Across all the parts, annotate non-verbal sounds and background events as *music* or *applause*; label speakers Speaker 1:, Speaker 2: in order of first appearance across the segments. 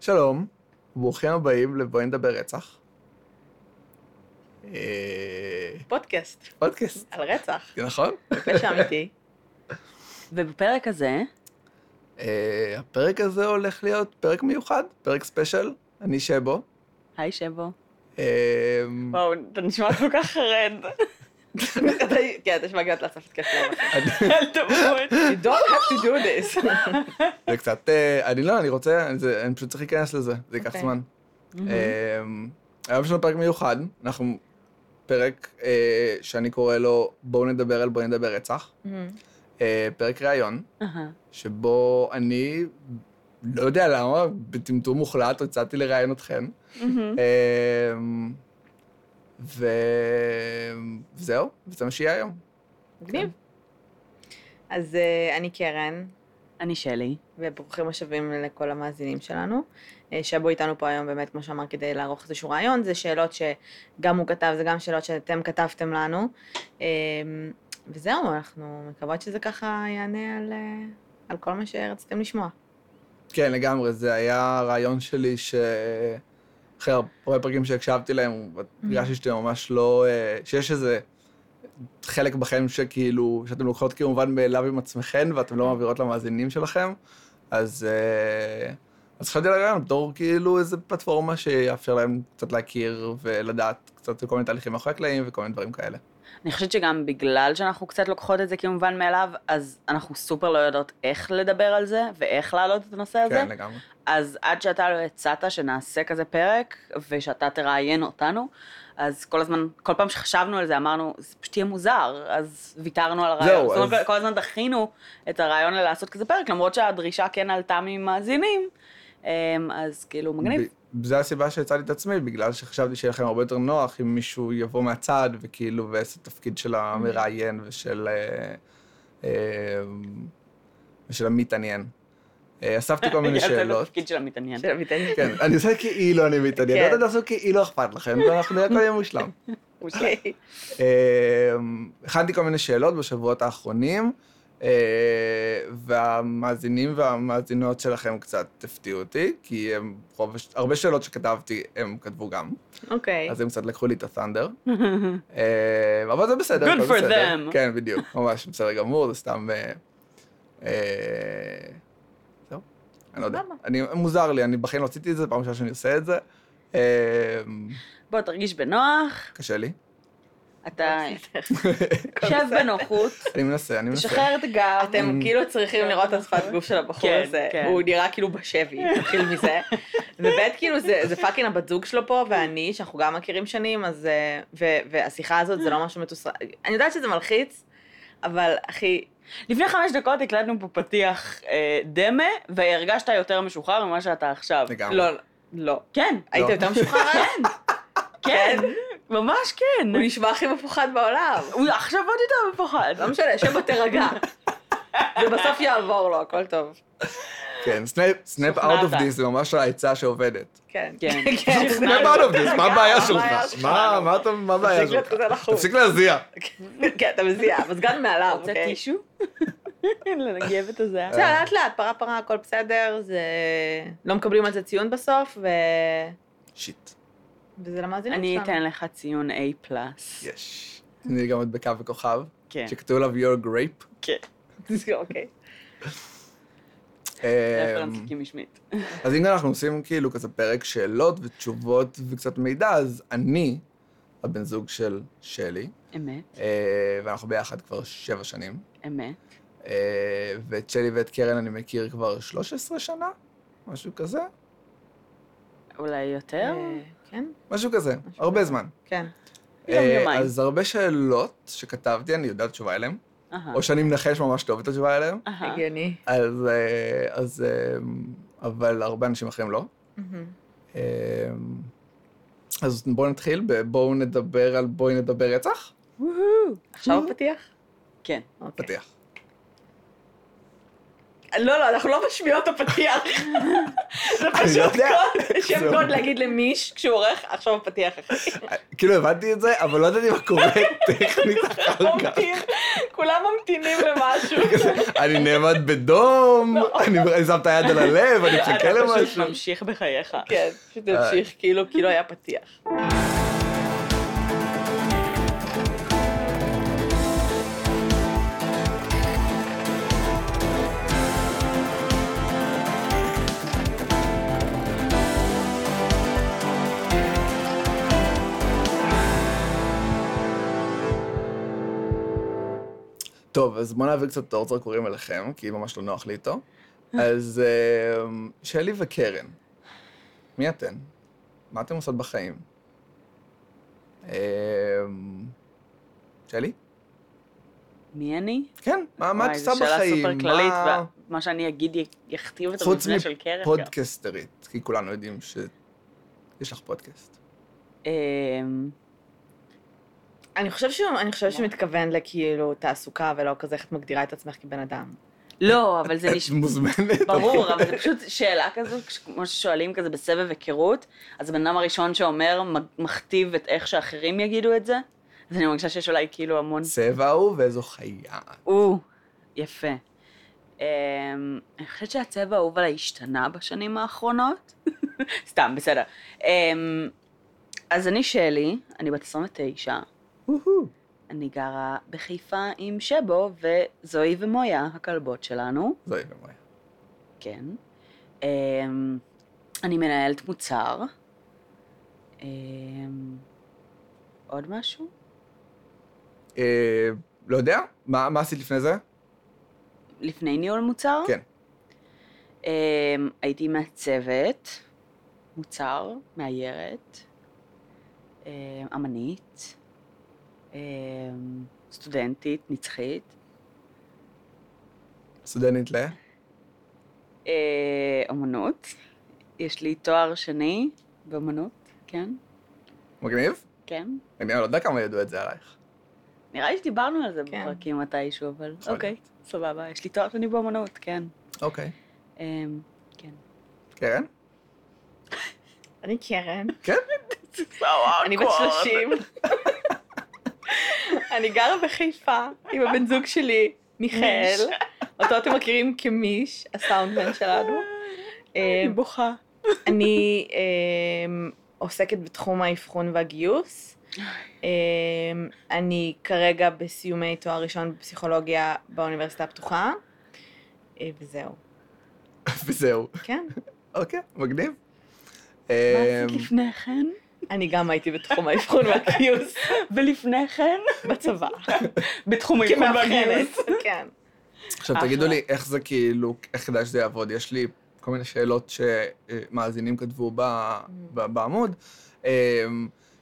Speaker 1: שלום, ברוכים הבאים לבואי נדבר רצח. אה,
Speaker 2: פודקאסט
Speaker 1: פודקאסט,
Speaker 2: על רצח,
Speaker 1: כן, נכון?
Speaker 2: פשע אמיתי. *laughs*
Speaker 3: ובפרק הזה,
Speaker 1: אה, הפרק הזה הולך להיות פרק מיוחד, פרק ספיישל, אני שבו.
Speaker 3: היי שבו.
Speaker 1: אה,
Speaker 2: וואו, אתה נשמע כל כך חרד. אתה- כן, אתה נשמע גדולת לעשות את כיף *laughs* אל תבואו. You don't have to do *laughs* this.
Speaker 1: זה קצת, אה, אני לא, אני רוצה, זה- אני פשוט צריך להיכנס לזה, זה ייקח
Speaker 2: אוקיי.
Speaker 1: זמן. אה, היום יש לנו פרק מיוחד, אנחנו פרק אה, שאני קורא לו בואו נדבר על בואי נדבר רצח,
Speaker 2: Mm-hmm.
Speaker 1: אה, פרק ראיון.
Speaker 3: אהה.
Speaker 1: שבו אני, לא יודע למה, בטמטום מוחלט, הצעתי לראיין אתכן.
Speaker 2: Mm-hmm.
Speaker 1: אמ, ו- וזהו, וזה מה שיהיה היום.
Speaker 2: מגניב. כן. אז אה, אני קרן,
Speaker 3: אני שלי.
Speaker 2: וברוכים השבים לכל המאזינים שלנו, אה, שבו איתנו פה היום באמת, כמו שאמר, כדי לערוך איזשהו רעיון, זה שאלות שגם הוא כתב, זה גם שאלות שאתם כתבתם לנו. אה, וזהו, אנחנו מקוות שזה ככה יענה על, אה, על כל מה שרציתם לשמוע.
Speaker 1: כן, לגמרי, זה היה רעיון שלי ש... אחרי הרבה פרקים שהקשבתי להם, הרגשתי שאתם ממש לא... אה, שיש איזה חלק בכם שכאילו, שאתם לוקחות כמובן מאליו עם עצמכן, ואתם לא מעבירות למאזינים שלכם, אז... אה, אז חשבתי על הרעיון בתור כאילו איזו פלטפורמה שיאפשר להם קצת להכיר ולדעת קצת על כל מיני תהליכים מאחורי הקלעים וכל מיני דברים כאלה.
Speaker 3: אני חושבת שגם בגלל שאנחנו קצת לוקחות את זה כמובן מאליו, אז אנחנו סופר לא יודעות איך לדבר על זה, ואיך להעלות את הנושא הזה.
Speaker 1: כן, לגמרי.
Speaker 3: אז עד שאתה לא הצעת שנעשה כזה פרק, ושאתה תראיין אותנו, אז כל הזמן, כל פעם שחשבנו על זה אמרנו, זה פשוט יהיה מוזר, אז ויתרנו על הרעיון.
Speaker 1: זהו,
Speaker 3: זאת אומרת,
Speaker 1: אז-
Speaker 3: כל הזמן דחינו את הרעיון ללעשות כזה פרק, למרות שהדרישה כן עלתה ממאזינים, אמ, אז כאילו מגניב.
Speaker 1: ב- זה הסיבה שהצעתי את עצמי, בגלל שחשבתי שיהיה לכם הרבה יותר נוח אם מישהו יבוא מהצד וכאילו ויעשה את התפקיד של המראיין ושל... אה, אה, ושל המתעניין. אה, אספתי
Speaker 3: *laughs*
Speaker 1: כל מיני
Speaker 3: זה
Speaker 1: שאלות.
Speaker 3: התפקיד של המתעניין.
Speaker 2: של
Speaker 3: *laughs*
Speaker 2: המתעניין.
Speaker 1: כן, אני עושה כאילו אני מתעניין,
Speaker 2: כן.
Speaker 1: לא יודעת לעשות כאילו אכפת לכם, ואנחנו נראה כל יום מושלם. *laughs*
Speaker 2: אוקיי.
Speaker 1: אה, הכנתי כל מיני שאלות בשבועות האחרונים, אה, והמאזינים והמאזינות שלכם קצת הפתיעו אותי, כי הם, רוב, הש- הרבה שאלות שכתבתי, הם כתבו גם.
Speaker 2: אוקיי.
Speaker 1: אז הם קצת לקחו לי את הת'אנדר. אה, אבל זה בסדר,
Speaker 3: Good
Speaker 1: הכל
Speaker 3: for
Speaker 1: בסדר.
Speaker 3: them.
Speaker 1: כן, בדיוק, ממש בסדר גמור, זה סתם... אה, אה, זהו, אני לא יודע.
Speaker 2: סבבה.
Speaker 1: אני- מוזר לי, אני בחיים לא עשיתי את זה, פעם ראשונה שאני עושה את זה. אה,
Speaker 3: בוא, תרגיש בנוח,
Speaker 1: קשה לי. *laughs*
Speaker 3: אתה *laughs* שב
Speaker 2: הכל בסדר.
Speaker 3: בנוחות,
Speaker 1: אני מנסה, אני מנסה.
Speaker 3: תשחרר את הגב.
Speaker 2: אתם כאילו צריכים לראות את השפת גוף של הבחור
Speaker 3: כן,
Speaker 2: הזה.
Speaker 3: כן.
Speaker 2: הוא נראה כאילו
Speaker 3: *laughs*
Speaker 2: בשבי, נתחיל מזה. וב' כאילו זה זה פאקינג הבת זוג שלו פה, ואני, שאנחנו גם מכירים שנים, אז... אה, ו- והשיחה הזאת זה לא משהו מתוסרט. אני יודעת שזה מלחיץ, אבל אחי,
Speaker 3: לפני חמש דקות הקלטנו פה פתיח אה, דמה, והרגשת יותר משוחרר ממה שאתה עכשיו.
Speaker 1: לגמרי.
Speaker 2: לא, לא.
Speaker 3: כן,
Speaker 2: היית יותר משוחרר?
Speaker 3: *laughs* כן, כן, ממש כן.
Speaker 2: הוא נשמע הכי מפוחד בעולם.
Speaker 3: הוא עכשיו עוד יותר מפוחד.
Speaker 2: לא משנה, שבו תירגע. ובסוף יעבור לו, הכל טוב.
Speaker 1: כן, סנאפ out of
Speaker 3: שוכנעת.
Speaker 1: this זה ממש העצה שעובדת.
Speaker 2: *laughs* כן.
Speaker 3: כן.
Speaker 1: *laughs* סנאפ out of this, מה הבעיה
Speaker 2: מה הבעיה
Speaker 1: שלך? מה,
Speaker 2: שלנו?
Speaker 1: מה אתה, מה הבעיה
Speaker 2: תפסיק להיות
Speaker 1: שלך?
Speaker 2: כזה לחוץ.
Speaker 1: תפסיק להזיע.
Speaker 2: כן, אתה מזיע, המזגן
Speaker 1: אה,
Speaker 2: מעליו,
Speaker 3: רוצה
Speaker 2: אוקיי?
Speaker 3: טישו? *laughs* לנגב את הזיעה.
Speaker 2: בסדר, לאט לאט, פרה פרה, הכל בסדר, זה... לא מקבלים על זה ציון בסוף, ו...
Speaker 1: שיט,
Speaker 2: וזה למאזינים
Speaker 3: אני
Speaker 2: שלנו. *laughs*
Speaker 3: אתן לך ציון A פלאס.
Speaker 1: יש. אני גם עוד בקו וכוכב,
Speaker 3: כן.
Speaker 1: שכתוב עליו your grape.
Speaker 3: כן.
Speaker 2: תזכור, אוקיי.
Speaker 3: רפרנס
Speaker 1: אמ,
Speaker 3: קים משמית.
Speaker 1: אז אם אנחנו עושים כאילו כזה פרק שאלות ותשובות וקצת מידע, אז אני, הבן זוג של שלי,
Speaker 3: אמת,
Speaker 1: אה, ואנחנו ביחד כבר שבע שנים,
Speaker 3: אמת.
Speaker 1: אה, ואת שלי ואת קרן אני מכיר כבר 13 שנה, משהו כזה,
Speaker 3: אולי יותר?
Speaker 2: אה, כן,
Speaker 1: משהו כזה, הרבה זמן.
Speaker 2: כן.
Speaker 3: יום,
Speaker 1: אה,
Speaker 3: יומיים.
Speaker 1: אז הרבה שאלות שכתבתי, אני יודע תשובה עליהן,
Speaker 3: אהה.
Speaker 1: או שאני מנחש ממש טוב את התשובה עליהן,
Speaker 3: אהה.
Speaker 2: הגיוני.
Speaker 1: אז... אה, אז אה, אבל הרבה אנשים אחרים לא.
Speaker 2: מהמם.
Speaker 1: אה, אז בואו נתחיל, ב- בואו נדבר על בואי נדבר רצח.
Speaker 3: וואו.
Speaker 2: עכשיו הפתיח?
Speaker 3: כן.
Speaker 2: אוקיי.
Speaker 1: פתיח.
Speaker 2: *laughs* לא, לא, אנחנו לא משמיעות את הפתיח. זה
Speaker 1: אני
Speaker 2: פשוט
Speaker 1: יודע.
Speaker 2: קוד, שם
Speaker 1: *laughs* זה-
Speaker 2: קוד להגיד למיש כשהוא עורך, עכשיו הפתיח אחי.
Speaker 1: כאילו הבנתי את זה, אבל לא ידעתי מה קורה *laughs* טכנית אחר כך.
Speaker 3: אוקיי.
Speaker 2: ממתין, כולם ממתינים למשהו.
Speaker 1: אני נעמד בדום, אני אני שם את היד על הלב, אני מחכה
Speaker 3: אתה פשוט
Speaker 1: למשהו. אה.
Speaker 3: ממשיך בחייך.
Speaker 2: כן, פשוט תמשיך, כאילו, כאילו היה פתיח.
Speaker 1: טוב, אז בוא נעביר קצת את האור זרקורים אליכם, כי ממש לא נוח לי איתו.
Speaker 3: אה.
Speaker 1: אז אמ, שלי וקרן, מי אתן? מה אתן עושות בחיים? אמ, שלי?
Speaker 3: מי אני?
Speaker 1: כן, מה מה את
Speaker 3: וואי,
Speaker 1: עושה
Speaker 3: זו
Speaker 1: בחיים?
Speaker 3: שאלה סופר כללית,
Speaker 1: מה-
Speaker 3: ומה שאני אגיד י- יכתיב את
Speaker 1: חוץ
Speaker 3: המבנה של קרח. גם.
Speaker 1: מפודקסטרית, כי כולנו יודעים שיש לך פודקאסט.
Speaker 3: אמ,
Speaker 2: אני חושב שהוא, אני
Speaker 3: לא.
Speaker 2: חושב שהוא מתכוון לכאילו תעסוקה ולא כזה איך את מגדירה את עצמך כבן אדם.
Speaker 3: לא, אבל *laughs* זה
Speaker 1: את
Speaker 3: נשמע...
Speaker 1: מוזמנת. *laughs*
Speaker 3: ברור, אבל זה פשוט שאלה כזו, כש- כמו ששואלים כזה בסבב היכרות, אז הבן אדם הראשון שאומר, מ- מכתיב את איך שאחרים יגידו את זה, אז אני מרגישה שיש אולי כאילו המון...
Speaker 1: צבע הוא ואיזו חיה.
Speaker 3: או, יפה. אמ, אני חושבת שהצבע האהוב עליי השתנה בשנים האחרונות. *laughs* סתם, בסדר. אמ, אז אני שלי, אני בת 29,
Speaker 1: אוהו.
Speaker 3: אני גרה בחיפה עם שבו וזוהי ומויה, הכלבות שלנו.
Speaker 1: זוהי ומויה.
Speaker 3: כן. אמ, אני מנהלת מוצר. אמ, עוד משהו?
Speaker 1: אה, לא יודע, מה מה עשית לפני זה?
Speaker 3: לפני ניהול מוצר?
Speaker 1: כן.
Speaker 3: אמ, הייתי מעצבת, מוצר, מאיירת, אמ, אמנית, אמ, סטודנטית, נצחית,
Speaker 1: סטודנטית ל...
Speaker 3: אה, אמנות. יש לי תואר שני באמנות, כן,
Speaker 1: מגניב?
Speaker 3: כן.
Speaker 1: אני לא יודע כמה ידעו את זה עלייך.
Speaker 3: נראה לי שדיברנו על זה
Speaker 2: כן.
Speaker 3: בפרקים מתישהו, אבל
Speaker 1: יכול
Speaker 3: אוקיי, סבבה. יש לי תואר שני באמנות, כן.
Speaker 1: אוקיי.
Speaker 3: אמ, כן.
Speaker 1: קרן?
Speaker 2: אני קרן.
Speaker 1: כן?
Speaker 2: אני בת 30. אני גרה בחיפה עם הבן זוג שלי, מיכאל, אותו אתם מכירים כמיש, הסאונדמן שלנו.
Speaker 3: אה, אני
Speaker 2: אמ,
Speaker 3: בוכה.
Speaker 2: אני אמ, עוסקת בתחום האבחון והגיוס. אמ, אני כרגע בסיומי תואר ראשון בפסיכולוגיה באוניברסיטה הפתוחה. אה, וזהו.
Speaker 1: וזהו.
Speaker 2: כן,
Speaker 1: אוקיי, מגניב.
Speaker 3: מה
Speaker 1: אה,
Speaker 3: עשית לפני כן?
Speaker 2: אני גם הייתי בתחום האבחון והגיוס
Speaker 3: ולפני כן?
Speaker 2: בצבא.
Speaker 3: *laughs* בתחום האבחון
Speaker 2: כמאבחנת,
Speaker 3: והגיוס.
Speaker 2: *laughs* כן.
Speaker 1: עכשיו
Speaker 3: אחלה.
Speaker 1: תגידו לי איך זה כאילו, איך כדאי שזה יעבוד. יש לי כל מיני שאלות שמאזינים כתבו ב- ב- בעמוד. אה,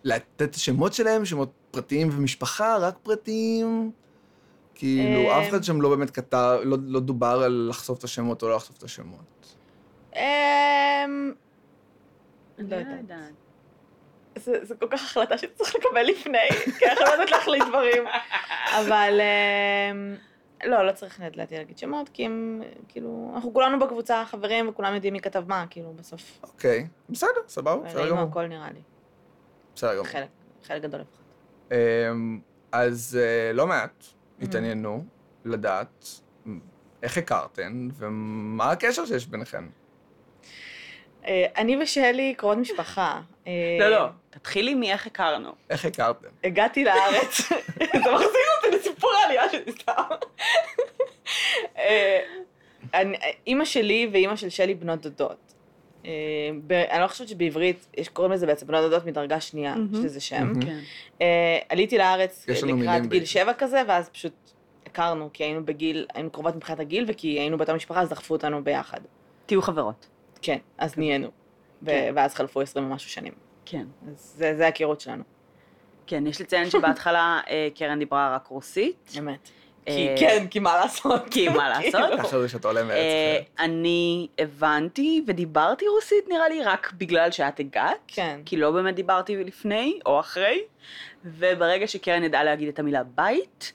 Speaker 1: לתת שמות שלהם, שמות פרטיים ומשפחה, רק פרטיים. כאילו,
Speaker 2: אה,
Speaker 1: אף אחד שם לא באמת כתב, לא לא דובר על לחשוף את השמות או לא לחשוף את השמות.
Speaker 2: אמ,
Speaker 3: אני לא
Speaker 2: לא יודעת.
Speaker 3: יודעת.
Speaker 2: זה זה כל כך החלטה שצריך לקבל לפני, *laughs* כי אנחנו לא יודעת להחליט דברים. אבל אמ, לא, לא צריך לדעתי להגיד שמות, כי הם, כאילו, אנחנו כולנו בקבוצה חברים וכולם יודעים מי כתב מה, כאילו, בסוף.
Speaker 1: אוקיי, בסדר, סבבה, בסדר
Speaker 2: ראינו
Speaker 1: גמור.
Speaker 2: הכל נראה לי,
Speaker 1: בסדר גמור.
Speaker 2: חלק, חלק גדול לפחות.
Speaker 1: אמ, אז אה, לא מעט
Speaker 2: Mm-hmm.
Speaker 1: התעניינו לדעת איך הכרתן ומה הקשר שיש ביניכן.
Speaker 2: אה, אני ושלי קרובות משפחה. אה,
Speaker 3: לא, לא. תתחילי מאיך הכרנו.
Speaker 1: איך הכרתם?
Speaker 2: הגעתי לארץ, *laughs* זה מחזיר אותי לסיפור העלייה שלי סתם. אה, אני- אימא שלי ואימא של שלי בנות דודות. אה, ב- אני לא חושבת שבעברית, יש- קוראים לזה בעצם בנות דודות מדרגה שנייה,
Speaker 3: מהמם.
Speaker 2: יש לזה שם.
Speaker 1: מהמם.
Speaker 3: כן.
Speaker 2: אה, עליתי לארץ
Speaker 1: יש לנו
Speaker 2: לקראת
Speaker 1: מילים
Speaker 2: גיל
Speaker 1: בעברית.
Speaker 2: שבע כזה, ואז פשוט הכרנו, כי היינו בגיל, היינו קרובות מבחינת הגיל, וכי היינו באותה משפחה, אז דחפו אותנו ביחד.
Speaker 3: תהיו חברות.
Speaker 2: כן, אז נהיינו. ו-
Speaker 3: כן.
Speaker 2: ואז חלפו עשרים ומשהו שנים.
Speaker 3: כן.
Speaker 2: אז זה זה ההיכרות שלנו,
Speaker 3: כן, יש לציין שבהתחלה אה, קרן דיברה רק רוסית.
Speaker 2: אמת. כי
Speaker 3: אה,
Speaker 2: כן, כי מה לעשות?
Speaker 3: כי מה לעשות?
Speaker 2: *laughs* כאילו.
Speaker 1: ככה זה שאתה עולה מארץ
Speaker 3: אה,
Speaker 1: אחרת.
Speaker 3: אני הבנתי ודיברתי רוסית נראה לי רק בגלל שאת הגעת.
Speaker 2: כן.
Speaker 3: כי לא באמת דיברתי לפני או אחרי, וברגע שקרן ידעה להגיד את המילה בית,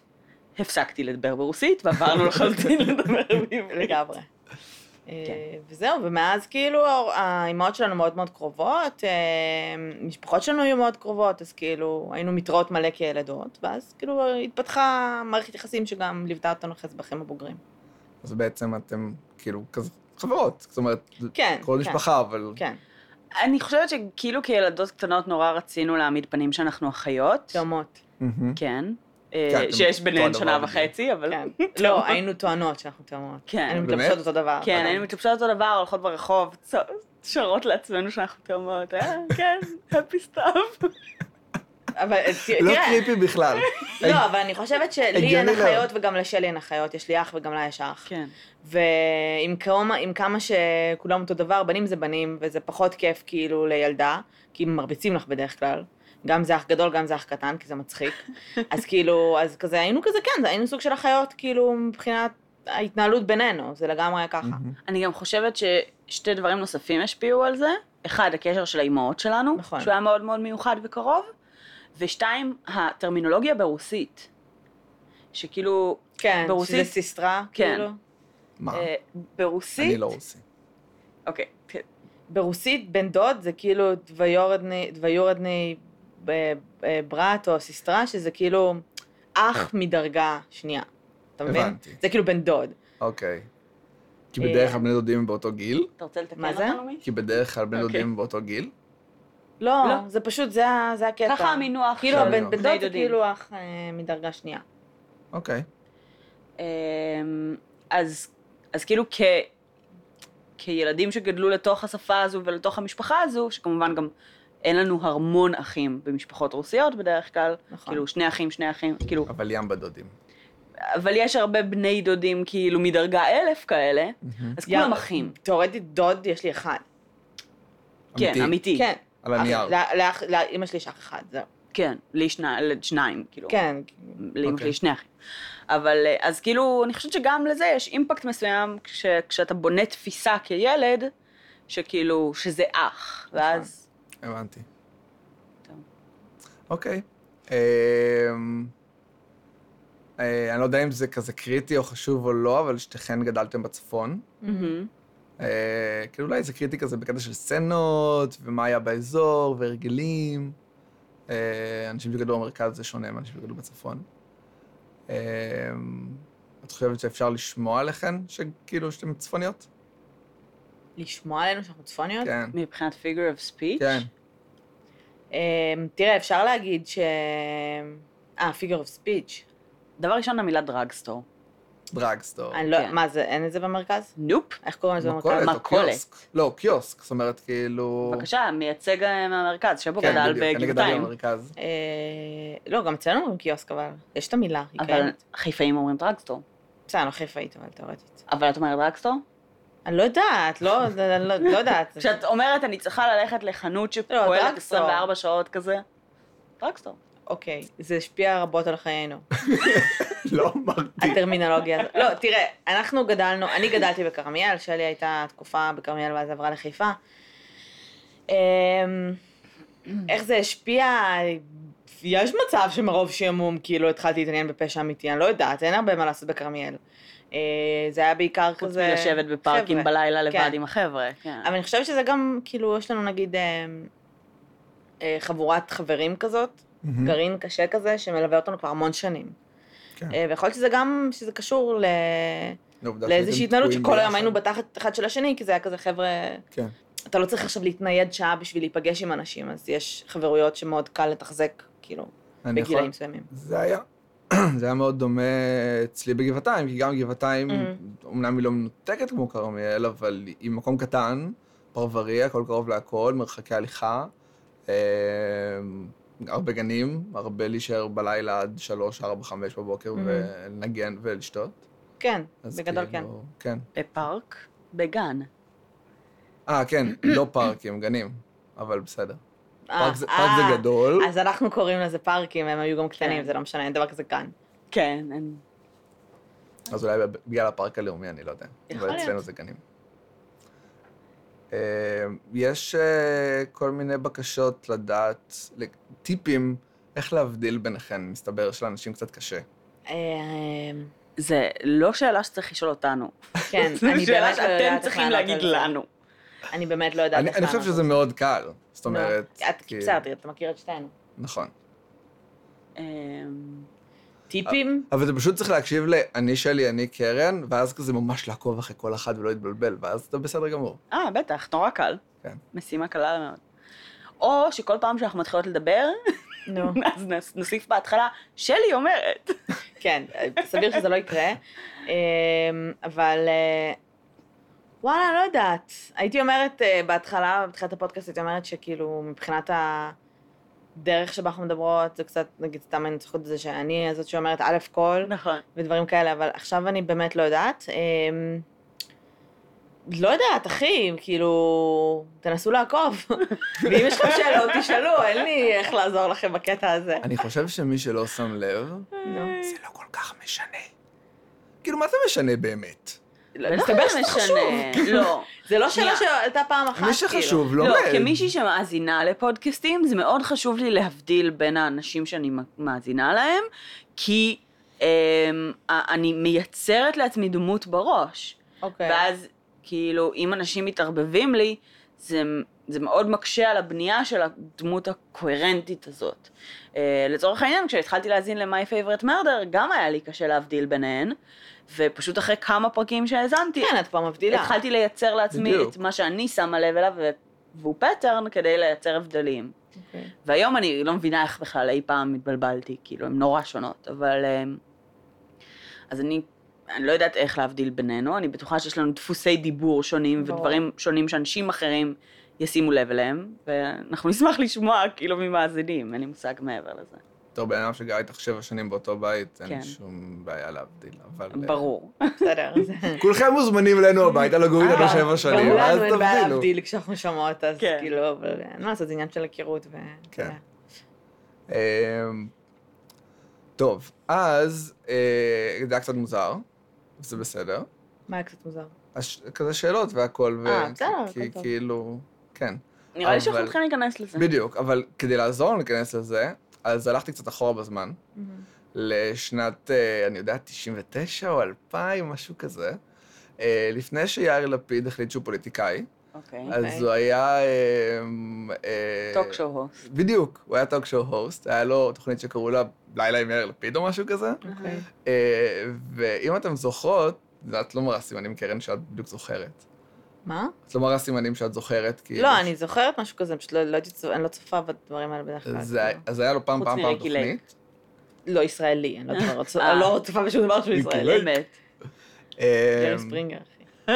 Speaker 3: הפסקתי לדבר ברוסית ועברנו לחלוטין לדבר בעברית.
Speaker 2: לגמרי. כן. וזהו, ומאז כאילו האימהות שלנו מאוד מאוד קרובות, אה, משפחות שלנו היו מאוד קרובות, אז כאילו היינו מתראות מלא כילדות, ואז כאילו התפתחה מערכת יחסים שגם ליוותה אותנו אחרי זה בחיים הבוגרים.
Speaker 1: אז בעצם אתם כאילו כזה חברות, זאת אומרת,
Speaker 2: כן,
Speaker 1: קרובי
Speaker 2: כן.
Speaker 1: משפחה, אבל...
Speaker 2: כן,
Speaker 3: אני חושבת שכאילו כילדות קטנות נורא רצינו להעמיד פנים שאנחנו אחיות.
Speaker 2: תאומות.
Speaker 1: מהמם.
Speaker 3: כן. אה,
Speaker 1: כן, אתם
Speaker 3: שיש
Speaker 1: אותו
Speaker 3: ביניהן
Speaker 1: הדבר
Speaker 3: שנה
Speaker 1: בדיוק.
Speaker 3: וחצי, אבל...
Speaker 2: כן. לא, היינו טוענות שאנחנו תאומות.
Speaker 3: כן.
Speaker 2: היינו
Speaker 1: באמת?
Speaker 2: מתלבשות אותו דבר.
Speaker 3: כן,
Speaker 2: אבל-
Speaker 3: היינו מתלבשות אותו דבר, הולכות ברחוב, צ- שרות לעצמנו שאנחנו תאומות, אה? כן, happy stuff.
Speaker 2: אבל אה, ת-
Speaker 1: לא
Speaker 2: תראה,
Speaker 1: קריפי
Speaker 2: *laughs*
Speaker 1: בכלל. אה,
Speaker 2: לא, אבל אני חושבת שלי אין
Speaker 1: הגיוני לא.
Speaker 2: אחיות וגם לשלי אין אחיות, יש לי אח וגם לה יש אח.
Speaker 3: כן.
Speaker 2: ועם כמה, עם כמה שכולם אותו דבר, בנים זה בנים, וזה פחות כיף כאילו לילדה, כי מרביצים לך בדרך כלל. גם זה אח גדול, גם זה אח קטן, כי זה מצחיק. אז כאילו, אז כזה, היינו כזה, כן, היינו סוג של אחיות, כאילו, מבחינת ההתנהלות בינינו, זה לגמרי היה ככה.
Speaker 1: מהמם.
Speaker 3: אני גם חושבת ששתי דברים נוספים השפיעו על זה. אחד, הקשר של האימהות שלנו,
Speaker 2: נכון.
Speaker 3: שהוא היה מאוד מאוד מיוחד וקרוב, ושתיים, הטרמינולוגיה ברוסית. שכאילו,
Speaker 2: כן,
Speaker 3: ברוסית?
Speaker 2: שזה סיסטרה,
Speaker 3: כן.
Speaker 2: כאילו.
Speaker 1: מה?
Speaker 3: אה, ברוסית...
Speaker 1: אני לא רוסי.
Speaker 3: אוקיי, כן.
Speaker 2: ברוסית, בן דוד זה כאילו דוויורדני, דוויורדני ב- אה, ברת או סיסטרה, שזה כאילו אח מדרגה שנייה. אתה מבין?
Speaker 1: הבנתי.
Speaker 2: זה כאילו בן דוד.
Speaker 1: אוקיי. כי
Speaker 2: אה,
Speaker 1: בדרך כלל בני דודים הם באותו גיל?
Speaker 3: אתה רוצה לתקן
Speaker 2: מה
Speaker 3: אותנו
Speaker 2: זה?
Speaker 3: מי?
Speaker 1: כי בדרך כלל בני
Speaker 3: אוקיי.
Speaker 1: דודים הם באותו גיל?
Speaker 2: לא,
Speaker 3: לא.
Speaker 2: זה פשוט, זה, ה- זה הקטע.
Speaker 3: ככה המינוח
Speaker 2: כאילו
Speaker 1: של
Speaker 2: הבן
Speaker 1: בני
Speaker 2: בן דוד זה כאילו אח אה, מדרגה שנייה.
Speaker 1: אוקיי.
Speaker 3: אמ, אז, אז כאילו כ, כילדים שגדלו לתוך השפה הזו ולתוך המשפחה הזו, שכמובן גם אין לנו המון אחים במשפחות רוסיות בדרך כלל,
Speaker 2: נכון.
Speaker 3: כאילו שני אחים, שני אחים, כאילו,
Speaker 1: אבל ים בדודים.
Speaker 2: אוקיי.
Speaker 3: אבל יש הרבה בני דודים כאילו מדרגה אלף כאלה,
Speaker 1: מהמם.
Speaker 3: אז
Speaker 2: יא-
Speaker 3: כולם אחים.
Speaker 2: תאורטית דוד יש לי אחד.
Speaker 3: כן, אמיתי.
Speaker 2: כן.
Speaker 1: על הנייר.
Speaker 2: אח- לא- לאח- לאמא שלי יש אח אחד, זהו.
Speaker 3: כן, לי שני- לשניים, כאילו.
Speaker 2: כן.
Speaker 3: לאמא
Speaker 1: אוקיי.
Speaker 3: שלי שני אחים. אבל אה, אז כאילו, אני חושבת שגם לזה יש אימפקט מסוים כש, כשאתה בונה תפיסה כילד, שכאילו, שזה אח,
Speaker 1: נכון.
Speaker 3: ואז...
Speaker 1: הבנתי.
Speaker 3: טוב.
Speaker 1: אוקיי. אמ, אה, אני לא יודע אם זה כזה קריטי או חשוב או לא, אבל שתיכן גדלתם בצפון.
Speaker 2: Mm-hmm.
Speaker 3: מהמם.
Speaker 1: אה, כאילו אולי זה קריטי כזה בקטע של סצנות, ומה היה באזור, והרגלים. אה, אנשים שגדלו במרכז זה שונה מאנשים שגדלו בצפון. אה, את חושבת שאפשר לשמוע עליכן, שכאילו שאתן צפוניות?
Speaker 2: לשמוע עלינו שאנחנו צפוניות?
Speaker 1: כן.
Speaker 3: מבחינת figure of speech?
Speaker 1: כן.
Speaker 2: אמ, תראה, אפשר להגיד ש... אה, figure of speech.
Speaker 3: דבר ראשון, המילה דרגסטור.
Speaker 1: דרגסטור.
Speaker 2: אני לא...
Speaker 3: כן.
Speaker 2: מה זה, אין את זה במרכז?
Speaker 3: נופ.
Speaker 2: איך קוראים לזה במרכז?
Speaker 1: מכולת או
Speaker 3: מכולת.
Speaker 1: קיוסק. לא, קיוסק, זאת אומרת, כאילו...
Speaker 3: בבקשה, מייצג אה, מהמרכז, שבו
Speaker 1: כן,
Speaker 3: גדל
Speaker 1: בדיוק, אני גדלתי
Speaker 3: בגבעתיים.
Speaker 1: במרכז. *laughs*
Speaker 2: אה, לא, גם אצלנו אומרים קיוסק, אבל יש את המילה, היא
Speaker 3: אבל
Speaker 2: קיימת.
Speaker 3: חיפאים אומרים דרגסטור.
Speaker 2: בסדר, אני לא חיפאית, אבל תאורטית.
Speaker 3: אבל את אומרת דרגסטור?
Speaker 2: אני לא יודעת, לא זה- לא, אני לא- לא
Speaker 3: *laughs*
Speaker 2: יודעת.
Speaker 3: כשאת אומרת, אני צריכה ללכת לחנות שפועלת
Speaker 2: דרגסטור.
Speaker 3: 24 שעות כזה? דרגסטור.
Speaker 2: אוקיי, זה השפיע רבות על חיינו,
Speaker 1: לא אמרתי.
Speaker 2: הטרמינולוגיה הזאת. לא, תראה, אנחנו גדלנו, אני גדלתי בכרמיאל, שלי הייתה תקופה בכרמיאל ואז עברה לחיפה. אמ, איך זה השפיע? יש מצב שמרוב שעמום כאילו התחלתי להתעניין בפשע אמיתי, אני לא יודעת, אין הרבה מה לעשות בכרמיאל. אה, זה היה בעיקר
Speaker 3: חוץ
Speaker 2: כזה...
Speaker 3: מלשבת בפארקים
Speaker 2: חבר'ה.
Speaker 3: בלילה לבד
Speaker 2: כן.
Speaker 3: עם החבר'ה. כן.
Speaker 2: אבל אני חושבת שזה גם, כאילו, יש לנו נגיד אמ, אה, חבורת חברים כזאת,
Speaker 1: מהמם.
Speaker 2: גרעין קשה כזה, שמלווה אותנו כבר המון שנים.
Speaker 1: כן.
Speaker 2: אה, ויכול להיות שזה גם, שזה קשור ל...
Speaker 1: לעובדה
Speaker 2: לאיזושהי
Speaker 1: שהייתם
Speaker 2: התנהלות
Speaker 1: תקועים
Speaker 2: שכל היום
Speaker 1: ביחד.
Speaker 2: היינו בתחת אחד של השני, כי זה היה כזה, חבר'ה,
Speaker 1: כן.
Speaker 2: אתה לא צריך עכשיו להתנייד שעה בשביל להיפגש עם אנשים, אז יש חברויות שמאוד קל לתחזק, כאילו,
Speaker 1: כן, אני יכול-
Speaker 2: בגילאים מסוימים.
Speaker 1: זה היה, *clears throat* זה היה מאוד דומה אצלי בגבעתיים, כי גם גבעתיים,
Speaker 2: Mhm.
Speaker 1: אמנם היא לא מנותקת כמו כרמיאל, אבל היא מקום קטן, פרברי, הכל קרוב להכל, מרחקי הליכה, אה, הרבה גנים, הרבה להישאר בלילה עד שלוש, ארבע, חמש בבוקר
Speaker 2: Mhm.
Speaker 1: ולנגן ולשתות.
Speaker 2: כן,
Speaker 1: אז
Speaker 2: בגדול כן.
Speaker 1: כאילו, כן.
Speaker 3: בפארק? בגן.
Speaker 1: אה,
Speaker 2: *clears throat*
Speaker 1: כן, לא פארקים, גנים, אבל בסדר. פארק זה-
Speaker 2: אה,
Speaker 1: פארק
Speaker 2: אה,
Speaker 1: זה גדול.
Speaker 2: אז אנחנו קוראים לזה פארקים, הם היו גם קטנים,
Speaker 3: כן.
Speaker 2: זה לא משנה, אין דבר כזה כאן.
Speaker 3: כן, אין...
Speaker 1: אז אולי בגלל הפארק הלאומי, אני לא יודע.
Speaker 3: יכול
Speaker 1: אבל אצלנו
Speaker 3: להיות.
Speaker 1: זה גנים. אה, יש אה, כל מיני בקשות לדעת,
Speaker 2: לא
Speaker 1: טיפים, איך להבדיל ביניכן. מסתבר שלאנשים קצת קשה.
Speaker 2: אה,
Speaker 3: זה לא שאלה שצריך לשאול אותנו. *laughs*
Speaker 2: כן,
Speaker 3: זו
Speaker 2: אני
Speaker 3: שאלה
Speaker 2: באמת לא יודעת
Speaker 3: שאתם
Speaker 2: איך
Speaker 3: צריכים
Speaker 2: לענות
Speaker 3: להגיד
Speaker 2: על זה.
Speaker 3: לנו.
Speaker 2: אני באמת לא יודעת
Speaker 1: אני
Speaker 2: איך
Speaker 1: אני חושב
Speaker 2: לענות על
Speaker 1: שזה
Speaker 2: זה.
Speaker 1: מאוד קל, זאת
Speaker 2: נו,
Speaker 1: אומרת.
Speaker 2: את
Speaker 1: כי-
Speaker 2: קיצרת, אתה מכיר את שתינו.
Speaker 1: נכון.
Speaker 3: אמ,
Speaker 2: טיפים?
Speaker 1: אבל זה פשוט צריך להקשיב ל"אני שלי, אני קרן", ואז כזה ממש לעקוב אחרי כל אחת ולא להתבלבל, ואז אתה בסדר גמור.
Speaker 3: אה, בטח, נורא קל.
Speaker 1: כן.
Speaker 3: משימה קלה מאוד. או שכל פעם שאנחנו מתחילות לדבר, *laughs*
Speaker 1: אה,
Speaker 2: נו.
Speaker 3: אז נס- נוסיף בהתחלה, שלי אומרת.
Speaker 2: כן, סביר שזה לא יקרה. אמ, אבל אה, וואלה, לא יודעת. הייתי אומרת אה, בהתחלה, בתחילת הפודקאסט, הייתי אומרת שכאילו מבחינת הדרך שבה אנחנו מדברות, זה קצת, נגיד, סתם אני צוחקת את זה שאני הזאת שאומרת א' כל,
Speaker 3: נכון.
Speaker 2: ודברים כאלה, אבל עכשיו אני באמת לא יודעת. אמ, לא יודעת, אחי, כאילו, תנסו לעקוב. ואם יש לכם שאלות, תשאלו, אין לי איך לעזור לכם בקטע הזה.
Speaker 1: אני חושב שמי שלא שם לב,
Speaker 2: נו.
Speaker 1: זה לא כל כך משנה. כאילו, מה זה משנה באמת?
Speaker 3: לא,
Speaker 2: מסתבר שזה
Speaker 3: משנה. לא.
Speaker 2: זה לא
Speaker 3: שנייה.
Speaker 2: שאלה שעלתה פעם אחת,
Speaker 1: מי
Speaker 2: כאילו.
Speaker 1: שחשוב לו, כן.
Speaker 3: לא,
Speaker 1: עומד.
Speaker 3: כמישהי שמאזינה לפודקאסטים, זה מאוד חשוב לי להבדיל בין האנשים שאני מאזינה להם, כי אמ, ה- אני מייצרת לעצמי דמות בראש.
Speaker 2: אוקיי.
Speaker 3: ואז, כאילו, אם אנשים מתערבבים לי, זה, זה מאוד מקשה על הבנייה של הדמות הקוהרנטית הזאת. Uh, לצורך העניין, כשהתחלתי להאזין ל-My Favorite Murder, גם היה לי קשה להבדיל ביניהן, ופשוט אחרי כמה פרקים שהאזנתי,
Speaker 2: כן, את כבר מבדילה.
Speaker 3: התחלתי לייצר לעצמי
Speaker 1: בדיוק.
Speaker 3: את מה שאני שמה לב אליו, ו- והוא פטרן כדי לייצר הבדלים.
Speaker 2: אוקיי.
Speaker 3: והיום אני לא מבינה איך בכלל אי פעם התבלבלתי, כאילו, הן נורא שונות, אבל... אמ, אז אני, אני לא יודעת איך להבדיל בינינו, אני בטוחה שיש לנו דפוסי דיבור שונים
Speaker 2: ברור.
Speaker 3: ודברים שונים שאנשים אחרים ישימו לב אליהם, ואנחנו נשמח לשמוע כאילו ממאזינים, אין לי מושג מעבר לזה.
Speaker 1: בתור בן אדם שגר איתך שבע שנים באותו בית, אין
Speaker 3: כן.
Speaker 1: לי שום בעיה להבדיל, אבל... אה,
Speaker 3: ברור.
Speaker 2: *laughs* בסדר. זה-
Speaker 1: כולכם מוזמנים אלינו הביתה לגורים
Speaker 2: אה,
Speaker 1: לנו שבע שנים,
Speaker 2: גם
Speaker 1: אז
Speaker 2: לנו אין בעיה
Speaker 1: תבדילו.
Speaker 2: להבדיל כשאנחנו שומעות, אז
Speaker 3: כן.
Speaker 2: כאילו, אבל אין מה לעשות, זה עניין של היכרות. ו-
Speaker 1: כן.
Speaker 2: אתה יודע.
Speaker 1: אמ, טוב, אז אה, זה היה קצת מוזר, זה בסדר.
Speaker 2: מה היה קצת מוזר?
Speaker 1: הש- כזה שאלות והכל, ו-
Speaker 2: אה, בסדר,
Speaker 1: כי-
Speaker 2: הכל
Speaker 1: כי-
Speaker 2: טוב. אה.
Speaker 1: כאילו, כן,
Speaker 3: נראה לי שאנחנו
Speaker 1: אבל-
Speaker 3: צריכים להיכנס לזה.
Speaker 1: בדיוק, אבל כדי לעזור לנו להיכנס לזה, אז הלכתי קצת אחורה בזמן,
Speaker 2: Mm-hmm.
Speaker 1: לשנת, אה, אני יודע, 99 או 2000, משהו כזה. אה, לפני שיאיר לפיד החליט שהוא פוליטיקאי,
Speaker 3: אוקיי.
Speaker 1: אז הוא היה... אה, אה,
Speaker 3: טוק שואו הוסט.
Speaker 1: בדיוק, הוא היה טוק שואו הוסט, היה לו תוכנית שקראו לה לילה עם יאיר לפיד או משהו כזה.
Speaker 2: אוקיי.
Speaker 1: אה, ואם אתם זוכרות, זה את לא מראה סימנים, קרן, שאת בדיוק זוכרת.
Speaker 2: מה?
Speaker 1: את לא מראה סימנים שאת זוכרת, כאילו. כי...
Speaker 2: לא, אני זוכרת משהו כזה, פשוט לא- לא הייתי צופ- אני לא צופה בדברים האלה בדרך כלל.
Speaker 1: זה-
Speaker 2: כאילו.
Speaker 1: אז היה לו פעם,
Speaker 3: לא. חוץ
Speaker 1: פעם, פעם
Speaker 3: מריקי לייק.
Speaker 1: תוכנית.
Speaker 2: לא ישראלי, *laughs* אני לא כבר צופה-
Speaker 3: אה.
Speaker 2: אני לא צופה בשום דבר שהוא
Speaker 1: מיקי
Speaker 2: ישראלי.
Speaker 1: לוי.
Speaker 3: באמת.
Speaker 2: גרי
Speaker 1: אה,
Speaker 2: ספרינגר, אחי.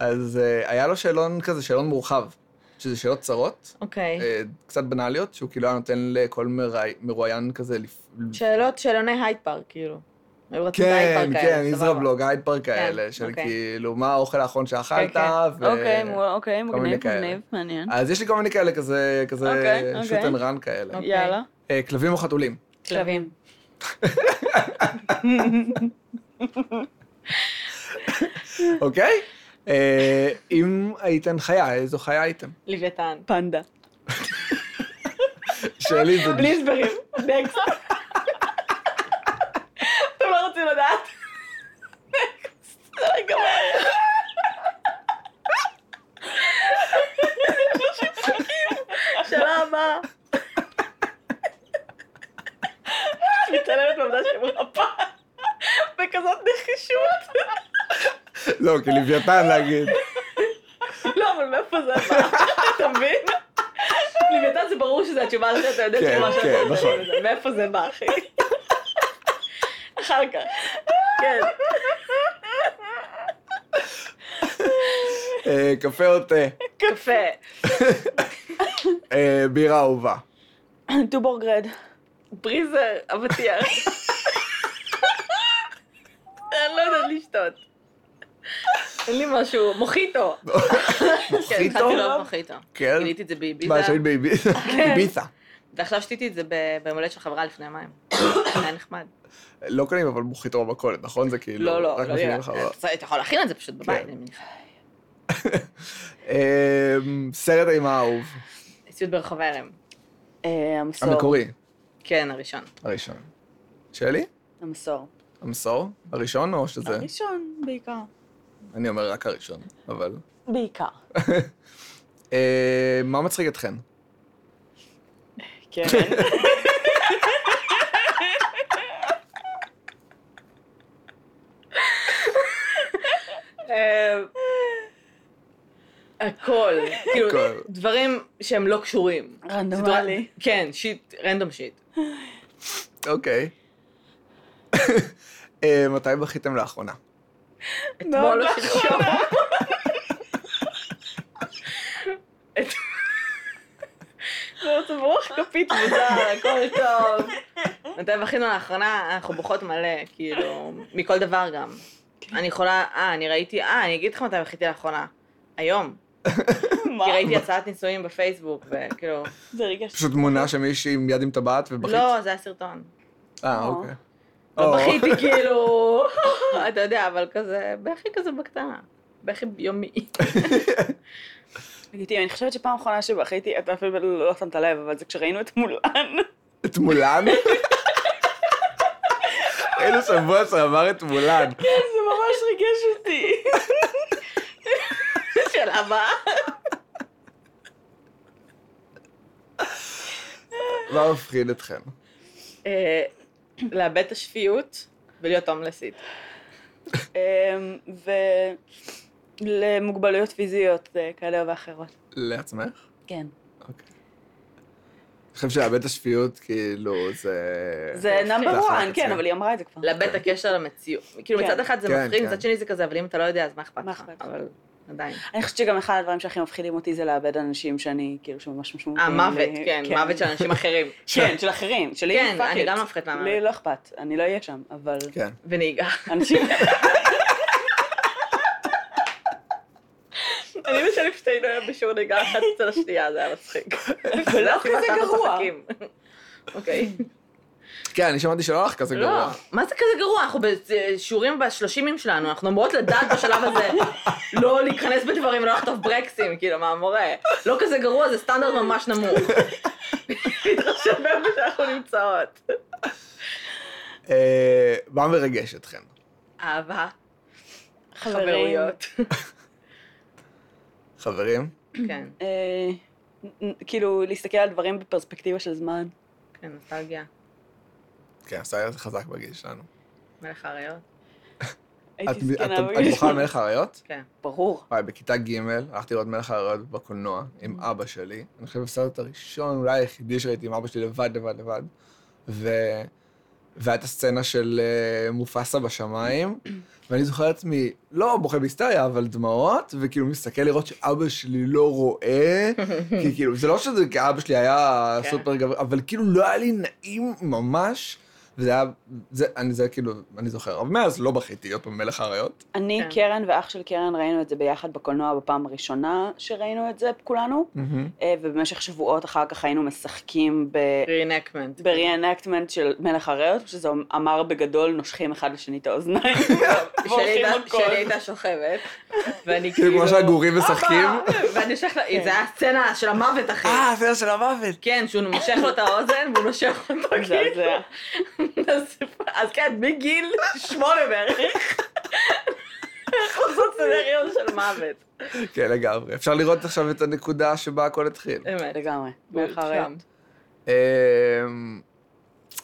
Speaker 1: אז אה, היה לו שאלון כזה, שאלון מורחב, שזה שאלות צרות,
Speaker 2: אוקיי.
Speaker 1: אה, קצת בנאליות, שהוא כאילו היה נותן לכל מראי- מרואיין כזה לפ...
Speaker 2: שאלות, שאלוני הייד פארק, כאילו. היו רצות הייד
Speaker 1: כן,
Speaker 2: פארק כאלה,
Speaker 1: כן,
Speaker 2: סבבה.
Speaker 1: ישראבלוג, הייד פארק
Speaker 2: כן,
Speaker 1: כאלה, של
Speaker 2: אוקיי. כן,
Speaker 1: כאילו, מה האוכל האחרון שאכלת, ו...
Speaker 3: אוקיי, מו- אוקיי,
Speaker 1: מיני
Speaker 3: מגניב,
Speaker 1: כאלה.
Speaker 3: מגניב, מעניין.
Speaker 1: אז יש לי כל מיני כאלה, כזה, כזה,
Speaker 3: אוקיי,
Speaker 1: שוט אנד
Speaker 3: אוקיי.
Speaker 1: רן כאלה.
Speaker 2: אוקיי.
Speaker 3: יאללה.
Speaker 1: אה, כלבים או
Speaker 2: *laughs*
Speaker 1: חתולים?
Speaker 2: כלבים.
Speaker 1: אוקיי? אה, אם הייתן חיה, איזו חיה הייתם?
Speaker 2: לוויתן.
Speaker 3: פנדה. *clears throat*
Speaker 1: שלי זה...
Speaker 2: בלי הסברים. נקסט. אתם לא רוצים לדעת?
Speaker 3: בסדר גמור.
Speaker 2: שאלה הבאה.
Speaker 3: מצלמת בעמדה של מרפאה. בכזאת נחישות.
Speaker 1: לא, כי לוויתן להגיד.
Speaker 2: לא, אבל מאיפה זה הבא? *laughs* אתה מבין? לוויתן זה ברור שזו התשובה הזאת, אתה יודע
Speaker 1: כן,
Speaker 2: שמה שאתה
Speaker 1: כן,
Speaker 2: עושה,
Speaker 1: נכון.
Speaker 2: זה- מאיפה זה בא, אחי? אחר כך. כן.
Speaker 1: אה, קפה או תה?
Speaker 2: קפה.
Speaker 1: אה, בירה אהובה.
Speaker 3: טובורגרד.
Speaker 2: פריזר, אבטיח. אני לא יודעת לשתות. אין לי משהו, מוחיטו. כן,
Speaker 1: מוחיטו?
Speaker 2: התחלתי לאהוב מוחיטו.
Speaker 1: כן.
Speaker 2: גיליתי את כן. זה באביזה,
Speaker 1: מה, שהיית באביזה?
Speaker 2: *laughs*
Speaker 1: ביסה.
Speaker 2: ועכשיו שתיתי את זה ב- ביום הולדת של חברה לפני יומיים.
Speaker 1: *coughs*
Speaker 2: היה נחמד.
Speaker 1: לא קונים אבל מוחיטו במכולת, נכון? זה כאילו...
Speaker 2: לא, לא,
Speaker 1: רק
Speaker 2: לא
Speaker 1: מכינים
Speaker 2: נראה.
Speaker 1: לך בבית.
Speaker 2: אתה יכול להכין את זה פשוט בבית,
Speaker 1: כן.
Speaker 2: אני מניחה.
Speaker 1: אה, סרט אימה אהוב.
Speaker 2: סיוט ברחוב הארם.
Speaker 3: אה, המסור.
Speaker 1: המקורי,
Speaker 2: כן, הראשון.
Speaker 1: הראשון. שלי?
Speaker 3: המסור.
Speaker 1: המסור? הראשון או שזה...
Speaker 3: הראשון בעיקר.
Speaker 1: אני אומר רק הראשון, אבל...
Speaker 3: בעיקר.
Speaker 1: אה, מה מצחיק אתכן?
Speaker 3: כן.
Speaker 2: אה, הכל, כאילו,
Speaker 1: הכל.
Speaker 2: דברים שהם לא קשורים.
Speaker 3: רנדומלי.
Speaker 2: סדרה- כן, שיט, רנדום שיט.
Speaker 1: אוקיי. אה, מתי בכיתם לאחרונה?
Speaker 3: לא,
Speaker 2: אתמול לא או שלשום.
Speaker 3: זה רוח כפית מוזר, הכל טוב.
Speaker 2: מתי בכינו לאחרונה, אנחנו בוכות מלא, כאילו, מכל דבר גם. אני יכולה, אה, אני ראיתי, אה, אני אגיד לך מתי בכיתי לאחרונה. היום.
Speaker 3: מה? *laughs*
Speaker 2: כי ראיתי הצעת נישואים בפייסבוק, וכאילו...
Speaker 3: זה רגע ש...
Speaker 1: פשוט תמונה של מישהי עם יד עם טבעת ובכית?
Speaker 2: לא, זה היה סרטון.
Speaker 1: אה,
Speaker 3: לא.
Speaker 1: אוקיי.
Speaker 2: לא
Speaker 1: או.
Speaker 2: בכיתי כאילו, אתה יודע, אבל כזה, בכי כזה בקטנה. בכי יומי. *laughs*
Speaker 3: לגיטימי, אני חושבת שפעם אחרונה שבכיתי, אתה אפילו לא שמת לב, אבל זה כשראינו את מולן.
Speaker 1: *laughs* את
Speaker 2: *laughs*
Speaker 1: מולן? אילו שבוע שעבר את מולן.
Speaker 3: *laughs* זה ממש ריגש
Speaker 2: *laughs*
Speaker 3: אותי.
Speaker 2: של הבאה.
Speaker 1: מה מפחיד אתכם?
Speaker 2: אה, *clears throat* לאבד את השפיות ולהיות הומלסית.
Speaker 3: אמ, ולמוגבלויות פיזיות אה, כאלה ואחרות.
Speaker 1: לעצמך?
Speaker 3: כן.
Speaker 1: אוקיי. אני חושב שלאבד את השפיות, כאילו, זה...
Speaker 3: זה נאמבר
Speaker 1: אחת
Speaker 3: וואן, כן,
Speaker 1: אצלי.
Speaker 3: אבל היא אמרה את זה כבר.
Speaker 2: לאבד את הקשר למציאות. כאילו
Speaker 3: כן.
Speaker 2: מצד אחד זה
Speaker 1: כן,
Speaker 2: מפחיד,
Speaker 1: כן.
Speaker 2: מצד שני זה כזה, אבל אם אתה לא יודע אז מה אכפת
Speaker 3: מה
Speaker 2: לך? אה,
Speaker 3: אכפת לך?
Speaker 2: אבל עדיין.
Speaker 3: אני חושבת שגם אחד הדברים שהכי מפחידים אותי זה לאבד אנשים שאני, כאילו, שממש משמעותיים.
Speaker 2: אה, מוות,
Speaker 3: לי.
Speaker 2: כן, מוות של אנשים *laughs* אחרים.
Speaker 3: כן, של אחרים, שלי
Speaker 2: כן,
Speaker 3: fuck
Speaker 2: אני
Speaker 3: it.
Speaker 2: גם לא מפחדת מהמוות.
Speaker 3: לי לא אכפת, אני לא אהיה שם, אבל
Speaker 1: כן.
Speaker 2: ונהיגה.
Speaker 3: אנשים...
Speaker 2: *laughs* אני ושלי פשוט היינו היום בשיעור נהיגה אחת אצל השנייה, זה היה מצחיק. *laughs*
Speaker 3: זה לא
Speaker 2: זה הסיבה
Speaker 3: כזה
Speaker 2: שאנחנו
Speaker 3: גרוע.
Speaker 2: צוחקים. אוקיי.
Speaker 1: כן, אני שמעתי שלא לך כזה
Speaker 2: לא,
Speaker 1: גרוע.
Speaker 2: מה זה כזה גרוע? אנחנו בשיעורים בשלושימים שלנו, אנחנו אמורות לדעת בשלב
Speaker 1: *laughs*
Speaker 2: הזה לא להיכנס בדברים, לא לכתוב ברקסים, כאילו, מה המורה? לא כזה גרוע, זה סטנדרט ממש נמוך.
Speaker 1: *laughs*
Speaker 2: להתרשם באיפה שאנחנו נמצאות.
Speaker 1: אה, מה מרגש אתכם?
Speaker 2: אהבה,
Speaker 3: חברים.
Speaker 2: חברויות.
Speaker 1: חברים?
Speaker 2: כן,
Speaker 3: אה, נ- נ- כאילו, להסתכל על דברים בפרספקטיבה של זמן.
Speaker 2: כן, נוסטלגיה,
Speaker 1: כן, עשה את זה חזק בגיל שלנו.
Speaker 2: מלך האריות.
Speaker 1: את
Speaker 3: הייתי זקנה
Speaker 1: את- את
Speaker 3: בגיל
Speaker 1: בוכה על
Speaker 3: שלי.
Speaker 1: מלך האריות? *laughs*
Speaker 2: כן.
Speaker 3: ברור.
Speaker 1: וואי, בכיתה ג' הלכתי לראות מלך האריות בקולנוע עם אבא שלי. אני חושב הסרט הראשון, אולי היחידי שראיתי עם אבא שלי לבד, לבד, לבד. ו... והייתה סצנה של אה, מופסה בשמיים, *clears throat* ואני זוכר את עצמי, לא בוכה בהיסטריה, אבל דמעות, וכאילו מסתכל לראות שאבא שלי לא רואה, כי כאילו, זה לא שזה כי אבא שלי היה
Speaker 2: כן.
Speaker 1: סופר גבר, אבל כאילו לא היה לי נעים ממש, וזה היה, זה, אני, זה כאילו, אני זוכר. אבל מאז לא בכיתי עוד פעם מלך האריות.
Speaker 3: אני,
Speaker 2: כן.
Speaker 3: קרן ואח של קרן ראינו את זה ביחד בקולנוע בפעם הראשונה שראינו את זה כולנו, אה, ובמשך שבועות אחר כך היינו משחקים ב...
Speaker 2: רeenactment.
Speaker 3: בריאנקטמנט של מלך הריאות, שזה אמר בגדול, נושכים אחד לשני את *laughs* האוזניים.
Speaker 2: *laughs* שלי
Speaker 3: והולכים
Speaker 2: הייתה-
Speaker 3: על כל.
Speaker 2: שלי הייתה שוכבת, ואני
Speaker 1: כאילו,
Speaker 2: כאילו...
Speaker 1: כמו שהגורים משחקים.
Speaker 2: אבא! ואני יושבת לה, זה היה הסצנה של המוות, אחי.
Speaker 1: זה אה, של המוות.
Speaker 2: כן, שהוא מושך לו את האוזן והוא
Speaker 3: *laughs*
Speaker 2: נושך אותו כאילו.
Speaker 3: מזעזע.
Speaker 2: אז- אז כן, מגיל שמונה בערך.
Speaker 3: *laughs*
Speaker 2: אנחנו עושות סנריון של מוות.
Speaker 1: כן, לגמרי. אפשר לראות עכשיו את הנקודה שבה הכל התחיל.
Speaker 2: באמת.
Speaker 3: לגמרי, מלך הריאות.
Speaker 1: אמ,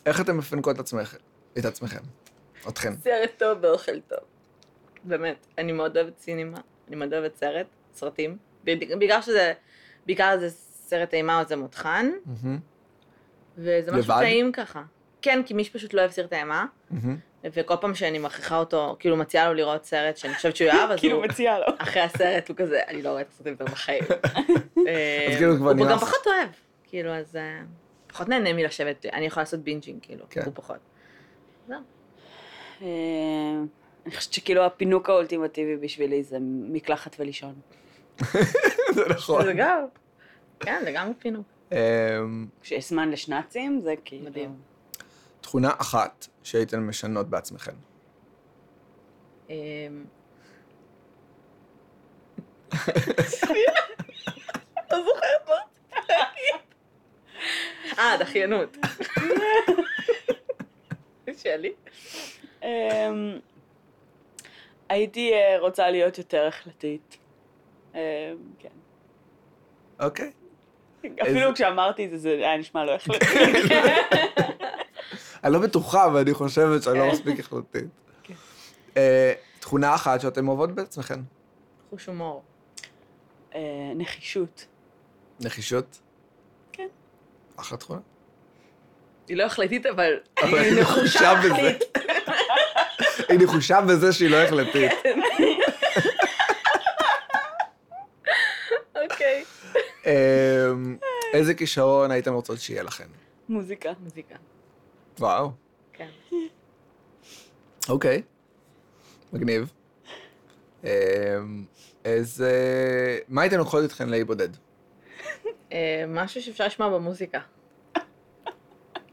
Speaker 1: איך אתם מפנקות את עצמכם? את עצמכם? אתכם.
Speaker 2: סרט טוב ואוכל טוב. באמת, אני מאוד אוהבת סינימה, אני מאוד אוהבת סרט, סרטים. בד- בעיקר שזה, בעיקר זה סרט אימה או זה מותחן,
Speaker 1: מהמם,
Speaker 2: וזה משהו
Speaker 1: לבד?
Speaker 2: טעים ככה. כן, כי מי שפשוט לא אוהב סרט אימה,
Speaker 1: מהמם.
Speaker 2: וכל פעם שאני מכריחה אותו, כאילו מציעה לו לראות סרט שאני חושבת שהוא יאהב, אז
Speaker 3: *laughs* כאילו
Speaker 2: הוא...
Speaker 3: מציע לו.
Speaker 2: אחרי הסרט הוא כזה, אני לא רואה את הסרטים יותר
Speaker 1: *laughs*
Speaker 2: בחיים. אה,
Speaker 1: אז כאילו כבר
Speaker 2: הוא
Speaker 1: נמאס.
Speaker 2: גם פחות אוהב, כאילו, אז אה, פחות נהנה מלשבת, אני יכולה לעשות בינג'ינג, כאילו,
Speaker 1: כן.
Speaker 2: הוא פחות.
Speaker 3: אה, אני חושבת שכאילו הפינוק האולטימטיבי בשבילי זה מקלחת ולישון.
Speaker 1: *laughs* זה נכון.
Speaker 2: זה גם, כן, זה גם פינוק.
Speaker 1: אמ,
Speaker 3: כשיש זמן לשנאצים זה כאילו...
Speaker 2: מדהים.
Speaker 1: תכונה אחת שהייתן משנות בעצמכם. *laughs*
Speaker 2: אמ,
Speaker 1: *laughs*
Speaker 2: אה, דחיינות. שלי?
Speaker 3: אמ, אמ, הייתי אה, רוצה להיות יותר החלטית. אמ, כן.
Speaker 1: אוקיי.
Speaker 3: אפילו כשאמרתי את זה, זה היה נשמע לא החלטי.
Speaker 1: אני לא בטוחה, אבל אני חושבת שאני לא מספיק החלטית.
Speaker 3: כן.
Speaker 1: אה, תכונה אחת שאתם אוהבות בעצמכן.
Speaker 2: חוש הומור.
Speaker 3: אה, נחישות.
Speaker 1: נחישות?
Speaker 3: כן.
Speaker 1: אחלה תכונה.
Speaker 2: היא לא החלטית, אבל...
Speaker 1: אבל היא נחושה בזה. היא נחושה בזה שהיא לא החלטית.
Speaker 2: אוקיי.
Speaker 1: אה, איזה כישרון הייתם רוצות שיהיה לכן?
Speaker 3: מוזיקה.
Speaker 2: מוזיקה,
Speaker 1: וואו,
Speaker 2: כן.
Speaker 1: אוקיי. מגניב. אה, איזה... מה הייתן לוקחות איתכן לאי בודד?
Speaker 2: אה, משהו שאפשר לשמוע במוזיקה.
Speaker 1: כן.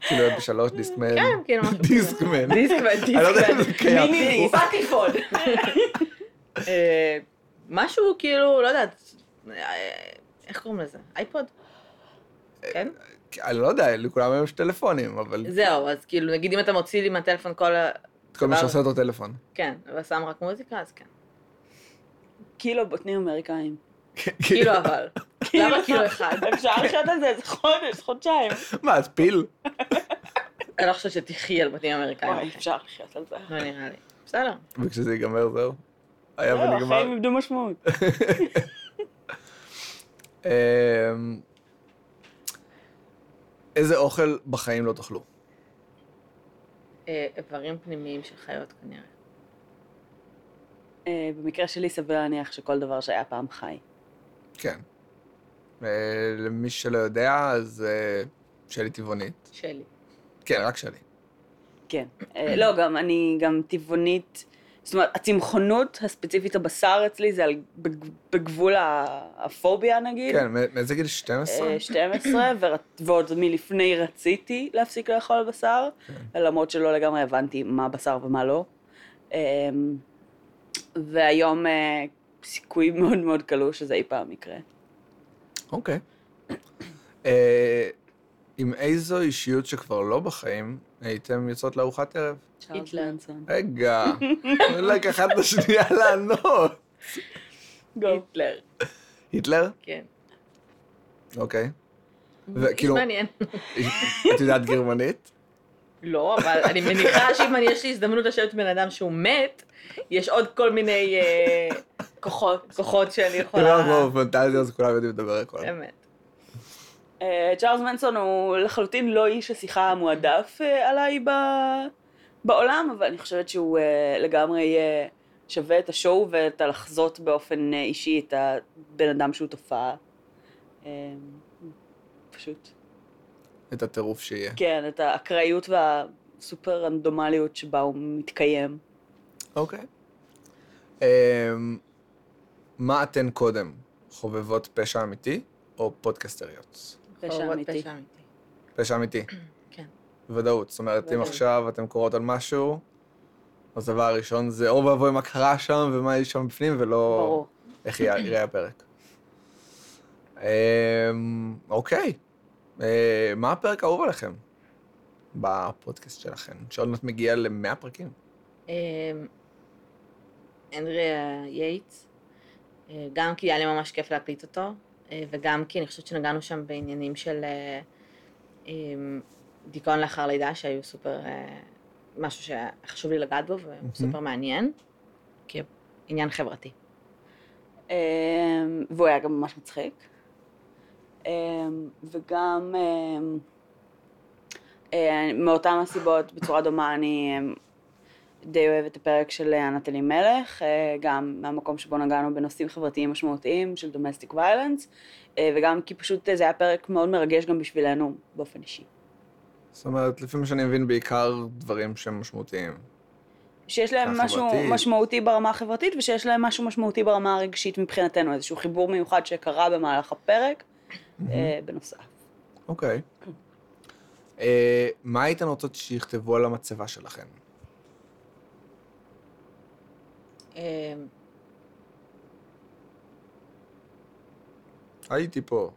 Speaker 1: כאילו להיות בשלוש דיסקמן.
Speaker 2: כן, כאילו משהו כזה.
Speaker 1: דיסקמן.
Speaker 2: דיסק
Speaker 1: *laughs* אני לא *laughs* יודע אם זה
Speaker 2: ודיסק.
Speaker 1: קיים.
Speaker 2: פטיפון. אה, משהו כאילו, לא יודעת, אה, איך קוראים לזה? אייפוד? כן?
Speaker 1: אני לא יודע, לכולם היום יש טלפונים, אבל
Speaker 2: זהו, אז כאילו, נגיד אם אתה מוציא לי מהטלפון כל ה...
Speaker 1: את כל מי
Speaker 2: סבבה.
Speaker 1: שעושה אותו טלפון.
Speaker 2: כן, ושם רק מוזיקה, אז כן.
Speaker 3: קילו בוטנים אמריקאים.
Speaker 2: כאילו אבל. למה כאילו אחד?
Speaker 3: אפשר לחיות על זה איזה חודש, חודשיים.
Speaker 1: *laughs* מה, את פיל?
Speaker 2: אני לא חושבת שתחי על בתים אמריקאים.
Speaker 3: אוי, אפשר לחיות על זה.
Speaker 2: לא נראה לי. בסדר.
Speaker 1: וכשזה ייגמר זהו. היה
Speaker 2: לא,
Speaker 3: זהו,
Speaker 1: ונגמר.
Speaker 3: לא, החיים איבדו משמעות.
Speaker 1: אמ, איזה אוכל בחיים לא תאכלו?
Speaker 2: אה, איברים פנימיים של חיות כנראה.
Speaker 3: אה, במקרה שלי סביר להניח שכל דבר שהיה פעם חי.
Speaker 1: כן. אה, למי שלא יודע, אז אה, שלי טבעונית.
Speaker 2: שלי.
Speaker 1: כן, רק שלי.
Speaker 3: כן. אה, לא, גם אני גם טבעונית. זאת אומרת, הצמחונות הספציפית הבשר אצלי זה על, בג- בגבול ה- הפוביה נגיד.
Speaker 1: כן, מא- מאיזה גיל 12?
Speaker 3: אה, 12, ור- ועוד מלפני רציתי להפסיק לאכול בשר, למרות שלא לגמרי הבנתי מה בשר ומה לא. אה, והיום אה, סיכוי מאוד מאוד קלוש שזה אי פעם יקרה.
Speaker 1: אוקיי. אה, עם איזו אישיות שכבר לא בחיים, הייתם יוצאות לארוחת ערב?
Speaker 3: צ'ארלס
Speaker 2: היטלר.
Speaker 3: מנסון.
Speaker 1: רגע, תנו לקחת את השנייה לענות.
Speaker 2: היטלר.
Speaker 1: היטלר?
Speaker 2: כן.
Speaker 1: אוקיי.
Speaker 2: איש
Speaker 1: וכאילו,
Speaker 2: מעניין.
Speaker 1: את יודעת גרמנית?
Speaker 2: לא, אבל אני *laughs* מניחה שאם אני- יש לי הזדמנות לשבת עם בן אדם שהוא מת, יש עוד כל מיני אה, כוחות, כוחות שאני יכולה...
Speaker 1: כולם כמו בפנטזיה, אז כולם יודעים לדבר הכל.
Speaker 2: אמת.
Speaker 3: אה, צ'ארלס מנסון הוא לחלוטין לא איש השיחה המועדף אה, עליי ב... בעולם, אבל אני חושבת שהוא אה, לגמרי אה, שווה את השואו ואת הלחזות באופן אה, אישי את הבן אדם שהוא תופעה. אה, פשוט.
Speaker 1: את הטירוף שיהיה.
Speaker 3: כן, את האקראיות והסופר רנדומליות שבה הוא מתקיים.
Speaker 1: אוקיי. אמ, מה אתן קודם? חובבות פשע אמיתי או פודקסטריות?
Speaker 3: פשע
Speaker 2: חורבות
Speaker 3: אמיתי.
Speaker 2: פשע אמיתי.
Speaker 1: פשע אמיתי.
Speaker 2: כן.
Speaker 1: בוודאות. זאת אומרת, אם
Speaker 3: ודאות.
Speaker 1: עכשיו אתן קוראות על משהו, אז הדבר הראשון זה אוי ואבוי מה קרה שם ומה יש שם בפנים, ולא
Speaker 3: ברור.
Speaker 1: איך יהיה- יראה הפרק. אמ, אוקיי. אה, מה הפרק האהוב עליכם בפודקאסט שלכם? שעוד מעט מגיע למאה פרקים.
Speaker 2: אמ, אנדריה יייטס, אה, גם כי היה לי ממש כיף להקליט אותו, אה, וגם כי אני חושבת שנגענו שם בעניינים של אה, אמ, דיכאון לאחר לידה, שהיו סופר, אה, משהו שהיה חשוב לי לגעת בו, והוא סופר מעניין, כעניין חברתי.
Speaker 3: אה, והוא היה גם ממש מצחיק. אה, וגם אה, אה, מאותן הסיבות, בצורה דומה, אני אה, די אוהבת את הפרק של אה, ענת אלימלך, אה, גם מהמקום שבו נגענו בנושאים חברתיים משמעותיים של דומסטיק ויילנס, וגם כי פשוט אה, זה היה פרק מאוד מרגש גם בשבילנו באופן אישי.
Speaker 1: זאת אומרת, לפי מה שאני מבין, בעיקר דברים שהם משמעותיים.
Speaker 3: שיש להם
Speaker 1: החברתית.
Speaker 3: משהו משמעותי ברמה החברתית, ושיש להם משהו משמעותי ברמה הרגשית מבחינתנו, איזשהו חיבור מיוחד שקרה במהלך הפרק, אה, בנוסף.
Speaker 1: אוקיי. אה, מה הייתן רוצות שיכתבו על המצבה שלכן?
Speaker 2: אמ,
Speaker 1: הייתי פה.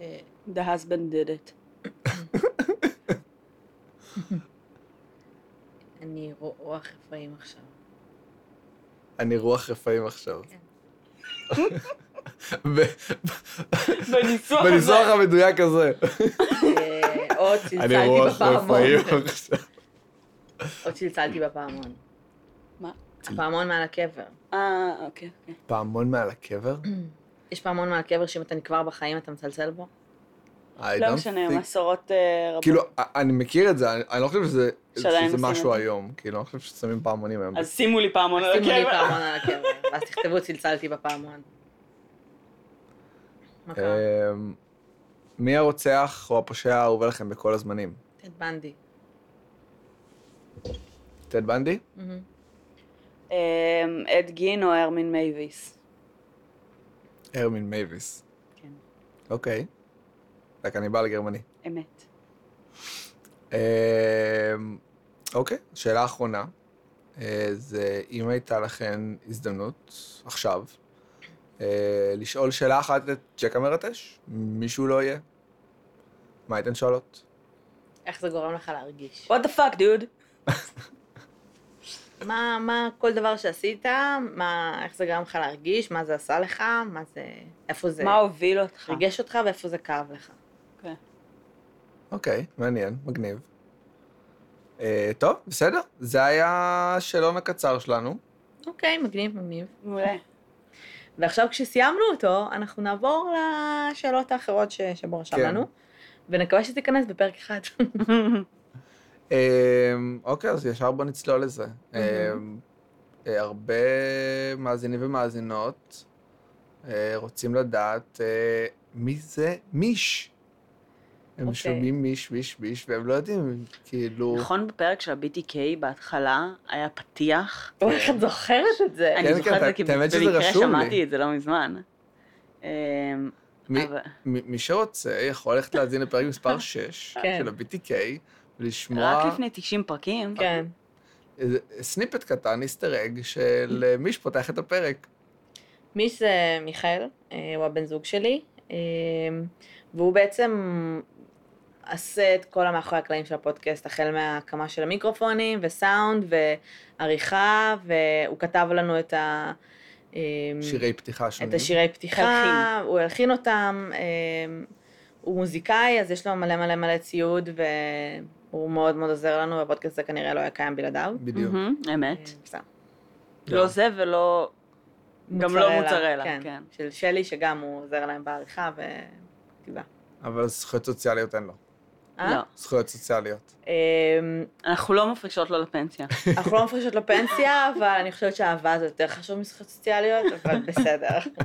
Speaker 2: אה,
Speaker 3: The husband did it.
Speaker 2: אני רוח רפאים עכשיו.
Speaker 1: אני רוח רפאים עכשיו. *laughs*
Speaker 2: כן.
Speaker 1: ב-
Speaker 3: בניסוח
Speaker 1: בניסוח המדויק הזה.
Speaker 2: אה, עוד
Speaker 1: אני
Speaker 2: צלצלתי
Speaker 1: רוח
Speaker 2: בפעמון.
Speaker 1: רפאים עכשיו.
Speaker 2: עוד צלצלתי בפעמון.
Speaker 3: מה?
Speaker 2: הפעמון מעל הקבר.
Speaker 3: אה, אוקיי, אוקיי.
Speaker 1: פעמון מעל הקבר?
Speaker 2: יש פעמון מעל הקבר שאם אתה נקבר בחיים אתה מצלצל בו?
Speaker 1: I
Speaker 3: לא
Speaker 1: don't think-
Speaker 3: משנה, מסורות אה, רבות.
Speaker 1: כאילו, א- אני מכיר את זה, אני אני לא חושב שזה
Speaker 3: שעדיין
Speaker 1: שזה
Speaker 3: עושים
Speaker 1: משהו
Speaker 3: את זה.
Speaker 1: היום. כאילו, אני לא חושב ששמים פעמונים היום.
Speaker 3: אז שימו לי כן. פעמון על
Speaker 2: שימו לי
Speaker 3: הקבר.
Speaker 2: פעמון על הקבר, ואז תכתבו צלצלתי בפעמון. מה קרה?
Speaker 1: אמ, מי הרוצח או הפושע האהוב עליכם בכל הזמנים?
Speaker 2: טד בנדי.
Speaker 1: טד בנדי?
Speaker 2: מהמם.
Speaker 3: אמ, אד גין או הרמין מייביס?
Speaker 1: הרמין מייביס.
Speaker 3: כן.
Speaker 1: אוקיי. הקניבל הגרמני.
Speaker 3: אמת.
Speaker 1: אמ, אוקיי, שאלה אחרונה, אה, זה אם הייתה לכן הזדמנות עכשיו, אה, לשאול שאלה אחת את ג'ק המרטש, מישהו לא יהיה, מה הייתן שואלות?
Speaker 2: איך זה גורם לך להרגיש?
Speaker 3: What the fuck, dude?
Speaker 2: מה, מה כל דבר שעשית, מה, איך זה גרם לך להרגיש, מה זה עשה לך, מה זה, איפה זה
Speaker 3: מה הוביל אותך?
Speaker 2: ריגש אותך ואיפה זה כאב לך.
Speaker 3: אוקיי.
Speaker 1: אוקיי, מעניין, מגניב. אה, טוב, בסדר, זה היה השאלון הקצר שלנו.
Speaker 2: אוקיי, מגניב, מגניב.
Speaker 3: *laughs* מעולה.
Speaker 2: ועכשיו כשסיימנו אותו, אנחנו נעבור לשאלות האחרות ש... שבו רשם
Speaker 1: כן.
Speaker 2: לנו, ונקווה שתיכנס בפרק אחד. *laughs*
Speaker 1: אמ, אוקיי, אז ישר בוא נצלול לזה. אמ, אה, הרבה מאזינים ומאזינות אה, רוצים לדעת אה, מי זה מיש. הם
Speaker 2: אוקיי.
Speaker 1: שומעים מיש, מיש, מיש, והם לא יודעים, כאילו...
Speaker 3: נכון, בפרק של ה-BTK בהתחלה היה פתיח.
Speaker 2: אוי, איך את זוכרת את זה?
Speaker 3: אני
Speaker 1: כן,
Speaker 3: זוכרת
Speaker 1: כן,
Speaker 3: את זה
Speaker 1: את
Speaker 3: כי
Speaker 1: האמת שזה
Speaker 3: במקרה
Speaker 1: רשום לי.
Speaker 3: שמעתי את זה לא מזמן. אמ,
Speaker 1: מי-
Speaker 3: אבל-
Speaker 1: מי מי שרוצה יכול ללכת להאזין לפרק
Speaker 3: *laughs*
Speaker 1: מספר 6
Speaker 2: כן.
Speaker 1: של ה-BTK, ולשמוע
Speaker 3: רק לפני 90 פרקים.
Speaker 2: כן.
Speaker 1: איזה סניפט קטן, איסטר אג, של אה, מיש פותח את הפרק.
Speaker 2: מי זה מיכאל, אה, הוא הבן זוג שלי, אה, והוא בעצם עשה את כל המאחורי הקלעים של הפודקאסט, החל מההקמה של המיקרופונים וסאונד ועריכה, והוא כתב לנו את ה... אה,
Speaker 3: Mm.
Speaker 1: שירי פתיחה שונים.
Speaker 3: כן.
Speaker 2: את השירי פתיחה,
Speaker 3: הלחין.
Speaker 2: הוא הלחין אותם, אה, הוא מוזיקאי, אז יש לו מלא מלא מלא ציוד, והוא מאוד מאוד עוזר לנו, והפודקאסט הזה כנראה לא היה קיים בלעדיו.
Speaker 1: בדיוק. כן.
Speaker 3: מהמם, אמת.
Speaker 2: אה, בסדר.
Speaker 3: לא זה ולא... גם לא מוצרלה, כן.
Speaker 2: של שלי, שגם הוא עוזר להם בעריכה וכתיבה.
Speaker 1: אבל זכויות סוציאליות אין לו.
Speaker 2: אה?
Speaker 3: לא.
Speaker 1: זכויות סוציאליות.
Speaker 2: אמ,
Speaker 3: אנחנו לא מפרישות לו לפנסיה.
Speaker 2: אנחנו לא מפרישות לו פנסיה, אבל אני חושבת שהאהבה זה יותר חשוב מזכויות סוציאליות, אבל בסדר. *laughs*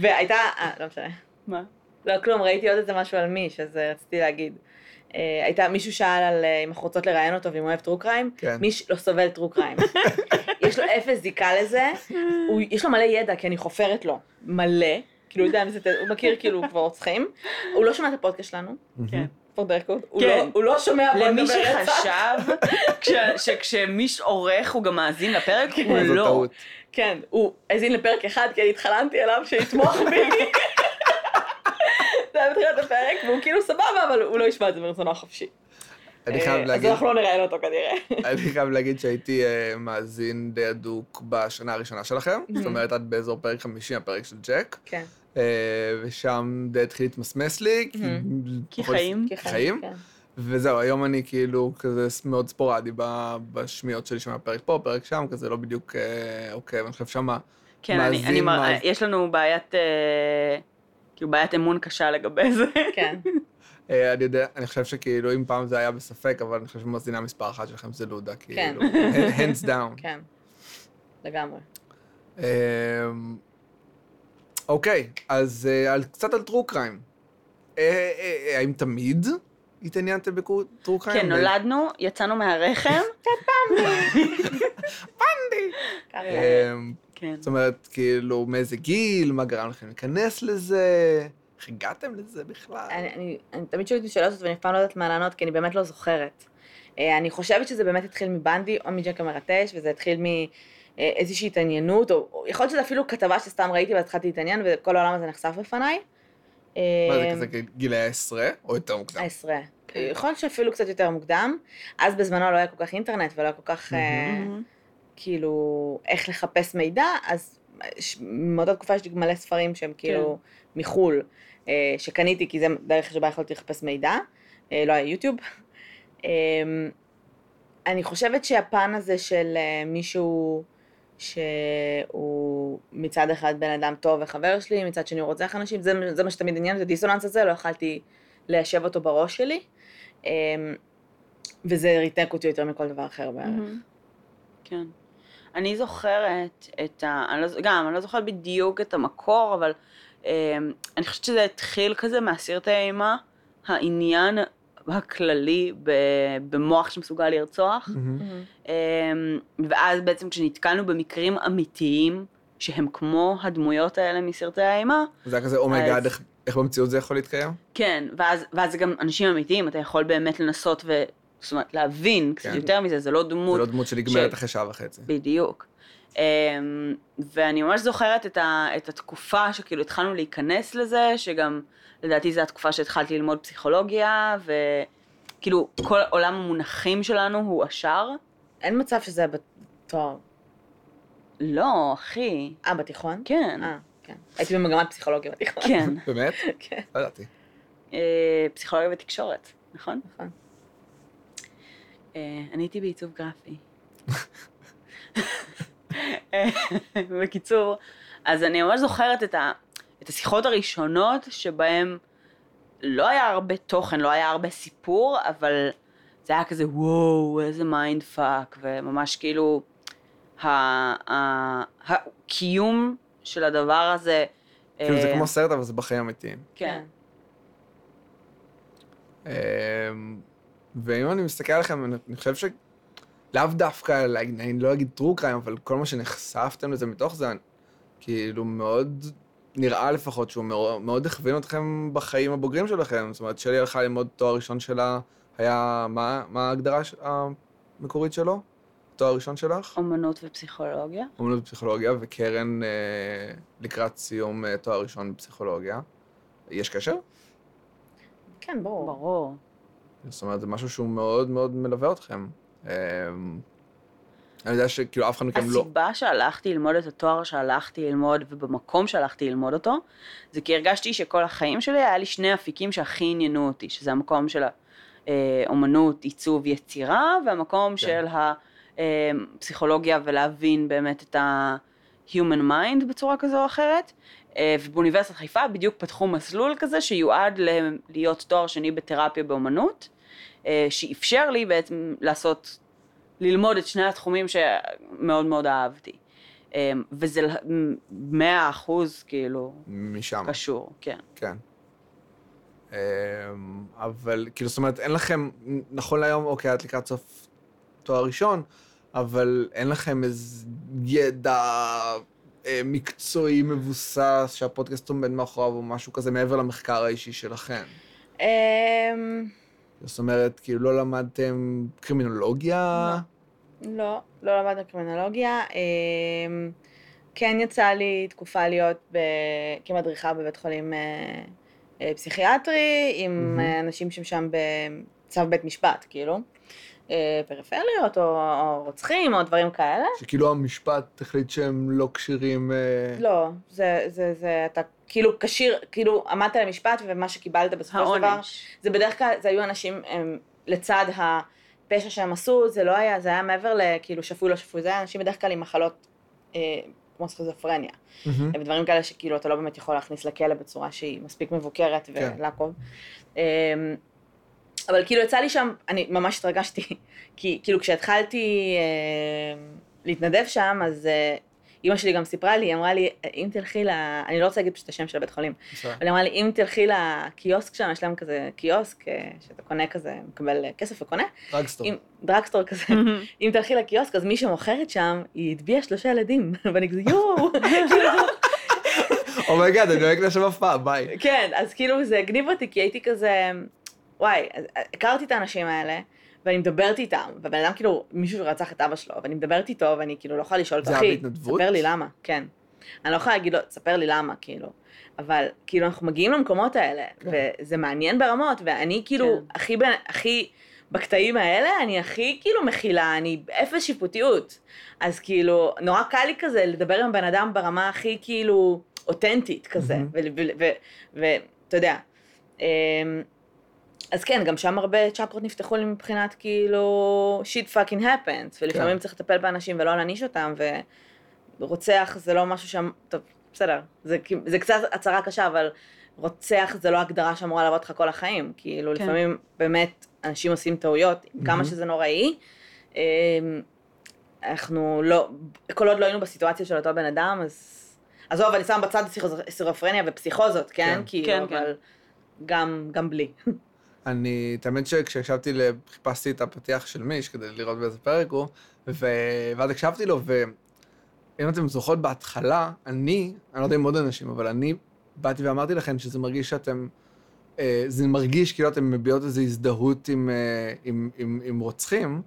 Speaker 2: והייתה, אה, לא משנה.
Speaker 3: מה?
Speaker 2: לא, כלום, ראיתי עוד איזה משהו על מיש, אז אה, רציתי להגיד. אה, הייתה, מישהו שאל על אה, אם אנחנו רוצות לראיין אותו ואם הוא אוהב טרו קריים,
Speaker 1: כן.
Speaker 2: מיש לא סובל טרו קריים.
Speaker 3: *laughs*
Speaker 2: יש לו אפס זיקה לזה, הוא, יש לו מלא ידע, כי אני חופרת לו, מלא, כאילו, הוא יודע מי זה, ת- הוא מכיר כאילו כבר רוצחים, הוא לא שומע את הפודקאסט שלנו,
Speaker 3: כן.
Speaker 2: for the record, הוא,
Speaker 3: כן.
Speaker 2: לא, הוא לא שומע בוא
Speaker 3: למי
Speaker 2: נדבר רצח.
Speaker 3: שחשב *laughs* כש- שכשמיש עורך הוא גם מאזין לפרק, הוא
Speaker 1: זו
Speaker 3: לא.
Speaker 1: טעות.
Speaker 2: כן, הוא האזין לפרק אחד, כי אני התחננתי אליו שיתמוך
Speaker 3: *laughs*
Speaker 2: בי. זה היה בתחילת הפרק, והוא כאילו סבבה, אבל הוא לא ישמע את זה מרצונו החופשי.
Speaker 1: אני חייב
Speaker 2: אה, אז
Speaker 1: להגיד,
Speaker 2: אנחנו לא נראיין אותו כנראה.
Speaker 1: *laughs* אני חייב להגיד שהייתי אה, מאזין די הדוק בשנה הראשונה שלכם, זאת אומרת, עד באזור פרק 50, הפרק של ג'ק,
Speaker 2: כן.
Speaker 1: אה, ושם די התחיל להתמסמס לי, כי-
Speaker 3: כי
Speaker 1: פחות-
Speaker 3: חיים. כן,
Speaker 1: חיים?
Speaker 2: כן,
Speaker 1: וזהו, היום אני כאילו כזה ס- מאוד ספורדי ב- בשמיעות שלי, שומע פרק פה, פרק שם, כזה לא בדיוק אה, עוקב, אני חושב שמה,
Speaker 3: כן, אני-
Speaker 1: מאזין,
Speaker 3: אני מר-
Speaker 1: מאזין.
Speaker 3: יש לנו בעיית... אה, כאילו בעיית אמון קשה לגבי זה.
Speaker 2: כן.
Speaker 1: אה, אני יודע, אני חושב שכאילו אם פעם זה היה בספק, אבל אני חושב שמאזינה מספר אחת שלכם זה לודה,
Speaker 3: כן.
Speaker 1: כאילו, *laughs* hands down.
Speaker 2: כן. לגמרי.
Speaker 1: אמ, אוקיי, אז אה, על- קצת על טרו קריים. אה, אה, אה, האם תמיד התעניינתם בטרו קריים?
Speaker 3: כן, נולדנו, יצאנו
Speaker 2: *laughs*
Speaker 3: מהרחם.
Speaker 1: אמ,
Speaker 3: כן.
Speaker 1: זאת אומרת, כאילו, מאיזה גיל, מה גרם לכם להיכנס לזה, איך הגעתם לזה בכלל?
Speaker 2: אני, אני, אני תמיד שואלת את השאלה הזאת ואני אף פעם לא יודעת מה לענות, כי אני באמת לא זוכרת. אה, אני חושבת שזה באמת התחיל מבנדי או מג'ק המרטש, וזה התחיל מאיזושהי התעניינות, או, או יכול להיות שזה אפילו כתבה שסתם ראיתי והתחלתי להתעניין, וכל העולם הזה נחשף בפניי.
Speaker 3: אה,
Speaker 1: מה זה כזה, גילאי העשרה או יותר מוקדם?
Speaker 2: העשרה. כן. יכול להיות שאפילו קצת יותר מוקדם, אז בזמנו לא היה כל כך אינטרנט ולא היה כל כך, אה,
Speaker 3: מהמם.
Speaker 2: כאילו, איך לחפש מידע, אז ש- מאותה תקופה יש לי מלא ספרים שהם כאילו מחו"ל, אה, שקניתי כי זה דרך שבה יכולתי לחפש מידע, אה, לא היה יוטיוב. אה, אני חושבת שהפן הזה של אה, מישהו שהוא מצד אחד בן אדם טוב וחבר שלי, מצד שני הוא רוצח אנשים, זה, זה מה שתמיד עניין, את הדיסוננס הזה, לא יכלתי ליישב אותו בראש שלי, אה, וזה ריתק אותי יותר מכל דבר אחר
Speaker 1: אה,
Speaker 2: בערך.
Speaker 3: מהמם. כן. אני זוכרת את ה... אני לא, ז- גם, אני לא זוכרת בדיוק את המקור, אבל אה, אני חושבת שזה התחיל כזה מהסרטי אימה, העניין הכללי ב, במוח שמסוגל לרצוח. אמ, ואז בעצם כשנתקלנו במקרים אמיתיים, שהם כמו הדמויות האלה מסרטי האימה,
Speaker 1: זה היה כזה, אומייגאד,
Speaker 3: אז-
Speaker 1: איך- איך במציאות זה יכול להתקיים?
Speaker 3: כן, ואז, ואז זה גם אנשים אמיתיים, אתה יכול באמת לנסות ו... זאת אומרת, להבין קצת
Speaker 1: כן.
Speaker 3: יותר מזה, זה לא
Speaker 1: זה
Speaker 3: דמות
Speaker 1: לא דמות שנגמרת
Speaker 3: ש-
Speaker 1: אחרי שעה וחצי.
Speaker 3: בדיוק. אמ, ואני ממש זוכרת את, ה, את התקופה שכאילו התחלנו להיכנס לזה, שגם לדעתי זו התקופה שהתחלתי ללמוד פסיכולוגיה, וכאילו כל עולם המונחים שלנו הוא עשר.
Speaker 2: אין מצב שזה היה בתואר.
Speaker 3: לא, אחי.
Speaker 2: אה, בתיכון?
Speaker 3: כן,
Speaker 2: אה, כן. הייתי במגמת פסיכולוגיה בתיכון.
Speaker 3: כן.
Speaker 1: באמת?
Speaker 2: *laughs* כן.
Speaker 1: לא ידעתי.
Speaker 3: אה, פסיכולוגיה ותקשורת, נכון?
Speaker 2: נכון.
Speaker 3: אה, אני הייתי בעיצוב גרפי. אה, בקיצור, אז אני ממש זוכרת את, ה, את השיחות הראשונות שבהן לא היה הרבה תוכן, לא היה הרבה סיפור, אבל זה היה כזה וואו, איזה מיינד פאק, וממש כאילו ה, ה, הקיום של הדבר הזה.
Speaker 1: כאילו, זה
Speaker 3: אה,
Speaker 1: כמו סרט, אבל זה בחיים אמיתיים.
Speaker 3: כן.
Speaker 1: אמ, ואם אני מסתכל עליכם, אני- אני חושב שלאו דווקא, like, אני לא אגיד true crime, אבל כל מה שנחשפתם לזה מתוך זה, אני- כאילו מאוד, נראה לפחות שהוא מאוד, מאוד הכווין אתכם בחיים הבוגרים שלכם. זאת אומרת, שלי הלכה ללמוד תואר ראשון שלה, היה, מה, מה ההגדרה ש- המקורית שלו? תואר ראשון שלך?
Speaker 3: אומנות ופסיכולוגיה.
Speaker 1: אומנות בפסיכולוגיה, וקרן אה, לקראת סיום אה, תואר ראשון בפסיכולוגיה. יש קשר?
Speaker 2: כן, ברור.
Speaker 3: ברור.
Speaker 1: זאת אומרת, זה משהו שהוא מאוד מאוד מלווה אתכם. אמ, אני יודע שכאילו אף אחד מכם לא...
Speaker 3: הסיבה שהלכתי ללמוד את התואר שהלכתי ללמוד ובמקום שהלכתי ללמוד אותו, זה כי הרגשתי שכל החיים שלי היה לי שני אפיקים שהכי עניינו אותי, שזה המקום של האומנות, עיצוב, יצירה, והמקום כן. של הפסיכולוגיה ולהבין באמת את ה-human mind בצורה כזו או אחרת. אה, ובאוניברסיטת חיפה בדיוק פתחו מסלול כזה שיועד ל- להיות תואר שני בתרפיה באומנות, אה, שאפשר לי בעצם לעשות, ללמוד את שני התחומים שמאוד מאוד אהבתי. אה, וזה ל- מ- מאה אחוז כאילו
Speaker 1: משם,
Speaker 3: קשור, כן.
Speaker 1: כן. אמ, אבל כאילו, זאת אומרת, אין לכם, נכון להיום, אוקיי, את לקראת סוף תואר ראשון, אבל אין לכם איזה ידע אה, מקצועי מבוסס שהפודקאסט עומד מאחוריו או משהו כזה, מעבר למחקר האישי שלכם.
Speaker 2: אמ,
Speaker 1: זאת אומרת, כאילו, לא למדתם קרימינולוגיה?
Speaker 3: לא.
Speaker 2: לא, לא למדנו קרימינולוגיה. אמ, כן יצא לי תקופה להיות ב- כמדריכה בבית חולים אה, אה, פסיכיאטרי, עם
Speaker 1: מהמם.
Speaker 2: אה, אנשים שהם שם בצו בית משפט, כאילו. אה, פריפריות או או רוצחים או דברים כאלה.
Speaker 1: שכאילו המשפט החליט שהם לא כשירים... אה,
Speaker 2: לא, זה, זה, זה, אתה כאילו כשיר, כאילו עמדת למשפט ומה שקיבלת בסופו של דבר,
Speaker 3: העונש.
Speaker 2: זה בדרך כלל, זה היו אנשים הם, לצד הפשע שהם עשו, זה לא היה, זה היה מעבר לכאילו שפוי לא שפוי, זה היה אנשים בדרך כלל עם מחלות אה, כמו סכיזופרניה,
Speaker 1: מהמם.
Speaker 2: ודברים כאלה שכאילו אתה לא באמת יכול להכניס לכלא בצורה שהיא מספיק מבוקרת
Speaker 1: כן.
Speaker 2: ולעקוב. אמ, אבל כאילו יצא לי שם, אני ממש התרגשתי, *laughs* כי כאילו כשהתחלתי אה, להתנדב שם, אז אה, אימא שלי גם סיפרה לי, היא אמרה לי, אם תלכי ל... אני לא רוצה להגיד פשוט את השם של הבית חולים,
Speaker 1: בסדר.
Speaker 2: אבל היא אמרה לי, אם תלכי לקיוסק שם, יש להם כזה קיוסק, אה, שאתה קונה כזה, מקבל אה, כסף וקונה,
Speaker 1: רק סטור.
Speaker 2: אם- דרקסטור כזה,
Speaker 3: Mm.
Speaker 2: אם תלכי לקיוסק, אז מי שמוכרת שם, היא הטביעה שלושה ילדים, *laughs* ואני כזה, יואו, כאילו,
Speaker 1: אומייגאד, אני לא אקנה שם אף פעם, ביי.
Speaker 2: כן, אז כאילו זה הגניב אותי, כי הייתי כזה, וואי, אז אה, הכרתי את האנשים האלה, ואני מדברת איתם, והבן אדם כאילו, מישהו שרצח את אבא שלו, ואני מדברת איתו, ואני כאילו לא יכולה לשאול
Speaker 1: זה
Speaker 2: אותו,
Speaker 1: היה
Speaker 2: אחי,
Speaker 1: בהתנדבות?
Speaker 2: ספר לי למה, כן. אני לא יכולה להגיד לו, תספר לי למה, כאילו. אבל כאילו אנחנו מגיעים למקומות האלה,
Speaker 1: כן.
Speaker 2: וזה מעניין ברמות, ואני כאילו
Speaker 3: כן.
Speaker 2: הכי, בנ- הכי, בקטעים האלה אני הכי כאילו מכילה, אני אפס שיפוטיות. אז כאילו, נורא קל לי כזה לדבר עם בן אדם ברמה הכי כאילו אותנטית כזה,
Speaker 1: מהמם.
Speaker 2: ואתה יודע. אמ, אז כן, גם שם הרבה צ'קרות נפתחו לי מבחינת כאילו shit fucking happens, ולפעמים
Speaker 1: כן.
Speaker 2: צריך לטפל באנשים ולא להעניש אותם, ורוצח זה לא משהו שם, טוב, בסדר, זה, כאילו- זה קצת הצהרה קשה, אבל רוצח זה לא הגדרה שאמורה לעבוד לך כל החיים, כאילו
Speaker 3: כן.
Speaker 2: לפעמים באמת אנשים עושים טעויות, עם כמה
Speaker 1: מהמם.
Speaker 2: שזה נוראי, אמ, אנחנו לא, כל עוד לא היינו בסיטואציה של אותו בן אדם, אז... עזוב, אני שמה בצד סכיז- סכיזופרניה ופסיכוזות, כן?
Speaker 1: כן.
Speaker 2: כאילו,
Speaker 3: כן, כן.
Speaker 2: אבל גם, גם בלי.
Speaker 1: אני, את האמת שכשישבתי, ל- חיפשתי את הפתיח של מיש כדי לראות באיזה פרק הוא, ו- ואז הקשבתי לו, ואם אתם זוכרות בהתחלה, אני, אני לא יודע אם עוד אנשים, אבל אני באתי ואמרתי לכם שזה מרגיש שאתם, אה, זה מרגיש כאילו אתם מביעות איזו הזדהות עם, אה, עם, עם, עם רוצחים,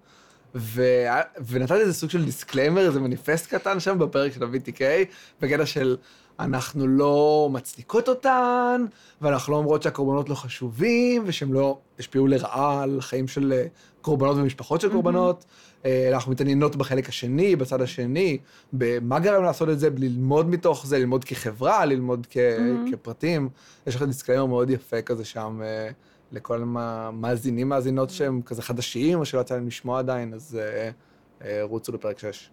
Speaker 1: ו, ונתתי איזה סוג של דיסקליימר, איזה מניפסט קטן שם בפרק של ה-VTK, בקטע של אנחנו לא מצדיקות אותן, ואנחנו לא אומרות שהקורבנות לא חשובים, ושהם לא השפיעו לרעה על חיים של אה, קורבנות ומשפחות של קורבנות. אה, אנחנו מתעניינות בחלק השני, בצד השני, במה גרם לעשות את זה, ללמוד מתוך זה, ללמוד כחברה, ללמוד כ-
Speaker 3: מהמם.
Speaker 1: כפרטים. יש לך דיסקליימר מאוד יפה כזה שם, אה, לכל המאזינים, מאזינות שהם כזה חדשים, או שלא יצא להם לשמוע עדיין, אז אה, אה, רוצו אה, לפרק 6.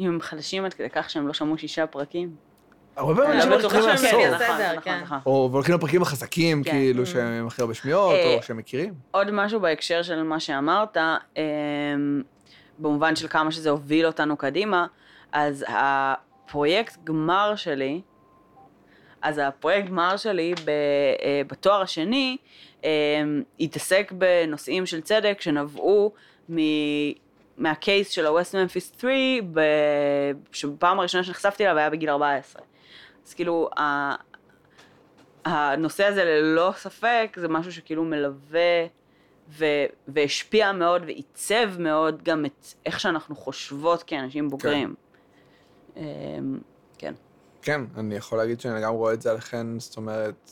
Speaker 3: אם הם חלשים עד כדי כך שהם לא שמעו שישה פרקים.
Speaker 1: הרבה פעמים
Speaker 2: אני
Speaker 1: אנשים
Speaker 2: לא
Speaker 1: מתחילים
Speaker 2: בטוחה שהם
Speaker 1: לעשות.
Speaker 2: יעשו.
Speaker 3: כן,
Speaker 2: בסדר,
Speaker 3: נכון,
Speaker 2: כן.
Speaker 3: נכון.
Speaker 1: או והולכים לפרקים החזקים,
Speaker 3: כן.
Speaker 1: כאילו,
Speaker 2: Mm.
Speaker 1: שהם עם הכי הרבה שמיעות,
Speaker 3: אה,
Speaker 1: או שהם מכירים.
Speaker 3: עוד משהו בהקשר של מה שאמרת, אמ, במובן של כמה שזה הוביל אותנו קדימה, אז הפרויקט גמר שלי, אז הפרויקט גמר שלי ב, אה, בתואר השני אמ, התעסק בנושאים של צדק שנבעו מ... מהקייס של ה-West Memphis 3, ב... שבפעם הראשונה שנחשפתי אליו היה בגיל 14. אז כאילו, ה... הנושא הזה ללא ספק זה משהו שכאילו מלווה ו... והשפיע מאוד ועיצב מאוד גם את איך שאנחנו חושבות כאנשים בוגרים. אמ, כן.
Speaker 1: כן, אני יכול להגיד שאני גם רואה את זה עליכן, זאת אומרת,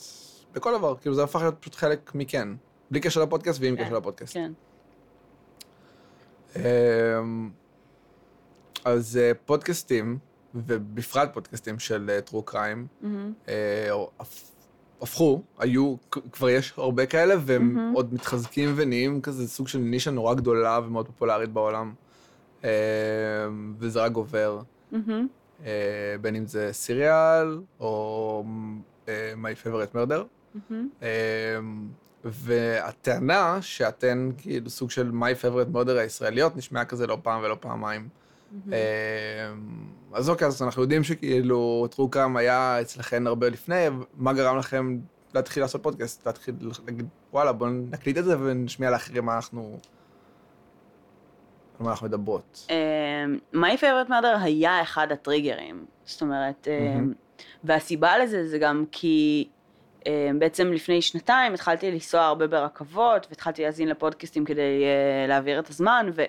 Speaker 1: בכל דבר, כאילו זה הפך להיות פשוט חלק מכן. בלי קשר לפודקאסט ועם
Speaker 3: כן,
Speaker 1: קשר לפודקאסט.
Speaker 3: כן.
Speaker 1: אמ, אז אה, פודקאסטים, ובפרט פודקאסטים של אה, טרו קריים,
Speaker 3: מהמם.
Speaker 1: אה, הפכו, היו, כ- כבר יש הרבה כאלה, והם
Speaker 3: מהמם.
Speaker 1: עוד מתחזקים ונהיים כזה סוג של נישה נורא גדולה ומאוד פופולרית בעולם. אמ, וזה רק גובר.
Speaker 3: מהמם.
Speaker 1: אה, בין אם זה סיריאל או אה, My Favorite Murder.
Speaker 3: מהמם.
Speaker 1: אה, והטענה שאתן כאילו סוג של My Favorite Murder הישראליות נשמעה כזה לא פעם ולא פעמיים.
Speaker 3: מהמם.
Speaker 1: אה, אז אוקיי, אז אנחנו יודעים שכאילו טרו קאם היה אצלכן הרבה לפני, מה גרם לכם להתחיל לעשות פודקאסט? להתחיל להגיד, וואלה, בואו נקליט את זה ונשמיע לאחרים מה אנחנו... על מה אנחנו מדברות.
Speaker 3: אמ, My Favorite Murder היה אחד הטריגרים. זאת אומרת, אמ, והסיבה לזה זה גם כי אמ, בעצם לפני שנתיים התחלתי לנסוע הרבה ברכבות, והתחלתי להאזין לפודקאסטים כדי אה, להעביר את הזמן, ו...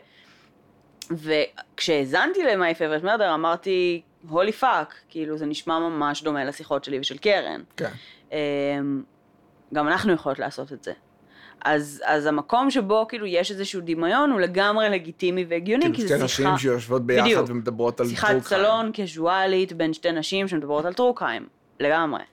Speaker 3: וכשהאזנתי ל-My Favorite Murder אמרתי, holy fuck, כאילו זה נשמע ממש דומה לשיחות שלי ושל קרן.
Speaker 1: כן.
Speaker 3: אמ, גם אנחנו יכולות לעשות את זה. אז, אז המקום שבו כאילו יש איזשהו דמיון הוא לגמרי לגיטימי והגיוני,
Speaker 1: כאילו
Speaker 3: כן, כי
Speaker 1: שתי
Speaker 3: זה
Speaker 1: נשים
Speaker 3: שיחה,
Speaker 1: שיושבות ביחד
Speaker 3: בדיוק.
Speaker 1: ומדברות על
Speaker 3: שיחת
Speaker 1: טרו
Speaker 3: סלון קזואלית בין שתי נשים שמדברות על טרוקיים, לגמרי.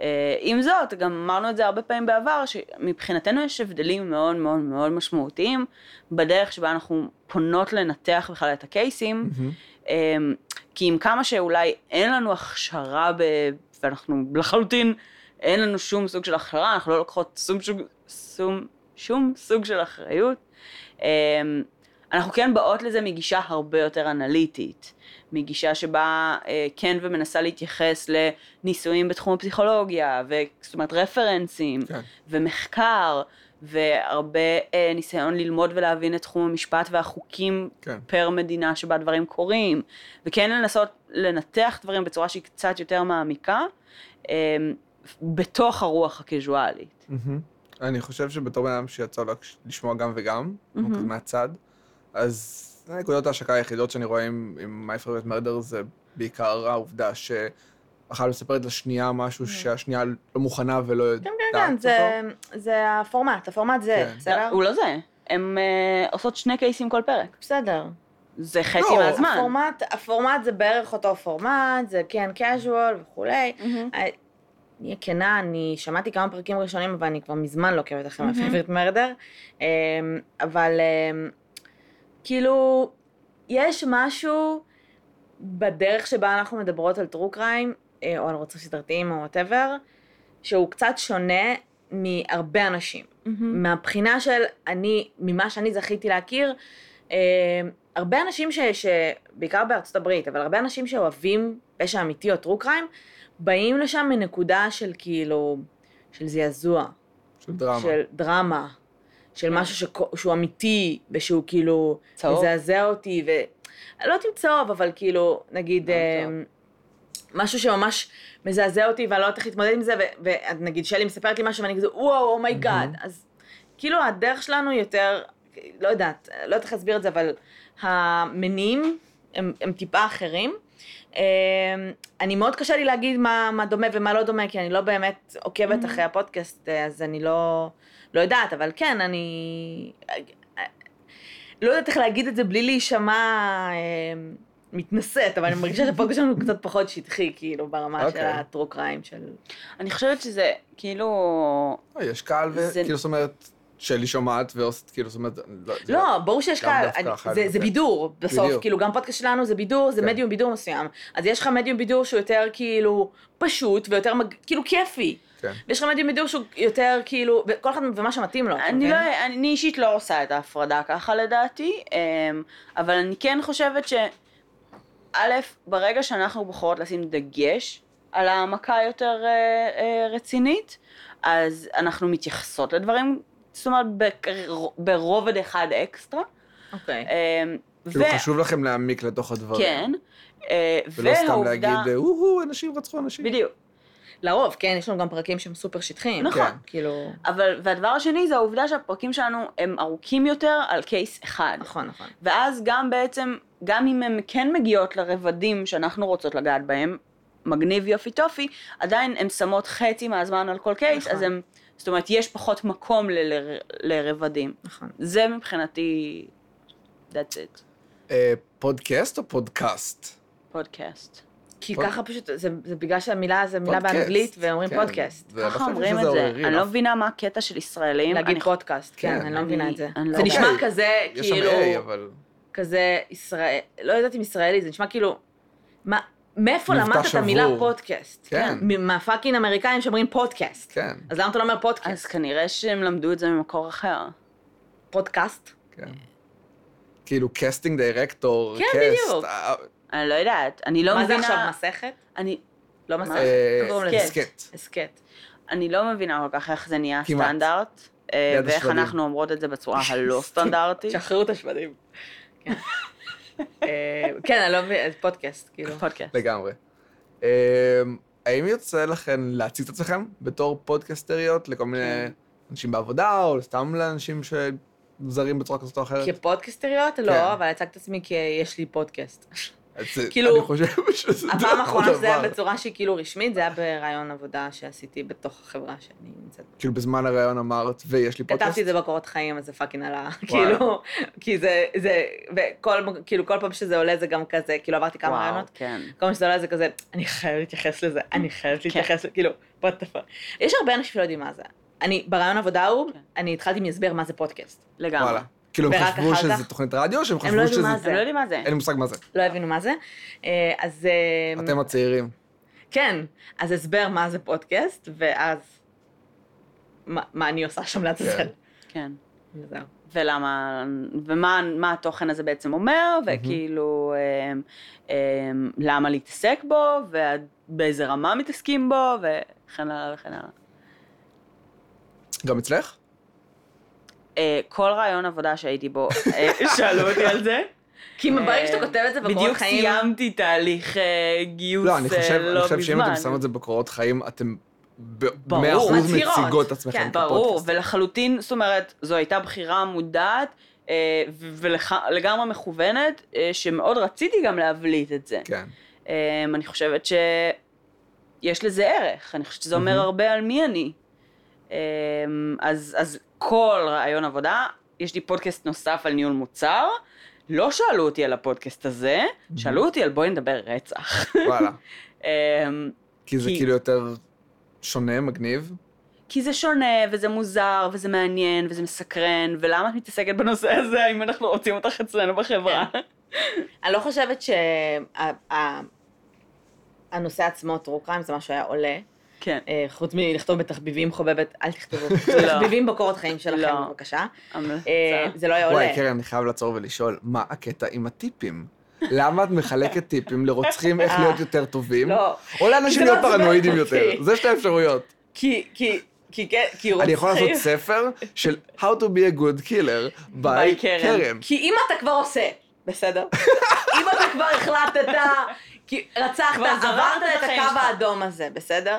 Speaker 3: אה, עם זאת, גם אמרנו את זה הרבה פעמים בעבר, שמבחינתנו יש הבדלים מאוד מאוד מאוד משמעותיים בדרך שבה אנחנו פונות לנתח בכלל את הקייסים.
Speaker 1: מהמם.
Speaker 3: אמ, כי עם כמה שאולי אין לנו הכשרה, ב... ואנחנו לחלוטין, אין לנו שום סוג של הכשרה, אנחנו לא לוקחות שום, שום, שום, שום סוג של אחריות. אמ, אנחנו כן באות לזה מגישה הרבה יותר אנליטית, מגישה שבה אה, כן ומנסה להתייחס לניסויים בתחום הפסיכולוגיה, ו... זאת אומרת רפרנסים,
Speaker 1: כן.
Speaker 3: ומחקר, והרבה אה, ניסיון ללמוד ולהבין את תחום המשפט והחוקים
Speaker 1: כן.
Speaker 3: פר מדינה שבה דברים קורים, וכן לנסות לנתח דברים בצורה שהיא קצת יותר מעמיקה, אה, בתוך הרוח הקזואלית.
Speaker 1: מהמם.
Speaker 2: Mm-hmm.
Speaker 1: אני חושב שבתור בן אדם שיצא לו לש- לשמוע גם וגם,
Speaker 3: מהמם.
Speaker 1: כזה מהצד, אז זה נקודות ההשקה היחידות שאני רואה עם, עם My Favorite Murder זה בעיקר העובדה שאחת מספרת לשנייה משהו שהשנייה לא מוכנה ולא
Speaker 2: Mm. כן,
Speaker 1: יודעת
Speaker 2: כן, כן, זה, זה הפורמט, הפורמט זה,
Speaker 1: כן.
Speaker 2: בסדר?
Speaker 3: הוא לא זה. הן אה, עושות שני קייסים כל פרק.
Speaker 2: בסדר.
Speaker 3: זה
Speaker 1: לא,
Speaker 3: חצי מהזמן.
Speaker 2: הפורמט, הפורמט זה בערך אותו פורמט, זה כן casual וכולי.
Speaker 3: מהמם.
Speaker 2: אני אהיה כנה, אני שמעתי כמה פרקים ראשונים, אבל אני כבר מזמן לא עוקבת אחרי
Speaker 3: מהמם.
Speaker 2: מפייבריט מרדר. אמ, אבל אמ, כאילו, יש משהו בדרך שבה אנחנו מדברות על טרו קריים, אה, או על רוצחים סדרתיים או וואטאבר, שהוא קצת שונה מהרבה אנשים.
Speaker 3: מהמם.
Speaker 2: מהבחינה של אני, ממה שאני זכיתי להכיר, אה, הרבה אנשים ש... ש בעיקר בארצות הברית, אבל הרבה אנשים שאוהבים פשע אמיתי או טרו קריים, באים לשם מנקודה של כאילו, של זעזוע,
Speaker 1: של דרמה.
Speaker 2: של דרמה, של משהו שכו- שהוא אמיתי, ושהוא כאילו
Speaker 3: צהוב.
Speaker 2: מזעזע אותי, ו... לא יודעת אם צהוב, אבל כאילו, נגיד,
Speaker 3: גם
Speaker 2: אה, משהו שממש מזעזע אותי, ואני לא יודעת איך להתמודד עם זה, ו- ונגיד שלי מספרת לי משהו, ואני כזה, וואו, אומייגאד.
Speaker 1: מהמם.
Speaker 2: אז כאילו, הדרך שלנו יותר, לא יודעת, לא יודעת איך להסביר את זה, אבל המניעים הם, הם טיפה אחרים. אה, אני מאוד קשה לי להגיד מה, מה דומה ומה לא דומה, כי אני לא באמת עוקבת
Speaker 1: Mm-hmm.
Speaker 3: Mhm.
Speaker 2: אחרי הפודקאסט, אה, אז אני לא, לא יודעת, אבל כן, אני... אה, לא יודעת איך להגיד את זה בלי להישמע אה, מתנשאת, אבל אני מרגישה שהפודקאסט שלנו הוא קצת פחות שטחי, כאילו, ברמה של
Speaker 1: אוקיי.
Speaker 2: הטרו קריים של...
Speaker 3: אני חושבת שזה, כאילו...
Speaker 1: לא, יש קהל, ו-
Speaker 3: זה-
Speaker 1: כאילו, זאת אומרת, שלי שומעת ועושה, כאילו, זאת אומרת, זה
Speaker 2: לא, ברור שיש
Speaker 1: גם
Speaker 2: קהל,
Speaker 1: דווקא
Speaker 2: אני-
Speaker 1: אחת,
Speaker 2: זה- זה
Speaker 1: אוקיי.
Speaker 2: בידור בסוף,
Speaker 1: בדיוק.
Speaker 2: כאילו גם פודקאסט שלנו זה בידור, זה
Speaker 1: כן.
Speaker 2: מדיום בידור מסוים. אז יש לך מדיום בידור שהוא יותר כאילו פשוט ויותר מג- כאילו כיפי.
Speaker 1: כן.
Speaker 2: ויש לך מדיום בידור שהוא יותר כאילו, וכל אחד ומה שמתאים לו, אתה
Speaker 3: אני
Speaker 2: מבין?
Speaker 1: אוקיי.
Speaker 3: לא, אני אישית לא עושה את ההפרדה ככה לדעתי, אמ, אבל אני כן חושבת ש... א', ברגע שאנחנו בוחרות לשים דגש על העמקה יותר אה, אה, רצינית, אז אנחנו מתייחסות לדברים, זאת אומרת, בק- ברובד אחד אקסטרה.
Speaker 2: אוקיי.
Speaker 3: אמ,
Speaker 1: כאילו,
Speaker 3: ו-
Speaker 1: חשוב לכם להעמיק לתוך הדברים.
Speaker 3: כן. אה,
Speaker 1: ולא סתם
Speaker 3: והעובדה-
Speaker 1: להגיד, אה, "אוהו, אנשים רצחו אנשים.
Speaker 3: בדיוק.
Speaker 2: לרוב, כן, יש לנו גם פרקים שהם סופר שטחיים.
Speaker 3: נכון.
Speaker 1: כן.
Speaker 2: כאילו...
Speaker 3: אבל, והדבר השני זה העובדה שהפרקים שלנו הם ארוכים יותר על קייס אחד.
Speaker 2: נכון, נכון.
Speaker 3: ואז גם בעצם, גם אם הן כן מגיעות לרבדים שאנחנו רוצות לגעת בהם, מגניב יופי טופי, עדיין הן שמות חצי מהזמן על כל קייס,
Speaker 2: נכון.
Speaker 3: אז הן, זאת אומרת, יש פחות מקום ל- ל- לרבדים.
Speaker 2: נכון.
Speaker 3: זה מבחינתי, that's it,
Speaker 1: אה, פודקאסט או פודקאסט?
Speaker 3: פודקאסט.
Speaker 2: כי
Speaker 1: פוד-
Speaker 2: ככה פשוט, זה זה בגלל שהמילה זה מילה
Speaker 1: פודקאסט,
Speaker 2: באנגלית, ואומרים
Speaker 1: כן.
Speaker 2: פודקאסט.
Speaker 1: זה-
Speaker 3: ככה
Speaker 1: אני חושב
Speaker 3: אומרים את
Speaker 1: שזה
Speaker 3: זה,
Speaker 1: עוררין,
Speaker 3: אני לא
Speaker 1: אף-
Speaker 3: מבינה מה הקטע של ישראלים.
Speaker 2: להגיד
Speaker 3: אני-
Speaker 2: פודקאסט, כן,
Speaker 1: כן,
Speaker 2: אני לא מבינה
Speaker 3: אני-
Speaker 2: את זה.
Speaker 3: אני לא-
Speaker 2: זה נשמע
Speaker 1: אוקיי.
Speaker 2: כזה,
Speaker 1: יש שם
Speaker 2: כאילו...
Speaker 1: A, אבל...
Speaker 2: כזה ישראל, לא יודעת אם ישראלי, זה נשמע כאילו, מה, מאיפה
Speaker 1: מבטא
Speaker 2: למדת את
Speaker 1: שבור.
Speaker 2: המילה פודקאסט?
Speaker 1: כן.
Speaker 2: מ- מהפאקינג אמריקאים שאומרים פודקאסט.
Speaker 1: כן,
Speaker 2: אז למה אתה לא אומר
Speaker 3: אז
Speaker 2: פודקאסט?
Speaker 3: כנראה שהם למדו את זה ממקור אחר.
Speaker 2: פודקאסט?
Speaker 1: כן. כאילו, קסטינג דירקטור,
Speaker 2: כן,
Speaker 1: קסט.
Speaker 2: בדיוק.
Speaker 1: אה,
Speaker 3: אני לא יודעת, אני לא
Speaker 2: מה זה
Speaker 3: מבינה...
Speaker 2: עכשיו, מסכת?
Speaker 3: אני,
Speaker 2: לא
Speaker 3: מה?
Speaker 2: מסכת,
Speaker 1: אה,
Speaker 2: קוראים לזה?
Speaker 1: הסכת.
Speaker 2: הסכת.
Speaker 3: אני לא מבינה כל כך איך זה נהיה
Speaker 1: כמעט.
Speaker 3: סטנדרט, אה,
Speaker 1: ליד
Speaker 3: ואיך
Speaker 1: השבדים.
Speaker 3: אנחנו אומרות את זה
Speaker 1: *laughs*
Speaker 3: בצורה הלא סטנדרטית.
Speaker 2: שחררו את השבדים. כן. אה, כן, אני לא מבינה, זה פודקאסט, כאילו.
Speaker 3: פודקאסט.
Speaker 1: לגמרי. אמ, האם יוצא לכם להציג את עצמכם בתור פודקסטריות לכל מיני
Speaker 3: כן.
Speaker 1: אנשים בעבודה, או סתם לאנשים שזרים בצורה כזאת או אחרת?
Speaker 2: כפודקסטריות?
Speaker 1: כן.
Speaker 2: לא, אבל הצגתי את עצמי כי יש לי פודקאסט.
Speaker 1: אז זה-
Speaker 2: כאילו,
Speaker 1: אני חושב *laughs* שזה אותו דבר.
Speaker 2: הפעם האחרונה שזה היה בצורה שהיא כאילו רשמית, זה היה ברעיון עבודה שעשיתי בתוך החברה שאני נמצאת בה.
Speaker 1: כאילו, בזמן הראיון אמרת, ויש לי פודקאסט?
Speaker 2: כתבתי את זה בקורות חיים, אז זה פאקינג עלה, כאילו, כי זה, זה, וכל, כאילו, כל פעם שזה עולה זה גם כזה, כאילו, עברתי כמה
Speaker 3: וואו,
Speaker 2: רעיונות,
Speaker 3: כן.
Speaker 2: כל פעם שזה עולה זה כזה, אני חייבת להתייחס לזה, אני חייבת להתייחס לזה, כאילו, what the fuck. יש הרבה אנשים שלא יודעים מה זה. אני, ברעיון עבודה ההוא,
Speaker 3: כן.
Speaker 2: אני התחלתי מהסבר מה זה פודקאסט.
Speaker 3: לגמרי.
Speaker 1: וואלה. כאילו, הם
Speaker 2: ורק
Speaker 1: חשבו
Speaker 2: אחר
Speaker 1: שזה
Speaker 2: כך-
Speaker 1: תוכנית רדיו, שהם
Speaker 2: לא
Speaker 1: חשבו
Speaker 2: יודעים
Speaker 1: שזה...
Speaker 2: מה זה.
Speaker 3: הם לא יודעים מה זה.
Speaker 1: אין לי מושג מה זה.
Speaker 2: לא הבינו מה זה. אה, אז... אה,
Speaker 1: אתם הצעירים.
Speaker 2: כן, אז הסבר מה זה פודקאסט, ואז מה, מה אני עושה שם לעצמכם.
Speaker 1: כן.
Speaker 3: כן.
Speaker 2: וזהו.
Speaker 3: ולמה, ומה מה התוכן הזה בעצם אומר, וכאילו, אמ, אמ, למה להתעסק בו, ובאיזה רמה מתעסקים בו, וכן הלאה וכן הלאה.
Speaker 1: גם אצלך?
Speaker 3: אה, כל רעיון עבודה שהייתי
Speaker 2: *laughs*
Speaker 3: בו, אה, שאלו אותי על זה.
Speaker 2: כי ברגע שאתה כותב את זה בקורות
Speaker 3: אה, בדיוק
Speaker 2: חיים...
Speaker 3: סיימתי תהליך אה, גיוס
Speaker 1: לא, אני
Speaker 3: אה,
Speaker 1: חושב
Speaker 3: לא
Speaker 1: אני חושב שאם
Speaker 3: מזמן.
Speaker 1: אתם שמות את זה בקורות חיים, אתם
Speaker 3: ברור.
Speaker 1: ב-100%
Speaker 2: מצהירות.
Speaker 1: מציגות את עצמכם
Speaker 2: כן,
Speaker 1: כפודקאסט.
Speaker 3: ברור, ולחלוטין, זאת אומרת, זו הייתה בחירה מודעת ולגמרי מכוונת, אה, שמאוד רציתי גם להבליט את זה.
Speaker 1: כן.
Speaker 3: אה, אני חושבת שיש לזה ערך, אני חושבת שזה אומר
Speaker 1: מהמם.
Speaker 3: הרבה על מי אני. אה, אז, אז כל רעיון עבודה, יש לי פודקאסט נוסף על ניהול מוצר, לא שאלו אותי על הפודקאסט הזה, שאלו אותי על בואי נדבר רצח.
Speaker 1: וואלה.
Speaker 3: אה,
Speaker 1: כי זה
Speaker 3: כי-
Speaker 1: כאילו יותר שונה, מגניב.
Speaker 3: כי זה שונה, וזה מוזר, וזה מעניין, וזה מסקרן, ולמה את מתעסקת בנושא הזה אם אנחנו רוצים אותך אצלנו בחברה?
Speaker 2: אני לא חושבת שהנושא עצמו, טרו קריים, זה מה שהיה עולה.
Speaker 3: כן,
Speaker 2: אה, חוץ מלכתוב בתחביבים חובבת, אל תכתבו.
Speaker 3: *laughs* לא.
Speaker 2: תחביבים בקורות חיים שלכם,
Speaker 3: לא.
Speaker 2: בבקשה.
Speaker 3: *laughs* המלצה.
Speaker 2: אה, זה לא היה עולה.
Speaker 1: וואי, קרן, אני חייב לעצור ולשאול, מה הקטע עם הטיפים? למה את מחלקת טיפים לרוצחים איך
Speaker 2: אה.
Speaker 1: להיות יותר טובים?
Speaker 2: לא.
Speaker 1: או לאנשים
Speaker 2: זה
Speaker 1: להיות
Speaker 2: מעצבן
Speaker 1: פרנואידים
Speaker 2: אותי.
Speaker 1: יותר. זה שתי אפשרויות.
Speaker 3: כי, כי, כי, כן, כי רוצחים...
Speaker 1: אני יכול לעשות ספר של How to be a good killer by קרן.
Speaker 2: כן. כי אם אתה כבר עושה,
Speaker 1: *laughs*
Speaker 2: בסדר? אם אתה כבר החלטת, כי רצחת,
Speaker 3: כבר זרקת
Speaker 2: עברת
Speaker 3: את
Speaker 2: את
Speaker 3: החיים
Speaker 2: הקו
Speaker 3: שלך.
Speaker 2: האדום הזה, בסדר?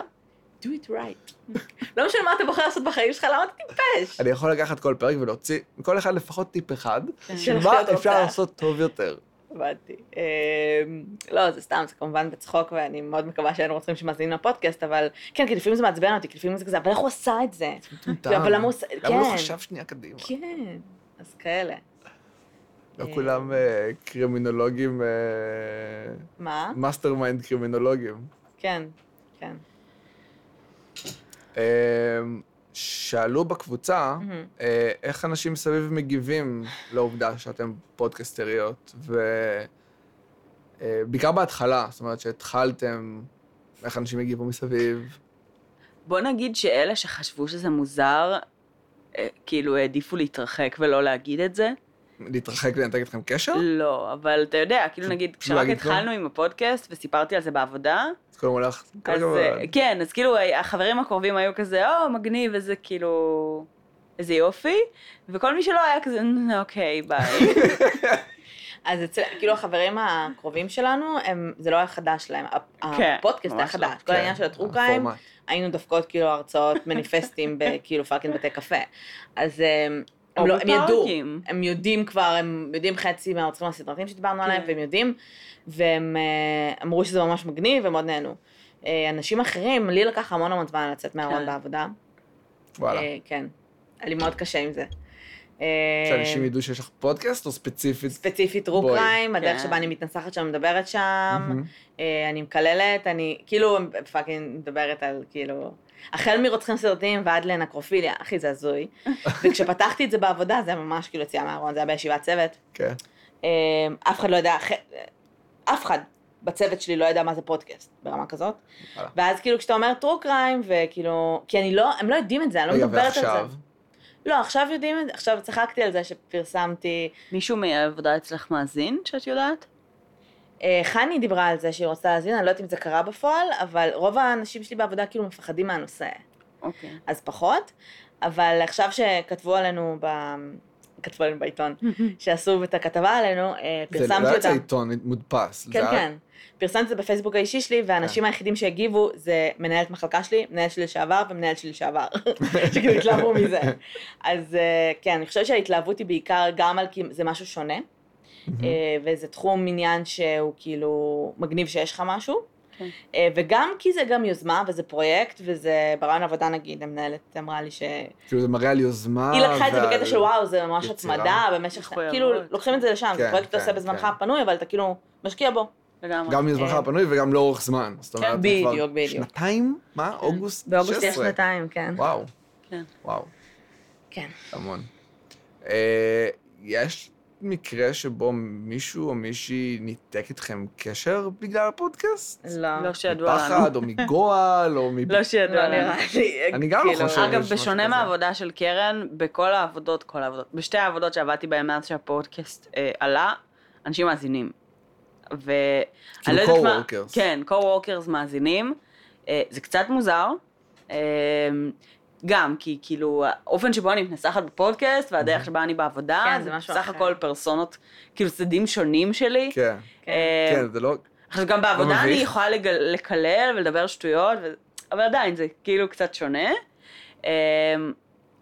Speaker 2: do it right. לא משנה מה אתה בוחר לעשות בחיים שלך, למה אתה טיפש?
Speaker 1: אני יכול לקחת כל פרק ולהוציא מכל אחד לפחות טיפ אחד,
Speaker 2: של
Speaker 1: מה
Speaker 2: לחיות
Speaker 1: אפשר
Speaker 2: אותה.
Speaker 1: לעשות טוב
Speaker 2: לא,
Speaker 1: יותר.
Speaker 2: הבנתי. אמ, לא, זה סתם, זה כמובן בצחוק, ואני מאוד מקווה שאין רוצחים שמאזינים לפודקאסט, אבל כן, כי לפעמים זה מעצבן אותי, כי לפעמים זה כזה, אבל איך הוא עשה את זה?
Speaker 1: מטומטם.
Speaker 2: אבל למה הוא עושה...
Speaker 1: למה הוא לא
Speaker 2: כן,
Speaker 1: חשב שנייה קדימה?
Speaker 2: כן, אז כאלה.
Speaker 1: לא
Speaker 2: אה.
Speaker 1: כולם אה, קרימינולוגים, אה,
Speaker 2: מה?
Speaker 1: מאסטר מיינד קרימינולוגים.
Speaker 2: כן, כן.
Speaker 1: אה, שאלו
Speaker 3: אוקיי.
Speaker 1: בקבוצה
Speaker 2: מהמם.
Speaker 1: אה, איך אנשים מסביב מגיבים לעובדה שאתם פודקסטריות, ובעיקר בהתחלה, זאת אומרת שהתחלתם, איך אנשים הגיבו מסביב.
Speaker 3: בוא נגיד שאלה שחשבו שזה מוזר, אה, כאילו העדיפו להתרחק ולא להגיד את זה.
Speaker 1: להתרחק ולנתק איתכם קשר?
Speaker 3: לא, אבל אתה יודע, כאילו
Speaker 1: פשוט
Speaker 3: נגיד,
Speaker 1: לא
Speaker 3: כשרק
Speaker 1: להגיד כלום?
Speaker 3: התחלנו עם הפודקאסט וסיפרתי על זה בעבודה,
Speaker 1: אז כל אומר לך,
Speaker 3: אז
Speaker 1: כרגע...
Speaker 3: אה, כן, אז כאילו ה- החברים הקרובים היו כזה, או, מגניב, איזה כאילו... איזה יופי, וכל מי שלא היה כזה, "נ- אוקיי, ביי. *laughs*
Speaker 2: אז אצל, כאילו החברים הקרובים שלנו, הם, זה לא היה חדש להם, הפ-
Speaker 3: כן,
Speaker 2: הפודקאסט היה
Speaker 3: ממש לא.
Speaker 2: חדש, כל
Speaker 1: כן,
Speaker 2: העניין של הטרו קריים,
Speaker 1: הפורמט.
Speaker 2: היינו דופקות כאילו הרצאות מניפסטים *laughs* בכאילו פאקינג בתי קפה. אז הם, הם, לא, הם ידעו,
Speaker 3: אורטורקים.
Speaker 2: הם יודעים כבר, הם יודעים חצי מהרוצחים הסדרתיים שדיברנו
Speaker 3: כן.
Speaker 2: עליהם, והם יודעים, והם אה, אמרו שזה ממש מגניב, ומאוד נהנו. אה, אנשים אחרים, לי לקח המון המון זמן לצאת מהארון
Speaker 3: כן.
Speaker 2: בעבודה.
Speaker 1: וואלה.
Speaker 2: אה, כן. היה לי מאוד קשה עם זה.
Speaker 1: שאנשים
Speaker 2: אה,
Speaker 1: ידעו שיש לך פודקאסט, או ספציפית?
Speaker 2: ספציפית טרו
Speaker 1: בואי.
Speaker 2: קריים, הדרך
Speaker 3: כן.
Speaker 2: שבה אני מתנסחת שם, מדברת שם,
Speaker 1: מהמם.
Speaker 2: אה, אני מקללת, אני כאילו פאקינג מדברת על כאילו... החל מרוצחים סרטים ועד לנקרופיליה, אחי זה
Speaker 3: *laughs*
Speaker 2: הזוי. וכשפתחתי את זה בעבודה זה היה ממש כאילו יציאה מהארון, זה היה בישיבת צוות.
Speaker 1: כן.
Speaker 2: אה, אף אחד לא ידע, אח- אף אחד בצוות שלי לא ידע מה זה פודקאסט ברמה כזאת.
Speaker 1: וואלה.
Speaker 2: ואז כאילו כשאתה אומר טרו קריים וכאילו, כי אני לא, הם לא יודעים את זה, אני לא
Speaker 1: רגע,
Speaker 2: מדברת על
Speaker 1: ועכשיו?
Speaker 2: זה. לא, עכשיו יודעים את זה, עכשיו צחקתי על זה שפרסמתי
Speaker 3: מישהו מהעבודה אצלך מאזין, שאת יודעת?
Speaker 2: אה, חני דיברה על זה שהיא רוצה להזין, אני לא יודעת אם זה קרה בפועל, אבל רוב האנשים שלי בעבודה כאילו מפחדים מהנושא,
Speaker 3: אוקיי.
Speaker 2: אז פחות. אבל עכשיו שכתבו עלינו, ב... כתבו עלינו בעיתון, שעשו את הכתבה עלינו, אה,
Speaker 1: זה לא
Speaker 2: פרסמתי
Speaker 1: היה
Speaker 2: אותה.
Speaker 1: יצא עיתון מודפס.
Speaker 2: כן,
Speaker 1: זה היה-
Speaker 2: כן. פרסמתי את זה בפייסבוק האישי שלי, והאנשים
Speaker 1: כן.
Speaker 2: היחידים שהגיבו זה מנהלת מחלקה שלי, מנהל שלי לשעבר ומנהל שלי לשעבר, *laughs* שכאילו התלהבו מזה. אז אה, כן, אני חושבת שההתלהבות היא בעיקר גם על כי זה משהו שונה, אה, וזה תחום עניין שהוא כאילו מגניב שיש לך משהו.
Speaker 3: כן.
Speaker 2: אה, וגם כי זה גם יוזמה וזה פרויקט וזה ברעיון עבודה נגיד המנהלת אמרה לי שהיא
Speaker 1: כאילו זה מראה על יוזמה.
Speaker 2: לקחה את זה
Speaker 1: ועל-
Speaker 2: בקטע של וואו זה ממש
Speaker 1: יצירה.
Speaker 2: הצמדה במשך
Speaker 3: מחויבות.
Speaker 2: כאילו לוקחים את זה לשם זה
Speaker 1: כן,
Speaker 2: פרויקט שאתה
Speaker 1: כן,
Speaker 2: עושה בזמנך
Speaker 1: כן.
Speaker 2: הפנוי אבל אתה כאילו משקיע בו
Speaker 3: לגמרי.
Speaker 1: גם מזמנך
Speaker 2: אה.
Speaker 1: הפנוי וגם לאורך זמן. זאת אומרת,
Speaker 2: כן,
Speaker 1: זה כבר
Speaker 2: בדיוק, בדיוק. כן.
Speaker 1: שנתיים? מה? אוגוסט?
Speaker 2: באוגוסט יש
Speaker 1: 16?
Speaker 2: שנתיים כן
Speaker 1: וואו.
Speaker 3: כן.
Speaker 1: וואו,
Speaker 2: כן
Speaker 1: המון. אה, יש מקרה שבו מישהו או מישהי ניתק איתכם קשר בגלל הפודקאסט?
Speaker 2: לא
Speaker 3: לא שידוע לנו.
Speaker 1: מפחד, או מגועל, או מב...
Speaker 3: לא שידוע
Speaker 2: *laughs* לא
Speaker 3: לנו.
Speaker 2: נראה לי
Speaker 1: אני גם לא
Speaker 2: כאילו-
Speaker 1: חושב.
Speaker 3: אגב,
Speaker 1: יש משהו
Speaker 3: בשונה
Speaker 1: כזה.
Speaker 3: מהעבודה של קרן, בכל העבודות, כל העבודות, בשתי העבודות שעבדתי בהן מאז שהפודקאסט אה, עלה, אנשים מאזינים. ו... אני לא יודעת מה-
Speaker 1: כאילו co-workers.
Speaker 3: כן, co-workers מאזינים. אה, זה קצת מוזר. אה, גם כי כאילו האופן שבו אני מתנסחת בפודקאסט
Speaker 1: Mm-hmm.
Speaker 3: והדרך שבה אני בעבודה,
Speaker 2: כן, זה משהו
Speaker 3: סך
Speaker 2: אחר.
Speaker 3: הכל פרסונות, כאילו צדדים שונים שלי.
Speaker 1: כן,
Speaker 2: אוקיי.
Speaker 3: אה,
Speaker 1: כן, זה לא...
Speaker 3: עכשיו גם בעבודה אני
Speaker 1: מביך.
Speaker 3: יכולה לגל- לקלל ולדבר שטויות, ו... אבל עדיין זה כאילו קצת שונה. אמ,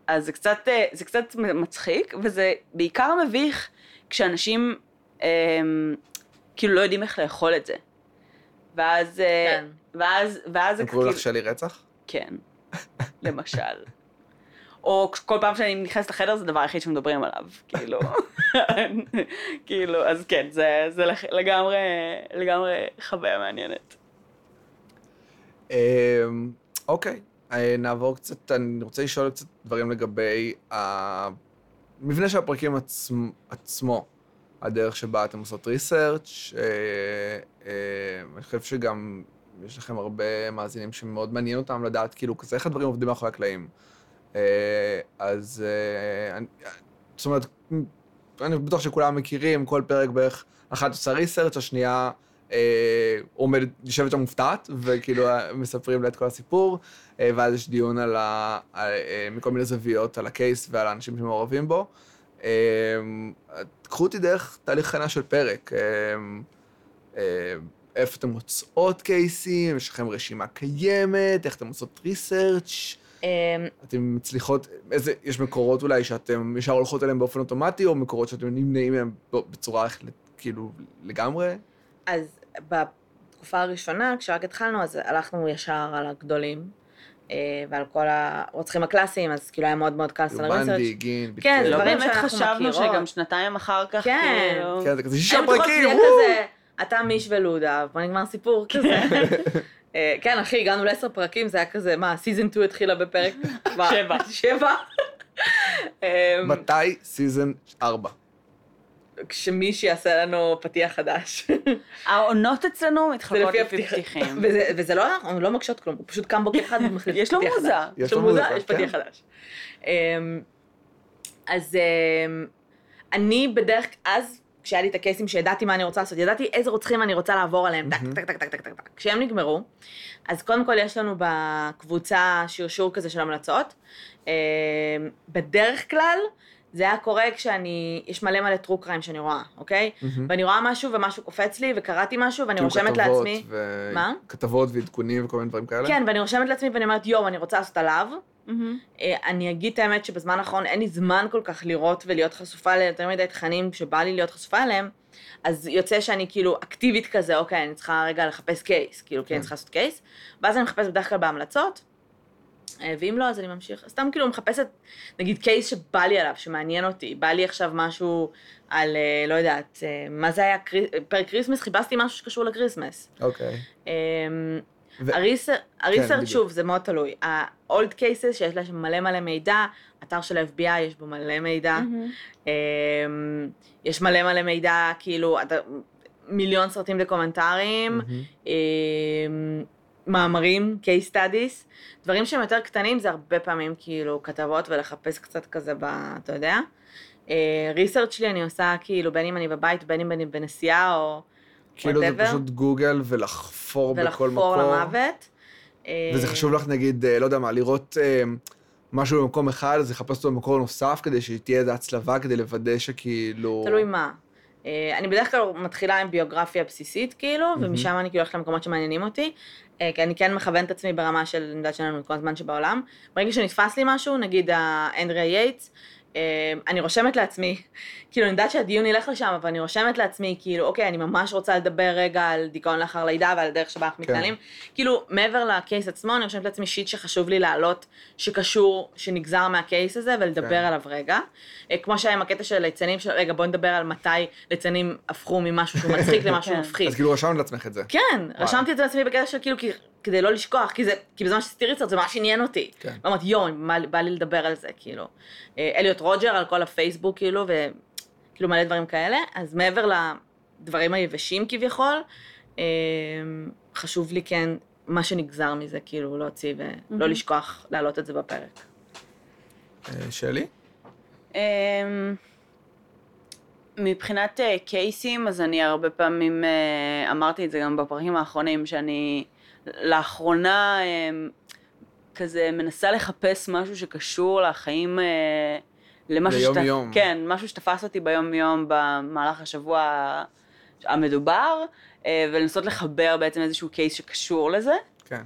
Speaker 3: אז זה קצת, אה, זה קצת מצחיק, וזה בעיקר מביך כשאנשים אה, כאילו לא יודעים איך לאכול את זה. ואז, אה,
Speaker 2: כן.
Speaker 3: ואז, ואז זה כאילו-
Speaker 1: הם קוראים לך שלי רצח?
Speaker 3: כן, למשל. או כל פעם שאני נכנסת לחדר זה הדבר היחיד שמדברים עליו, כאילו. *laughs* כאילו, אז כן, זה, זה לח- לגמרי, לגמרי חוויה מעניינת.
Speaker 1: אמ, אוקיי, אה, נעבור קצת, אני רוצה לשאול קצת דברים לגבי המבנה של הפרקים עצמ, עצמו, הדרך שבה אתם עושות ריסרצ', אני חושב שגם יש לכם הרבה מאזינים שמאוד מעניין אותם לדעת כאילו כזה, איך הדברים עובדים מאחורי הקלעים. אה, אז אה, אני, זאת אומרת, אני בטוח שכולם מכירים, כל פרק בערך אחת עושה ריסרצ', השנייה אה, עומדת, יושבת שם מופתעת, וכאילו אה, מספרים לה את כל הסיפור, אה, ואז יש דיון על ה, על, אה, מכל מיני זוויות, על הקייס ועל האנשים שמעורבים בו. אה, קחו אותי דרך תהליך הכנה של פרק. אה, אה, איפה אתם מוצאות קייסים, יש לכם רשימה קיימת, איך אתם עושות ריסרצ',
Speaker 2: אמ,
Speaker 1: אתם מצליחות, איזה, יש מקורות אולי שאתם ישר הולכות אליהם באופן אוטומטי, או מקורות שאתם נמנעים מהם ב- בצורה החל- כאילו לגמרי?
Speaker 2: אז בתקופה הראשונה, כשרק התחלנו, אז הלכנו ישר על הגדולים, אה, ועל כל הרוצחים הקלאסיים, אז כאילו היה מאוד מאוד קלאס על ריסרצ'.
Speaker 1: יובנדי, גין,
Speaker 2: כן,
Speaker 1: ביטל.
Speaker 2: לא
Speaker 3: לא
Speaker 2: דברים
Speaker 3: באמת
Speaker 2: שאנחנו
Speaker 3: חשבנו
Speaker 2: מכירות.
Speaker 3: שגם שנתיים אחר כך,
Speaker 2: כן.
Speaker 3: כאילו...
Speaker 1: כן, זה כזה שישה
Speaker 2: אין פחות
Speaker 1: פרקים,
Speaker 2: יהיה
Speaker 1: וואו!
Speaker 2: כזה, אתה מיש ולודה, בוא נגמר *laughs* סיפור כזה. אה, כן, אחי, הגענו לעשר פרקים, זה היה כזה, מה, סיזן 2 התחילה בפרק?
Speaker 3: שבע.
Speaker 2: שבע. אמ,
Speaker 1: מתי סיזן 4?
Speaker 2: כשמישהי אה, יעשה לנו פתיח חדש.
Speaker 3: העונות אצלנו
Speaker 2: זה
Speaker 3: מתחלקות
Speaker 2: לפי
Speaker 3: לפי
Speaker 2: הפתיחה. *laughs*
Speaker 3: פתיחים.
Speaker 2: וזה- וזה לא, אנחנו לא מקשות כלום, הוא פשוט קם בוקר
Speaker 3: *laughs*
Speaker 2: אחד ומחליט
Speaker 3: יש לו
Speaker 2: פתיח
Speaker 3: מוזה.
Speaker 2: חדש.
Speaker 1: יש
Speaker 2: יש לו
Speaker 1: לו
Speaker 2: מוזה,
Speaker 1: מוזה,
Speaker 2: יש
Speaker 1: כן.
Speaker 2: פתיח חדש. אמ, אז אמ, אני בדרך, אז כשהיה לי את הקייסים שידעתי מה אני רוצה לעשות, ידעתי איזה רוצחים אני רוצה לעבור עליהם, טק,
Speaker 1: מהמם.
Speaker 2: טק, טק, טק, טק, טק, טק. כשהם נגמרו, אז קודם כל יש לנו בקבוצה שרשור כזה של המלצות. אמ, בדרך כלל, זה היה קורה כשאני, יש מלא מלא טרו קריים שאני רואה, אוקיי?
Speaker 1: Mm-hmm.
Speaker 2: ואני רואה משהו ומשהו קופץ לי, וקראתי משהו ואני רושמת לעצמי. מה?
Speaker 1: כתבות ועדכונים וכל מיני דברים כאלה?
Speaker 2: כן, ואני רושמת לעצמי ואני אומרת, יואו, אני רוצה לעשות עליו.
Speaker 3: מהמם.
Speaker 2: אה, אני אגיד את האמת שבזמן האחרון אין לי זמן כל כך לראות ולהיות חשופה ליותר מדי תכנים שבא לי להיות חשופה אליהם, אז יוצא שאני כאילו אקטיבית כזה, אוקיי, אני צריכה רגע לחפש קייס, כאילו, כי אני
Speaker 1: כן.
Speaker 2: צריכה לעשות קייס, ואז אני מחפשת בדרך כלל בהמלצות, אה, ואם לא, אז אני ממשיך. סתם כאילו מחפשת, נגיד, קייס שבא לי עליו, שמעניין אותי, בא לי עכשיו משהו על, אה, לא יודעת, אה, מה זה היה, קרי- פרק כריסמס, חיפשתי משהו שקשור לקריסמס.
Speaker 1: אוקיי.
Speaker 2: אמ,
Speaker 1: ו- כן,
Speaker 2: הריסר-
Speaker 1: בדיוק.
Speaker 2: הריסרצ' שוב, זה מאוד תלוי. ה-old cases שיש לה שם מלא מלא מידע, אתר של ה-FBI יש בו מלא מידע,
Speaker 3: מהמם.
Speaker 2: אמ, יש מלא מלא מידע, כאילו, אתה- מיליון סרטים דוקומנטריים,
Speaker 1: מהמם.
Speaker 2: אמ, מאמרים, case studies, דברים שהם יותר קטנים זה הרבה פעמים כאילו כתבות ולחפש קצת כזה ב... אתה יודע? ריסרצ' שלי אני עושה כאילו בין אם אני בבית, בין אם אני בנסיעה או
Speaker 1: כאילו זה
Speaker 2: whatever.
Speaker 1: פשוט גוגל ולחפור בכל מקום.
Speaker 2: ולחפור למוות.
Speaker 1: וזה
Speaker 2: אה,
Speaker 1: חשוב לך, נגיד, אה, לא יודע מה, לראות אה, משהו במקום אחד, אז לחפש אותו במקום נוסף, כדי שתהיה איזו הצלבה, כדי לוודא שכאילו...
Speaker 2: תלוי מה. אה, אני בדרך כלל מתחילה עם ביוגרפיה בסיסית, כאילו,
Speaker 1: מהמם.
Speaker 2: ומשם אני כאילו הולכת למקומות שמעניינים אותי. אה, כי אני כן מכוונת עצמי ברמה של, אני יודעת שלנו את כל הזמן שבעולם. ברגע שנתפס לי משהו, נגיד האנדריה יייטס, אה, אני רושמת לעצמי, *laughs* כאילו, אני יודעת שהדיון ילך לשם, אבל אני רושמת לעצמי, כאילו, אוקיי, אני ממש רוצה לדבר רגע על דיכאון לאחר לידה ועל הדרך שבה אנחנו
Speaker 1: כן.
Speaker 2: מתנהלים. כאילו, מעבר לקייס עצמו, אני רושמת לעצמי שיט שחשוב לי להעלות, שקשור, שנגזר מהקייס הזה, ולדבר
Speaker 1: כן.
Speaker 2: עליו רגע. אה, כמו שהיה עם הקטע של ליצנים, של רגע, בוא נדבר על מתי ליצנים הפכו ממשהו שהוא מצחיק למשהו
Speaker 3: כן.
Speaker 2: מפחיד.
Speaker 1: אז כאילו רשמת לעצמך את זה.
Speaker 2: כן, רשמתי את זה לעצמי בקטע של כאילו, כי- כדי לא לשכוח, כי זה, כי בזמן שעשיתי ריצרץ זה ממש עניין אותי.
Speaker 1: כן.
Speaker 2: ואמרתי, יואו, מה לי- בא לי לדבר על זה, כאילו. אה, אליוט רוג'ר על כל הפייסבוק, כאילו, וכאילו מלא דברים כאלה. אז מעבר לדברים היבשים כביכול, אה, חשוב לי כן מה שנגזר מזה, כאילו, להוציא ולא
Speaker 3: מהמם.
Speaker 2: לשכוח להעלות את זה בפרק.
Speaker 1: אה, שלי?
Speaker 3: אמ, מבחינת אה, קייסים, אז אני הרבה פעמים, אה, אמרתי את זה גם בפרקים האחרונים, שאני לאחרונה אמ, כזה מנסה לחפש משהו שקשור לחיים, אה, למשהו
Speaker 1: ליום יום.
Speaker 3: כן, משהו שתפס אותי ביום יום במהלך השבוע המדובר, אה, ולנסות לחבר בעצם איזשהו קייס שקשור לזה.
Speaker 2: *laughs*
Speaker 1: כן.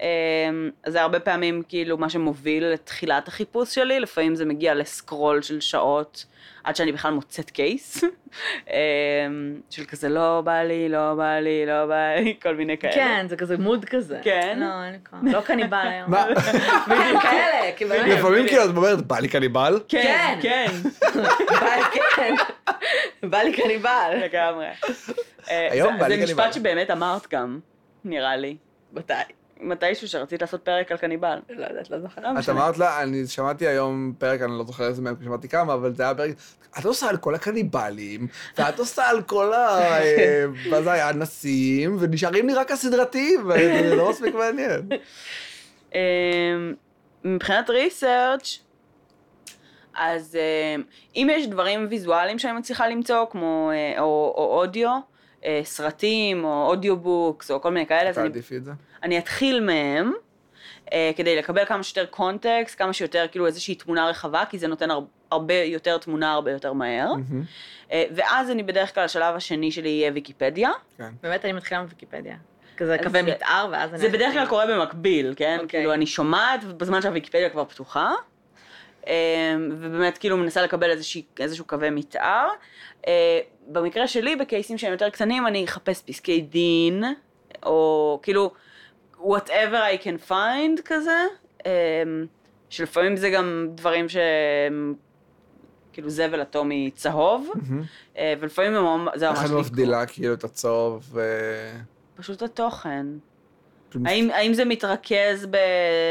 Speaker 3: אמ, אמ, זה הרבה פעמים כאילו מה שמוביל לתחילת החיפוש שלי, לפעמים זה מגיע לסקרול של שעות עד שאני בכלל מוצאת קייס, *laughs* אמ, של כזה לא בא לי, לא בא לי, לא בא לי, כל מיני כאלה.
Speaker 2: כן, זה כזה מוד כזה.
Speaker 3: כן.
Speaker 2: לא, אין לי כוח. לא קניבל היום. *laughs*
Speaker 1: מה?
Speaker 2: כן, כאלה, כי באמת.
Speaker 1: לפעמים כאילו את אומרת, בא לי קניבל?
Speaker 3: כן,
Speaker 2: כן.
Speaker 3: כן,
Speaker 2: בא לי- כן. בא לי קניבל.
Speaker 3: לגמרי. אה,
Speaker 1: היום
Speaker 3: זה-
Speaker 1: בא לי
Speaker 3: זה
Speaker 1: קניבל.
Speaker 3: משפט שבאמת אמרת גם, נראה לי. מתי? מתישהו שרצית לעשות פרק על קניבל.
Speaker 2: לא יודעת, לא זוכרת.
Speaker 3: לא
Speaker 1: את
Speaker 3: משנה.
Speaker 1: אמרת לה, אני שמעתי היום פרק, אני לא זוכר איזה מהם, כי שמעתי כמה, אבל זה היה פרק, את עושה על כל הקניבלים, ואת עושה על כל
Speaker 3: *laughs*
Speaker 1: ה... אה, מה זה היה? אנסים, ונשארים לי רק הסדרתיים, *laughs* וזה לא מספיק מעניין.
Speaker 3: אמ, מבחינת ריסרצ' אז אמ, אם יש דברים ויזואליים שאני מצליחה למצוא, כמו, אה, או, או אודיו, אה, סרטים, או אודיובוקס, או כל מיני כאלה, אז אני,
Speaker 1: תעדיפי את זה.
Speaker 3: אני אתחיל מהם, אה, כדי לקבל כמה שיותר קונטקסט, כמה שיותר כאילו איזושהי תמונה רחבה, כי זה נותן הר, הרבה יותר תמונה הרבה יותר מהר.
Speaker 1: מהמם.
Speaker 3: אה, ואז אני בדרך כלל, השלב השני שלי יהיה ויקיפדיה.
Speaker 1: כן.
Speaker 2: באמת, אני מתחילה מוויקיפדיה. כזה
Speaker 3: אז
Speaker 2: קווי
Speaker 3: זה-
Speaker 2: מתאר, ואז אני...
Speaker 3: זה בדרך כלל קורה במקביל, כן?
Speaker 2: אוקיי.
Speaker 3: כאילו, אני שומעת בזמן שהוויקיפדיה כבר פתוחה, אה, ובאמת כאילו מנסה לקבל איזושהי- איזשהו קווי מתאר. אה, במקרה שלי, בקייסים שהם יותר קטנים, אני אחפש פסקי דין, או כאילו, whatever I can find כזה, אה, שלפעמים זה גם דברים שהם כאילו זבל אטומי צהוב,
Speaker 1: מהמם.
Speaker 3: אה, ולפעמים הם ממש- זה ממש...
Speaker 1: איך את
Speaker 3: לקרוא.
Speaker 1: מבדילה כאילו את הצהוב? אה,
Speaker 3: פשוט התוכן.
Speaker 1: כאילו,
Speaker 3: האם, האם זה מתרכז ב...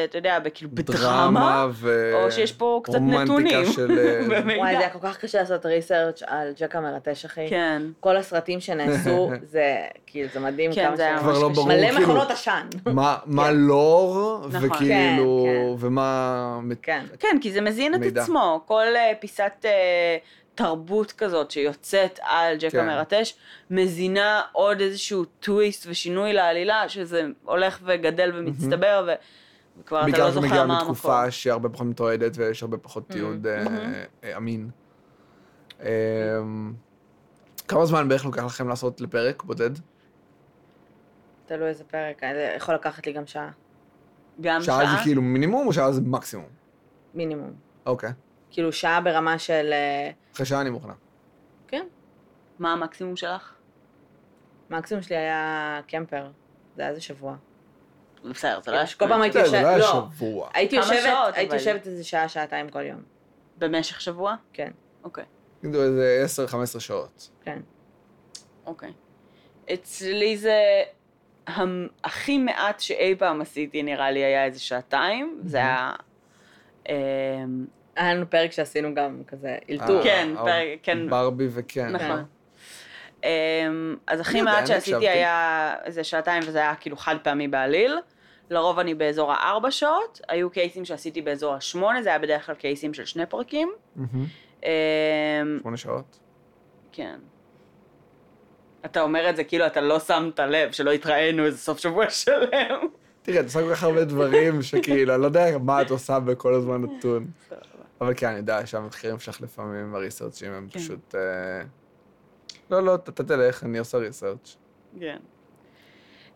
Speaker 3: אתה יודע, ב- כאילו בדרמה?
Speaker 1: דרמה ו...
Speaker 3: או שיש פה קצת
Speaker 1: רומנטיקה
Speaker 3: נתונים.
Speaker 1: של,
Speaker 3: *laughs*
Speaker 1: אה,
Speaker 3: במידע.
Speaker 2: וואי, זה היה כל כך קשה לעשות ריסרצ' על ג'ק המרטש, אחי.
Speaker 3: כן.
Speaker 2: כל הסרטים
Speaker 1: *laughs*
Speaker 2: שנעשו, זה כאילו, זה מדהים
Speaker 3: כן,
Speaker 2: כמה
Speaker 3: זה היה
Speaker 2: שזה-
Speaker 1: כבר לא
Speaker 3: ממש קשה.
Speaker 1: ברור,
Speaker 2: מלא
Speaker 1: כאילו.
Speaker 2: מכונות עשן.
Speaker 1: מה- מה לור,
Speaker 3: כן. נכון.
Speaker 1: וכאילו,
Speaker 2: כן,
Speaker 1: ומה...
Speaker 2: כן.
Speaker 3: כן, כי זה מזין את
Speaker 1: מידע.
Speaker 3: עצמו. כל אה, פיסת אה, תרבות כזאת שיוצאת על ג'ק
Speaker 1: כן.
Speaker 3: המרטש, מזינה עוד איזשהו טוויסט ושינוי לעלילה, שזה הולך וגדל ומצטבר, ו... וכבר אתה
Speaker 1: בעיקר
Speaker 3: לא
Speaker 1: זה
Speaker 3: זוכר
Speaker 1: מגיע
Speaker 3: מה Mm-hmm. המקום.
Speaker 1: מתקופה שהיא הרבה פחות מתועדת ויש הרבה פחות תיעוד אה,
Speaker 3: מהמם.
Speaker 1: אה, אמין. אמ, כמה זמן בערך לוקח לכם לעשות לפרק בודד?
Speaker 2: תלוי איזה פרק, זה יכול לקחת לי גם שעה,
Speaker 3: גם
Speaker 1: שעה זה
Speaker 3: שעה.
Speaker 1: כאילו מינימום או שעה זה מקסימום?
Speaker 2: מינימום.
Speaker 1: אוקיי.
Speaker 2: כאילו, שעה ברמה של... אה,
Speaker 1: אחרי שעה אני מוכנה.
Speaker 2: כן,
Speaker 3: מה המקסימום שלך?
Speaker 2: המקסימום שלי היה קמפר, זה היה איזה שבוע.
Speaker 3: בסדר, זה לא
Speaker 2: כאילו,
Speaker 3: היה
Speaker 2: שכל פעם הייתי
Speaker 1: זה
Speaker 2: יושבת,
Speaker 1: לא היה
Speaker 2: לא,
Speaker 1: שבוע.
Speaker 2: הייתי
Speaker 3: כמה
Speaker 2: יושבת,
Speaker 3: שעות,
Speaker 2: הייתי
Speaker 3: אבל.
Speaker 2: יושבת איזה שעה, שעתיים כל יום,
Speaker 3: במשך שבוע?
Speaker 2: כן.
Speaker 3: אוקיי.
Speaker 1: כאילו איזה 10-15 שעות.
Speaker 2: כן.
Speaker 3: אוקיי. אצלי זה המ- הכי מעט שאי פעם עשיתי, נראה לי, היה איזה שעתיים. זה היה... אמ,
Speaker 2: היה לנו פרק שעשינו גם כזה אלתור.
Speaker 1: אה,
Speaker 3: כן,
Speaker 1: אה,
Speaker 3: פרק, כן.
Speaker 1: ברבי וכן.
Speaker 3: נכון.
Speaker 2: נכון.
Speaker 3: אמ, אז הכי
Speaker 1: אני יודע,
Speaker 3: מעט
Speaker 1: אני
Speaker 3: שעשיתי
Speaker 1: הקשבתי.
Speaker 3: היה איזה שעתיים, וזה היה כאילו חד פעמי בעליל. לרוב אני באזור הארבע שעות, היו קייסים שעשיתי באזור השמונה, זה היה בדרך כלל קייסים של שני פרקים.
Speaker 1: מהמם.
Speaker 3: אמ,
Speaker 1: שמונה שעות.
Speaker 3: כן. אתה אומר את זה כאילו אתה לא שמת לב, שלא התראינו איזה סוף שבוע *laughs* שלם.
Speaker 1: תראה, את עושה כל כך הרבה דברים שכאילו, אני לא יודע מה את עושה בכל הזמן נתון. אבל כן, אני יודע שהמחירים שלך לפעמים, הריסרצ'ים הם
Speaker 3: כן.
Speaker 1: פשוט... אה, לא, לא, ת- אתה תלך, אני עושה ריסרצ'.
Speaker 3: כן.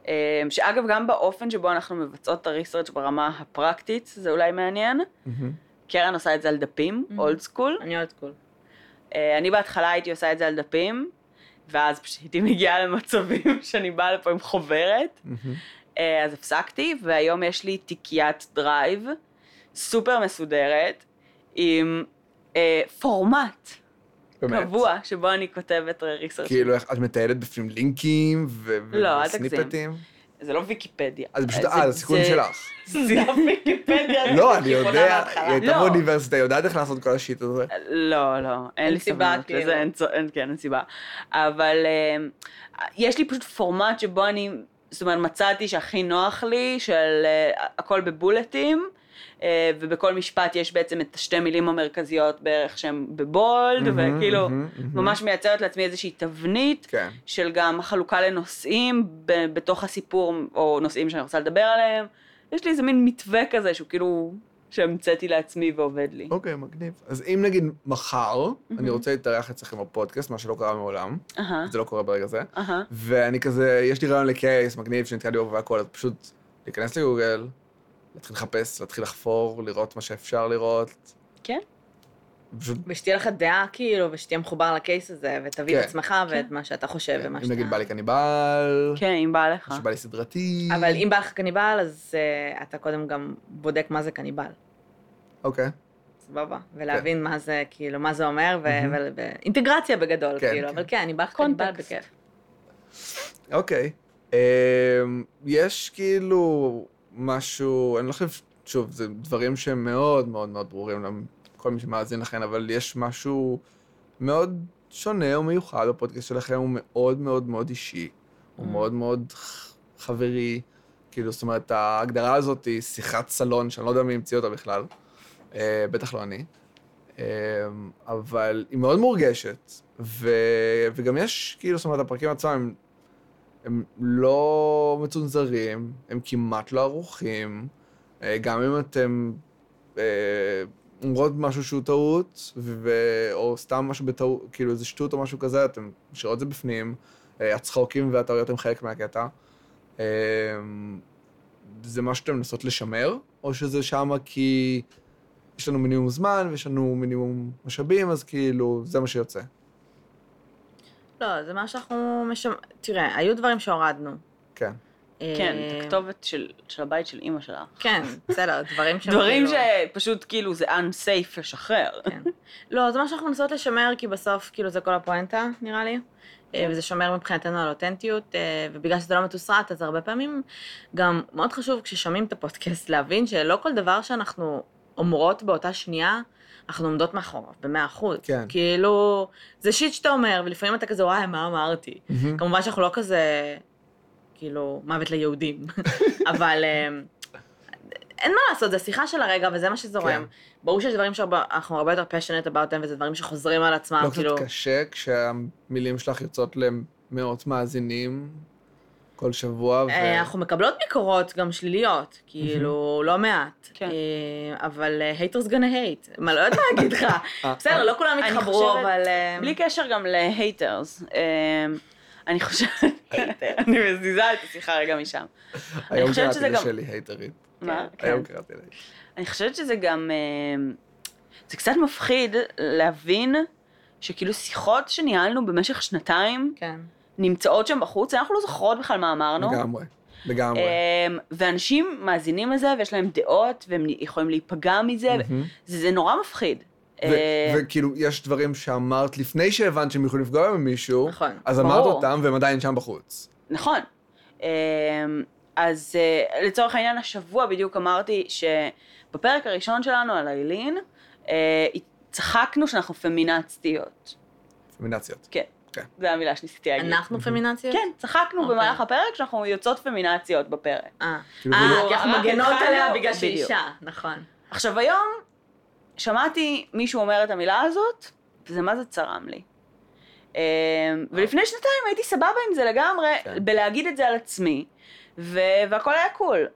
Speaker 3: אמ, שאגב, גם באופן שבו אנחנו מבצעות את הריסרצ' ברמה הפרקטית, זה אולי מעניין.
Speaker 1: מהמם.
Speaker 3: קרן עושה את זה על דפים,
Speaker 2: Mhm.
Speaker 3: אולד סקול.
Speaker 2: אני אוהבת קול.
Speaker 3: אה, אני בהתחלה הייתי עושה את זה על דפים, ואז פשוט הייתי מגיעה למצבים *laughs* שאני באה לפה עם חוברת,
Speaker 1: מהמם.
Speaker 3: אה, אז הפסקתי, והיום יש לי תיקיית דרייב, סופר מסודרת, עם אה, פורמט
Speaker 1: באמת.
Speaker 3: קבוע שבו אני כותבת ריסרצ'.
Speaker 1: כאילו, איך- את מטיילת בפנים לינקים ו-
Speaker 3: לא, אל תגזים.
Speaker 1: וסניפטים?
Speaker 3: זה לא ויקיפדיה.
Speaker 1: אז פשוט,
Speaker 3: זה-
Speaker 1: אה, זה סיכון
Speaker 3: זה- *laughs*
Speaker 1: שלך.
Speaker 3: זה לא
Speaker 1: *laughs*
Speaker 3: הוויקיפדיה.
Speaker 1: לא, אני יודע,
Speaker 2: מההתחלה.
Speaker 1: היא הייתה
Speaker 3: לא.
Speaker 1: באוניברסיטה, היא יודעת איך לעשות כל השיט הזה.
Speaker 3: לא, לא, אין לי
Speaker 2: סיבה,
Speaker 3: סבלנות
Speaker 2: כאילו.
Speaker 3: לזה, אין צו- אין- כן, אין סיבה. אבל אה, יש לי פשוט פורמט שבו אני, זאת אומרת, מצאתי שהכי נוח לי, של אה, הכל בבולטים, אה, ובכל משפט יש בעצם את השתי מילים המרכזיות בערך שהן בבולד,
Speaker 1: מהמם,
Speaker 3: וכאילו,
Speaker 1: מהמם, מהמם.
Speaker 3: ממש מייצרת לעצמי איזושהי תבנית
Speaker 1: כן.
Speaker 3: של גם חלוקה לנושאים ב- בתוך הסיפור, או נושאים שאני רוצה לדבר עליהם. יש לי איזה מין מתווה כזה שהוא כאילו, שהמצאתי לעצמי ועובד לי.
Speaker 1: אוקיי, מגניב. אז אם נגיד מחר, אני רוצה להתארח אצלכם בפודקאסט, מה שלא קרה מעולם,
Speaker 3: אהה,
Speaker 1: זה לא קורה ברגע זה,
Speaker 3: אהה.
Speaker 1: ואני כזה, יש לי רעיון לקייס מגניב שנתקע לי בו והכל, אז פשוט להיכנס לגוגל, להתחיל לחפש, להתחיל לחפור, לראות מה שאפשר לראות.
Speaker 3: כן.
Speaker 1: פשוט,
Speaker 2: ושתהיה לך דעה, כאילו, ושתהיה מחובר לקייס הזה, ותביא את
Speaker 1: כן.
Speaker 2: עצמך ואת מה שאתה חושב ומה
Speaker 1: אם
Speaker 2: שאתה... אה.
Speaker 1: נגיד בא לי קניבל,
Speaker 3: כן, אם בא לך.
Speaker 1: שבא לי סדרתי.
Speaker 2: אבל אם בא לך קניבל, אז אה, אתה קודם גם בודק מה זה קניבל,
Speaker 1: אוקיי.
Speaker 2: סבבה?
Speaker 1: כן.
Speaker 2: ולהבין מה זה, כאילו, מה זה אומר, ו- ו- ו- אינטגרציה בגדול,
Speaker 1: כן,
Speaker 2: כאילו,
Speaker 1: כן.
Speaker 2: אבל כן, אני בא לך קניבל
Speaker 3: קונטקסט.
Speaker 2: בכיף.
Speaker 1: אוקיי. אמ, יש כאילו משהו, אני לא חושב, שוב, זה דברים שהם מאוד מאוד מאוד ברורים לכל מי שמאזין לכם, אבל יש משהו מאוד שונה ומיוחד בפודקאסט שלכם, הוא מאוד מאוד מאוד אישי, הוא
Speaker 2: Mm.
Speaker 1: מאוד מאוד ח- חברי, כאילו, זאת אומרת, ההגדרה הזאת היא שיחת סלון, שאני לא יודע מי המציא אותה בכלל, אה, בטח לא אני. אמ, אבל היא מאוד מורגשת, ו... וגם יש, כאילו, זאת אומרת, הפרקים עצמם הם, הם לא מצונזרים, הם כמעט לא ערוכים, אה, גם אם אתם אה, אומרות משהו שהוא טעות, ו... או סתם משהו בטעות, כאילו איזה שטות או משהו כזה, אתם משאירות את זה בפנים, אה, הצחוקים והטעויות הם חלק מהקטע. אה, זה מה שאתם מנסות לשמר, או שזה שמה כי... יש לנו מינימום זמן ויש לנו מינימום משאבים, אז כאילו, זה מה שיוצא.
Speaker 2: לא, זה מה שאנחנו משמ... תראה, היו דברים שהורדנו.
Speaker 1: כן.
Speaker 3: כן,
Speaker 2: אה,
Speaker 3: את הכתובת של של הבית של אימא שלך.
Speaker 2: כן, בסדר, דברים שהם
Speaker 3: דברים
Speaker 2: כאילו-
Speaker 3: שפשוט כאילו זה unsafe לשחרר.
Speaker 2: כן. לא, זה מה שאנחנו מנסות לשמר, כי בסוף, כאילו, זה כל הפואנטה, נראה לי.
Speaker 1: כן.
Speaker 2: אה, וזה שומר מבחינתנו על אותנטיות, אה, ובגלל שזה לא מתוסרט, אז הרבה פעמים גם מאוד חשוב כששומעים את הפודקאסט להבין שלא כל דבר שאנחנו אומרות באותה שנייה, אנחנו עומדות מאחוריו, במאה אחוז.
Speaker 1: כן.
Speaker 2: כאילו, זה שיט שאתה אומר, ולפעמים אתה כזה, וואי, מה אמרתי? כמובן שאנחנו לא כזה, כאילו,
Speaker 1: *laughs*
Speaker 2: מוות ליהודים, אבל אמ, אין מה לעשות, זו שיחה של הרגע, וזה מה שזורם.
Speaker 1: כן.
Speaker 2: ברור שיש דברים שאנחנו הרבה יותר passionate about them, וזה דברים שחוזרים על עצמם,
Speaker 1: לא
Speaker 2: כאילו...
Speaker 1: קצת קשה כשהמילים שלך יוצאות למאות מאזינים כל שבוע, ו...
Speaker 2: אה, אנחנו מקבלות ביקורות גם שליליות, כאילו, לא מעט.
Speaker 3: כן.
Speaker 2: אה, אבל אה, haters gonna hate, מה, לא יודעת מה להגיד
Speaker 3: *laughs*
Speaker 2: לך.
Speaker 1: אה,
Speaker 2: בסדר, לא כולם
Speaker 3: אני
Speaker 2: התחברו,
Speaker 3: חושבת-
Speaker 2: אבל... אה,
Speaker 3: בלי קשר גם להייטרס. אני חושבת... אני מזיזה את השיחה רגע משם.
Speaker 1: היום
Speaker 3: חושבת
Speaker 1: קראתי
Speaker 3: שזה גם-
Speaker 1: לשלי הייטרית.
Speaker 3: מה? כן.
Speaker 1: היום קראתי לה.
Speaker 3: אני חושבת שזה גם... אה, זה קצת מפחיד להבין שכאילו שיחות שניהלנו במשך שנתיים
Speaker 2: כן.
Speaker 3: נמצאות שם בחוץ, אנחנו לא זוכרות בכלל מה אמרנו.
Speaker 1: לגמרי. לגמרי.
Speaker 3: אמ, ואנשים מאזינים לזה ויש להם דעות והם יכולים להיפגע מזה,
Speaker 1: מהמם.
Speaker 3: זה, זה נורא מפחיד.
Speaker 1: ו-
Speaker 3: אה,
Speaker 1: וכאילו, יש דברים שאמרת לפני שהבנת שהם יכולים לפגוע במישהו,
Speaker 2: נכון.
Speaker 1: אז
Speaker 3: ברור.
Speaker 1: אמרת אותם והם עדיין שם בחוץ.
Speaker 3: נכון. אמ, אז אה, לצורך העניין השבוע בדיוק אמרתי שבפרק הראשון שלנו על איילין, אה, צחקנו שאנחנו פמינצטיות.
Speaker 1: פמינציות.
Speaker 3: זו המילה שניסיתי להגיד.
Speaker 2: אנחנו פמינציות?
Speaker 3: כן, צחקנו
Speaker 2: אוקיי.
Speaker 3: במהלך הפרק שאנחנו יוצאות פמינציות בפרק.
Speaker 2: אה,
Speaker 1: כאילו, זה
Speaker 2: אה,
Speaker 1: לא-
Speaker 2: כי אנחנו
Speaker 3: רק
Speaker 2: מגנות
Speaker 3: התחלנו-
Speaker 2: עליה בגלל שהיא
Speaker 3: בדיוק.
Speaker 2: אישה, נכון.
Speaker 3: עכשיו היום שמעתי מישהו אומר את המילה הזאת, וזה מה זה צרם לי. אמ, ולפני שנתיים הייתי סבבה עם זה לגמרי,
Speaker 1: כן.
Speaker 3: בלהגיד את זה על עצמי, ו- והכל היה קול.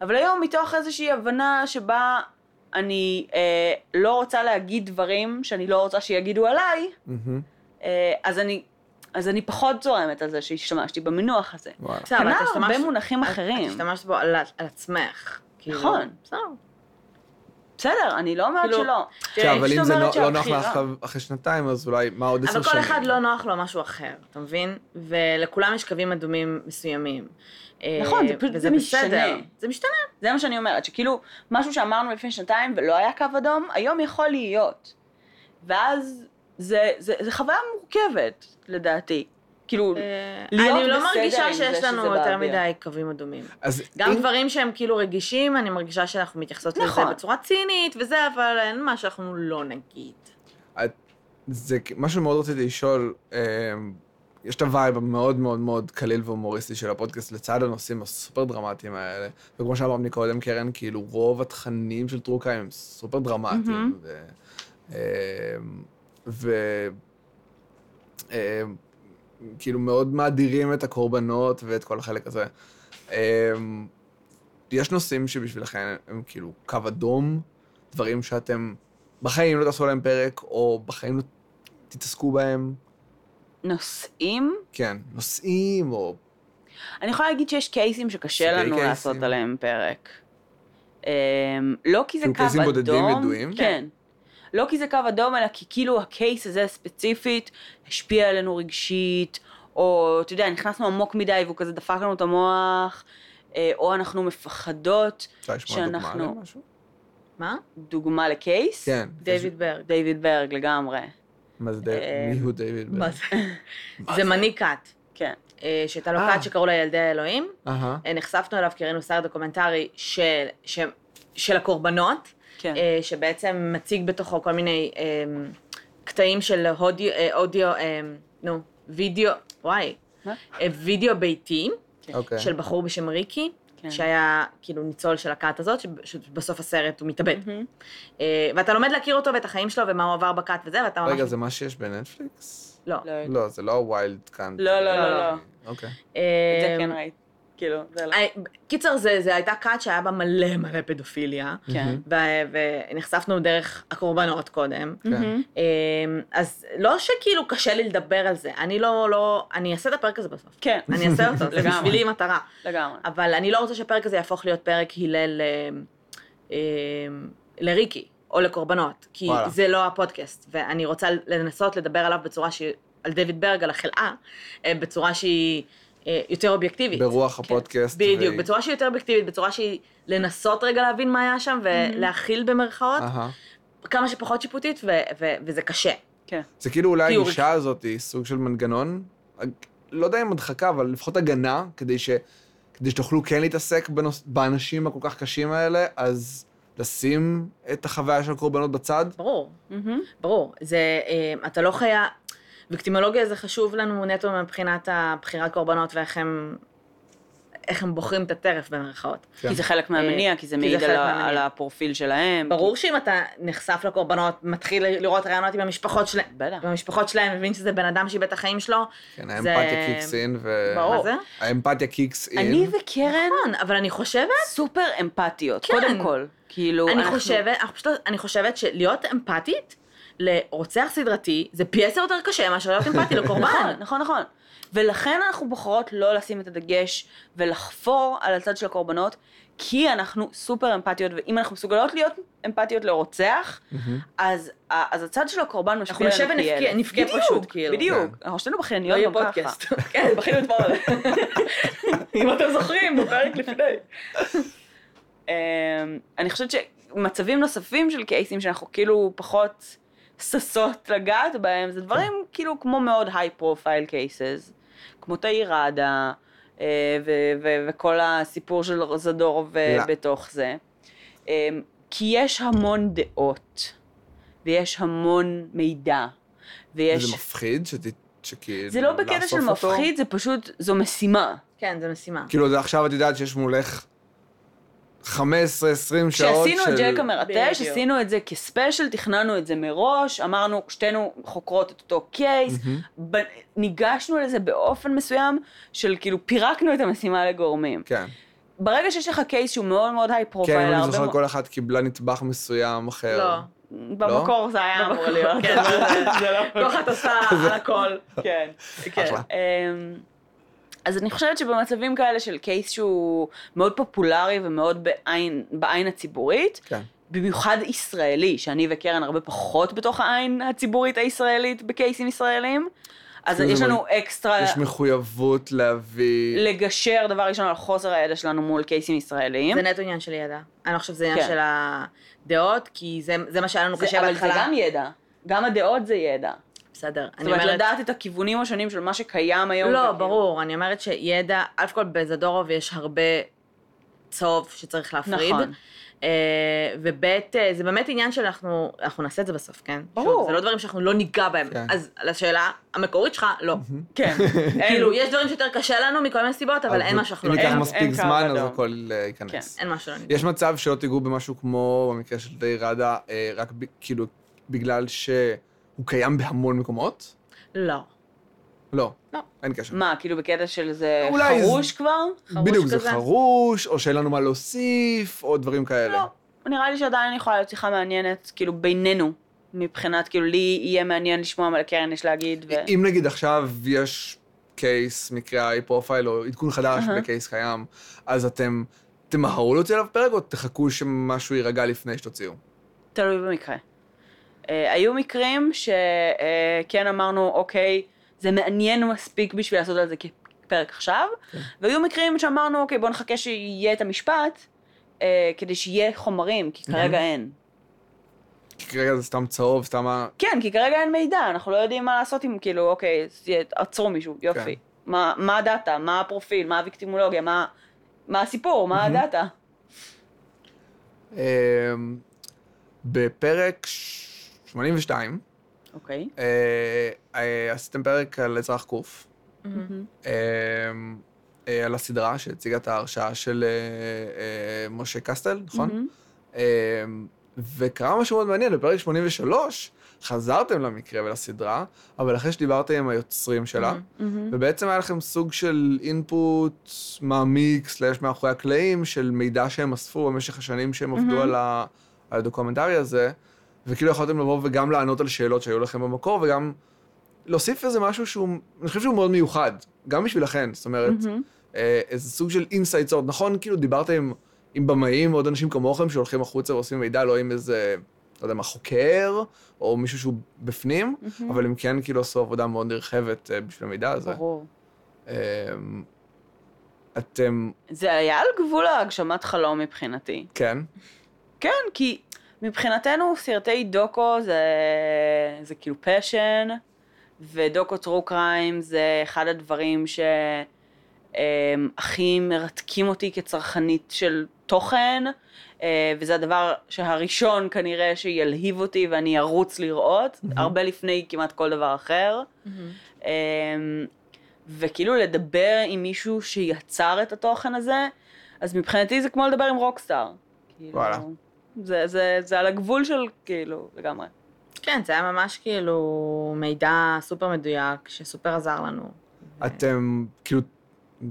Speaker 3: אבל היום מתוך איזושהי הבנה שבה אני אה, לא רוצה להגיד דברים שאני לא רוצה שיגידו עליי,
Speaker 1: מהמם.
Speaker 3: אה, אז אני... אז אני פחות זורמת על זה שהשתמשתי במינוח הזה.
Speaker 1: וואלה.
Speaker 2: בסדר, כן, אבל
Speaker 3: כנ"ל
Speaker 2: אתה השתמשת-
Speaker 3: הרבה מונחים
Speaker 2: את- את
Speaker 3: לא אחרים.
Speaker 2: השתמשת בו על על עצמך. כאילו.
Speaker 3: נכון.
Speaker 2: בסדר.
Speaker 3: בסדר, אני לא אומרת
Speaker 2: כאילו,
Speaker 3: שלא.
Speaker 1: עכשיו, אבל
Speaker 3: פשוט
Speaker 1: אם זה
Speaker 3: אומרת
Speaker 1: לא- לא נוח
Speaker 3: שהבחירה-
Speaker 1: לך אחרי שנתיים, אז אולי, מה עוד עשר
Speaker 2: אבל
Speaker 1: שנים?
Speaker 2: כל אחד לא נוח לו משהו אחר, אתה מבין? ולכולם יש קווים אדומים מסוימים. אה,
Speaker 3: נכון, זה פשוט-
Speaker 2: וזה
Speaker 3: זה משתנה.
Speaker 2: בסדר. זה משתנה.
Speaker 3: זה מה שאני אומרת, שכאילו, משהו שאמרנו לפני שנתיים ולא היה קו אדום, היום יכול להיות. ואז זה, זה, זה חוויה מורכבת, לדעתי. כאילו,
Speaker 2: אה,
Speaker 3: להיות
Speaker 2: אני לא
Speaker 3: בסדר עם
Speaker 2: מרגישה
Speaker 3: זה
Speaker 2: שיש לנו
Speaker 3: שזה
Speaker 2: יותר
Speaker 3: באוויר.
Speaker 2: מדי קווים אדומים.
Speaker 1: אז
Speaker 2: גם
Speaker 1: אם-
Speaker 2: דברים שהם כאילו רגישים, אני מרגישה שאנחנו מתייחסות לזה
Speaker 3: נכון.
Speaker 2: בצורה צינית וזה, אבל אין מה שאנחנו לא נגיד.
Speaker 1: זה כ- מה שמאוד רציתי לשאול, אה, יש את הווייב המאוד מאוד מאוד קליל והומוריסטי של הפודקאסט לצד הנושאים הסופר דרמטיים האלה. וכמו שאמרת מקודם, קרן, כאילו רוב התכנים של טרוקיים הם סופר דרמטיים. ו... אה, ו... אה, כאילו מאוד מאדירים את הקורבנות ואת כל החלק הזה. אה, יש נושאים שבשבילכם הם כאילו קו אדום, דברים שאתם בחיים לא תעשו עליהם פרק, או בחיים לא תתעסקו בהם.
Speaker 3: נושאים,
Speaker 1: כן, נושאים, או
Speaker 3: אני יכולה להגיד שיש קייסים שקשה
Speaker 1: סוגי
Speaker 3: לנו
Speaker 1: קייסים.
Speaker 3: לעשות עליהם פרק. אמ, לא כי זה קו
Speaker 1: כאילו
Speaker 3: אדום.
Speaker 1: קייסים בודדים ידועים?
Speaker 3: כן. לא כי זה קו אדום, אלא כי כאילו הקייס הזה ספציפית השפיע עלינו רגשית, או אתה יודע, נכנסנו עמוק מדי והוא כזה דפק לנו את המוח, אה, או אנחנו מפחדות.
Speaker 1: אפשר לשמוע דוגמה
Speaker 3: שאנחנו-
Speaker 1: למשהו?
Speaker 2: מה?
Speaker 3: דוגמה לקייס?
Speaker 1: כן.
Speaker 2: דיוויד ברג.
Speaker 3: דיוויד ברג לגמרי.
Speaker 1: מה זה דיוויד?
Speaker 3: אה,
Speaker 1: מי הוא דיוויד?
Speaker 2: מה
Speaker 1: ברג?
Speaker 2: זה? זה מנהיג כת,
Speaker 3: כן.
Speaker 2: אה, שהייתה לו
Speaker 1: אה.
Speaker 2: כת שקראו לה ילדי האלוהים.
Speaker 1: אהה.
Speaker 2: אה, נחשפנו אליו כי ראינו סרט דוקומנטרי של, ש, של הקורבנות,
Speaker 3: כן.
Speaker 2: אה, שבעצם מציג בתוכו כל מיני אה, קטעים של הודיו, אה, אודיו, אה, נו, וידאו, וואי,
Speaker 3: מה?
Speaker 2: אה, וידאו ביתי
Speaker 3: אה,
Speaker 1: אוקיי.
Speaker 2: של בחור בשם ריקי,
Speaker 3: כן.
Speaker 2: שהיה כאילו ניצול של הכת הזאת, שב- שבסוף הסרט הוא מתאבד.
Speaker 3: מהמם.
Speaker 2: אה, ואתה לומד להכיר אותו ואת החיים שלו ומה הוא עבר בכת וזה, ואתה ממש...
Speaker 1: רגע, זה מה שיש בנטפליקס?
Speaker 2: לא.
Speaker 3: לא,
Speaker 1: לא, זה לא הווילד כאן.
Speaker 3: לא, לא,
Speaker 2: לא,
Speaker 3: לא.
Speaker 1: אוקיי.
Speaker 3: את זה
Speaker 2: אה,
Speaker 3: כן ראית. כאילו, זה לא.
Speaker 2: אה, קיצר, זה, זה הייתה כת שהיה בה מלא מלא פדופיליה,
Speaker 3: כן.
Speaker 2: ו- ונחשפנו דרך הקורבנות קודם.
Speaker 1: כן.
Speaker 2: אה, אז לא שכאילו קשה לי לדבר על זה, אני לא, לא, אני אעשה את הפרק הזה בסוף.
Speaker 3: כן,
Speaker 2: אני אעשה אותו, זה
Speaker 3: לגמרי.
Speaker 2: בשבילי מטרה.
Speaker 3: לגמרי.
Speaker 2: אבל אני לא רוצה שהפרק הזה יהפוך להיות פרק הלל אה, אה, לריקי, או לקורבנות, כי
Speaker 1: וואלה.
Speaker 2: וואלה. זה לא הפודקאסט, ואני רוצה לנסות לדבר עליו בצורה שהיא, על דיוויד ברג, על החלאה, אה, בצורה שהיא אה, יותר אובייקטיבית.
Speaker 1: כן. ברוח הפודקאסט.
Speaker 2: בדיוק,
Speaker 1: והיא-
Speaker 2: בצורה שהיא יותר אובייקטיבית, בצורה שהיא לנסות רגע להבין מה היה שם ולהכיל במרכאות,
Speaker 1: אהה.
Speaker 2: כמה שפחות שיפוטית, ו- ו- וזה קשה.
Speaker 3: כן.
Speaker 1: זה כאילו אולי
Speaker 2: תיאור.
Speaker 1: הגישה הזאת היא סוג של מנגנון, לא יודע אם הדחקה, אבל לפחות הגנה, כדי ש... כדי שתוכלו כן להתעסק בנוס... באנשים הכל כך קשים האלה, אז לשים את החוויה של הקורבנות בצד.
Speaker 2: ברור,
Speaker 3: מהמם.
Speaker 2: ברור. זה, אה, אתה לא חיה... וקטימולוגיה זה חשוב לנו נטו מבחינת הבחירת קורבנות ואיך הם... איך הם בוחרים את הטרף במרכאות.
Speaker 1: כן.
Speaker 3: כי זה חלק מהמניע, כי זה
Speaker 2: אה, כי
Speaker 3: מעיד
Speaker 2: זה
Speaker 3: על
Speaker 2: חלק
Speaker 3: ה-
Speaker 2: מהמניע.
Speaker 3: על הפרופיל שלהם. כאילו,
Speaker 2: ברור שאם אתה נחשף לקורבנות, מתחיל לראות רעיונות עם המשפחות שלהם,
Speaker 3: בטח.
Speaker 2: עם המשפחות שלהם, מבין שזה בן אדם שאיבד את החיים שלו,
Speaker 1: כן,
Speaker 2: זה-
Speaker 1: האמפתיה קיקס אין, ו...
Speaker 3: ברור.
Speaker 2: מה זה?
Speaker 1: האמפתיה קיקס אין.
Speaker 3: אני וקרן
Speaker 2: נכון, אבל אני חושבת...
Speaker 3: סופר אמפתיות,
Speaker 2: כן.
Speaker 3: קודם כל. כאילו,
Speaker 2: אני
Speaker 3: אנחנו-
Speaker 2: חושבת, אנחנו פשוט, אני חושבת שלהיות אמפתית לרוצח סדרתי זה פי עשר יותר קשה מאשר להיות
Speaker 3: *laughs*
Speaker 2: אמפתי
Speaker 3: נכון,
Speaker 2: לקורבן.
Speaker 3: נכון, נכון. ולכן אנחנו בוחרות לא לשים את הדגש ולחפור על הצד של הקורבנות, כי אנחנו סופר אמפתיות, ואם אנחנו מסוגלות להיות אמפתיות לרוצח,
Speaker 1: מהמם.
Speaker 3: אז, ה- אז הצד של הקורבן
Speaker 2: אנחנו
Speaker 3: משפיע
Speaker 2: נשב
Speaker 3: עלינו פי
Speaker 2: ונבכה
Speaker 3: אלף.
Speaker 2: נבכה
Speaker 3: בדיוק,
Speaker 2: פשוט, כאילו.
Speaker 3: בדיוק. אנחנו שנינו
Speaker 2: לא
Speaker 3: בכייניות
Speaker 2: יהיה
Speaker 3: גם ככה.
Speaker 2: פודקאסט. *laughs* כן,
Speaker 3: בכינו אתמול.
Speaker 2: *laughs* אם אתם זוכרים, בפרק לפני.
Speaker 3: אמ, אני חושבת שמצבים נוספים של קייסים שאנחנו כאילו פחות ששות לגעת בהם, זה דברים
Speaker 1: כן.
Speaker 3: כאילו כמו מאוד high profile cases, כמו תאיר ראדה, אה, ו- ו- וכל הסיפור של זדורוב
Speaker 1: לא.
Speaker 3: אה, בתוך זה. אמ, כי יש המון דעות, ויש המון מידע, ויש...
Speaker 1: וזה מפחיד שת... שכאילו...
Speaker 3: זה לא בקטע
Speaker 1: לאסוף
Speaker 3: של
Speaker 1: אותו?
Speaker 3: מפחיד, זה פשוט, זו משימה.
Speaker 2: כן, זו משימה.
Speaker 1: כאילו, זה עכשיו את יודעת שיש מולך 15-20 שעות של...
Speaker 3: כשעשינו את ג'ק המרטש,
Speaker 2: בדיוק.
Speaker 3: עשינו את זה כספיישל, תכננו את זה מראש, אמרנו, שתינו חוקרות את אותו קייס,
Speaker 1: מהמם.
Speaker 3: ב- ניגשנו לזה באופן מסוים, של כאילו פירקנו את המשימה לגורמים.
Speaker 1: כן.
Speaker 3: ברגע שיש לך קייס שהוא מאוד מאוד היי
Speaker 1: כן,
Speaker 3: פרופייל,
Speaker 1: אם אני
Speaker 3: הרבה
Speaker 1: זוכר,
Speaker 3: מאוד-
Speaker 1: כל אחת קיבלה נדבך מסוים אחר.
Speaker 2: לא.
Speaker 1: לא?
Speaker 3: במקור זה היה אמור
Speaker 2: במקור.
Speaker 3: להיות, כן, זה- *laughs* זה
Speaker 2: כל
Speaker 3: לא...
Speaker 2: אחת עושה
Speaker 1: *laughs*
Speaker 2: על הכל.
Speaker 3: כן.
Speaker 2: כן.
Speaker 1: אחלה.
Speaker 3: אמ, אז אני חושבת שבמצבים כאלה של קייס שהוא מאוד פופולרי ומאוד בעין, בעין הציבורית,
Speaker 1: כן.
Speaker 3: במיוחד ישראלי, שאני וקרן הרבה פחות בתוך העין הציבורית הישראלית בקייסים ישראלים, אז
Speaker 1: כאילו זה
Speaker 3: יש לנו
Speaker 1: מרגיש-
Speaker 2: אה,
Speaker 3: אקסטרה
Speaker 1: יש מחויבות להביא...
Speaker 3: לגשר דבר ראשון על חוסר הידע שלנו מול קייסים ישראלים.
Speaker 2: זה נטו עניין של ידע. אני לא חושבת שזה עניין
Speaker 3: כן.
Speaker 2: של הדעות, כי זה זה מה שהיה לנו
Speaker 3: זה-
Speaker 2: קשה
Speaker 3: אבל זה
Speaker 2: בהתחלה.
Speaker 3: גם ידע, גם הדעות זה ידע.
Speaker 2: בסדר. אני
Speaker 3: זאת אומרת,
Speaker 2: אומרת,
Speaker 3: לדעת את הכיוונים השונים של מה שקיים היום.
Speaker 2: לא,
Speaker 3: וכאילו-
Speaker 2: ברור, אני אומרת שידע, אלף כל בזדורוב יש הרבה צהוב שצריך להפריד.
Speaker 3: נכון.
Speaker 2: אה, ובית, אה, זה באמת עניין שאנחנו, אנחנו נעשה את זה בסוף, כן?
Speaker 3: ברור.
Speaker 2: שוב, זה לא דברים שאנחנו לא ניגע בהם.
Speaker 1: כן.
Speaker 2: אז לשאלה המקורית שלך, לא.
Speaker 1: *laughs*
Speaker 3: כן.
Speaker 2: כאילו, יש דברים שיותר קשה לנו מכל מיני סיבות, אבל אין משהו שאנחנו
Speaker 1: אם
Speaker 2: לא
Speaker 1: ייקח
Speaker 2: ניגע.
Speaker 3: אין-
Speaker 1: מספיק
Speaker 3: אין קו
Speaker 1: זמן, אז
Speaker 3: אדום.
Speaker 1: הכל אה, ייכנס.
Speaker 3: כן.
Speaker 2: אין משהו שלא ניגע.
Speaker 1: יש מצב שלא תיגעו במשהו כמו במקרה של די ראדה, אה, רק ב- כאילו בגלל שהוא קיים בהמון מקומות?
Speaker 2: לא.
Speaker 1: לא.
Speaker 2: לא.
Speaker 1: אין קשר.
Speaker 3: מה, כאילו בקטע של זה
Speaker 1: אולי זה-
Speaker 3: חרוש כבר?
Speaker 2: חרוש
Speaker 1: בדיוק, זה
Speaker 2: כזה?
Speaker 1: חרוש, או שאין לנו מה להוסיף, או דברים כאלה.
Speaker 3: לא. נראה לי שעדיין יכולה להיות שיחה מעניינת, כאילו בינינו, מבחינת, כאילו לי יהיה מעניין לשמוע מה לקרן יש להגיד, ו...
Speaker 1: אם נגיד עכשיו יש קייס, מקרה היי פרופייל, או עדכון חדש
Speaker 3: אהה.
Speaker 1: בקייס קיים, אז אתם תמהרו להוציא עליו פרק, או תחכו שמשהו יירגע לפני שתוציאו?
Speaker 3: תלוי במקרה. אה, היו מקרים שכן אמרנו, אוקיי, זה מעניין מספיק בשביל לעשות על זה כפרק עכשיו,
Speaker 1: כן.
Speaker 3: והיו מקרים שאמרנו, אוקיי, בואו נחכה שיהיה את המשפט, אה, כדי שיהיה חומרים, כי כרגע אין.
Speaker 1: כי כרגע זה סתם צהוב, סתם ה...
Speaker 3: כן, כי כרגע אין מידע, אנחנו לא יודעים מה לעשות עם, כאילו, אוקיי, אז יהיה- עצרו מישהו, יופי.
Speaker 1: כן.
Speaker 3: מה מה הדאטה, מה הפרופיל, מה הוויקטימולוגיה, מה- מה הסיפור, מה
Speaker 1: מהמם.
Speaker 3: הדאטה.
Speaker 1: אמ, בפרק ש- 82,
Speaker 3: אוקיי.
Speaker 1: אה, אה, עשיתם פרק על אזרח קוף, אמ, אה, על הסדרה שהציגה את ההרשעה של אה, אה, משה קסטל, נכון?
Speaker 3: מהמם.
Speaker 1: אמ, וקרה משהו מאוד מעניין, בפרק 83 חזרתם למקרה ולסדרה, אבל אחרי שדיברתם עם היוצרים שלה,
Speaker 2: מהמם.
Speaker 3: מהמם.
Speaker 1: ובעצם היה לכם סוג של אינפוט מעמיק, סלאש מאחורי הקלעים, של מידע שהם אספו במשך השנים שהם עבדו
Speaker 3: מהמם.
Speaker 1: על ה- על הדוקומנטרי הזה, וכאילו יכולתם לבוא וגם לענות על שאלות שהיו לכם במקור, וגם להוסיף איזה משהו שהוא, אני חושב שהוא מאוד מיוחד, גם בשבילכן, זאת אומרת,
Speaker 3: מהמם.
Speaker 1: אה, איזה סוג של אינסייט סורד. נכון, כאילו דיברתם עם, עם במאים, עוד אנשים כמוכם שהולכים החוצה ועושים מידע, לא עם איזה, לא יודע מה, חוקר, או מישהו שהוא בפנים,
Speaker 3: מהמם.
Speaker 1: אבל הם כן כאילו עשו עבודה מאוד נרחבת אה, בשביל המידע הזה.
Speaker 3: ברור.
Speaker 1: אה, אתם,
Speaker 3: זה היה על גבול ההגשמת חלום מבחינתי.
Speaker 1: כן,
Speaker 3: כן, כי מבחינתנו סרטי דוקו זה, זה כאילו פשן, ודוקו טרו קריים זה אחד הדברים שהכי מרתקים אותי כצרכנית של תוכן, אה, וזה הדבר שהראשון כנראה שילהיב אותי ואני ארוץ לראות,
Speaker 1: מהמם.
Speaker 3: הרבה לפני כמעט כל דבר אחר.
Speaker 2: מהמם.
Speaker 3: אמ, וכאילו לדבר עם מישהו שיצר את התוכן הזה, אז מבחינתי זה כמו לדבר עם רוקסטאר. כאילו,
Speaker 1: וואלה.
Speaker 3: זה, זה, זה על הגבול של כאילו, לגמרי.
Speaker 2: כן, זה היה ממש כאילו מידע סופר מדויק, שסופר עזר לנו.
Speaker 1: אתם כאילו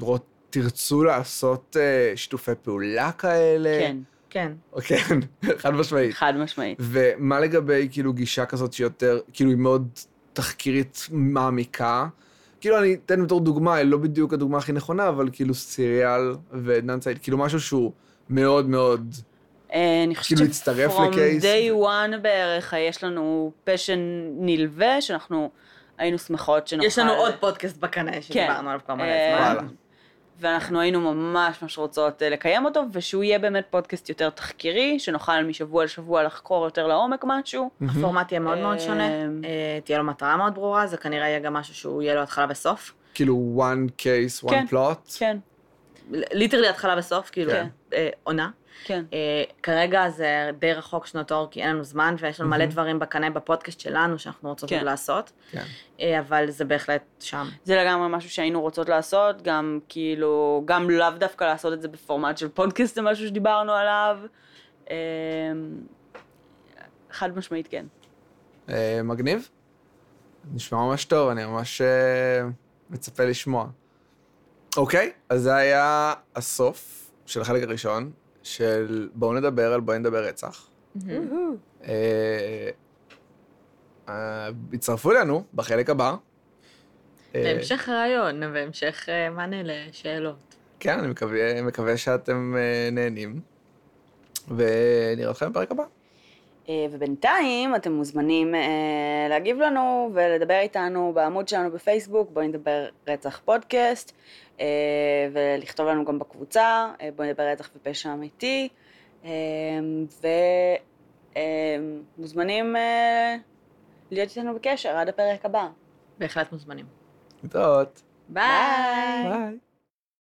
Speaker 1: רו- תרצו לעשות אה, שיתופי פעולה כאלה?
Speaker 3: כן,
Speaker 2: כן.
Speaker 1: או כן, *laughs* חד משמעית.
Speaker 3: חד משמעית.
Speaker 1: ומה לגבי כאילו גישה כזאת שיותר, כאילו היא מאוד תחקירית מעמיקה? כאילו אני אתן בתור דוגמה, היא לא בדיוק הדוגמה הכי נכונה, אבל כאילו סיריאל ועדנן סעיד, כאילו משהו שהוא מאוד מאוד,
Speaker 3: אה, אני חושבת
Speaker 1: כאילו להצטרף לקייס?
Speaker 3: From day one בערך אה, יש לנו פשן נלווה, שאנחנו היינו שמחות שנוכל...
Speaker 2: יש לנו עוד פודקאסט בקנה שדיברנו
Speaker 3: כן.
Speaker 2: עליו כבר מלא
Speaker 3: אה,
Speaker 2: זמן.
Speaker 1: וואלה.
Speaker 3: ואנחנו היינו ממש ממש רוצות אה, לקיים אותו, ושהוא יהיה באמת פודקאסט יותר תחקירי, שנוכל משבוע לשבוע לחקור יותר לעומק משהו.
Speaker 2: הפורמט יהיה מאוד מאוד שונה,
Speaker 3: אמ,
Speaker 2: אה, תהיה לו מטרה מאוד ברורה, זה כנראה יהיה גם משהו שהוא יהיה לו התחלה וסוף.
Speaker 1: כאילו one case,
Speaker 3: כן,
Speaker 1: one plot?
Speaker 3: כן,
Speaker 2: ליטרלי התחלה וסוף, כאילו,
Speaker 1: כן.
Speaker 2: אה, עונה.
Speaker 3: כן.
Speaker 2: אה, כרגע זה די רחוק שנות אור, כי אין לנו זמן, ויש לנו מלא
Speaker 1: מהמם.
Speaker 2: דברים בקנה בפודקאסט שלנו שאנחנו רוצות
Speaker 3: Mm-hmm. כן.
Speaker 2: לעשות,
Speaker 1: כן.
Speaker 2: אה, אבל זה בהחלט שם.
Speaker 3: זה לגמרי משהו שהיינו רוצות לעשות, גם כאילו, גם לאו דווקא לעשות את זה בפורמט של פודקאסט, זה משהו שדיברנו עליו. אמ, חד משמעית כן.
Speaker 1: אה, מגניב? נשמע ממש טוב, אני ממש אה, מצפה לשמוע. אוקיי, אז זה היה הסוף של החלק הראשון, של בואו נדבר על בואי נדבר רצח. אה, אה, הצטרפו אלינו בחלק הבא. אה,
Speaker 2: בהמשך הרעיון, בהמשך אה, מענה לשאלות.
Speaker 1: כן, אני מקווה, מקווה שאתם אה, נהנים, ונראה אתכם בפרק הבא.
Speaker 3: אה, ובינתיים אתם מוזמנים אה, להגיב לנו ולדבר איתנו בעמוד שלנו בפייסבוק, בואי נדבר רצח פודקאסט, אה, ולכתוב לנו גם בקבוצה, אה, בואי נדבר רצח ופשע אמיתי, אה, ומוזמנים אה, להיות איתנו בקשר עד הפרק הבא.
Speaker 2: בהחלט מוזמנים.
Speaker 1: להתראות.
Speaker 2: ביי!
Speaker 3: ביי.
Speaker 1: ביי.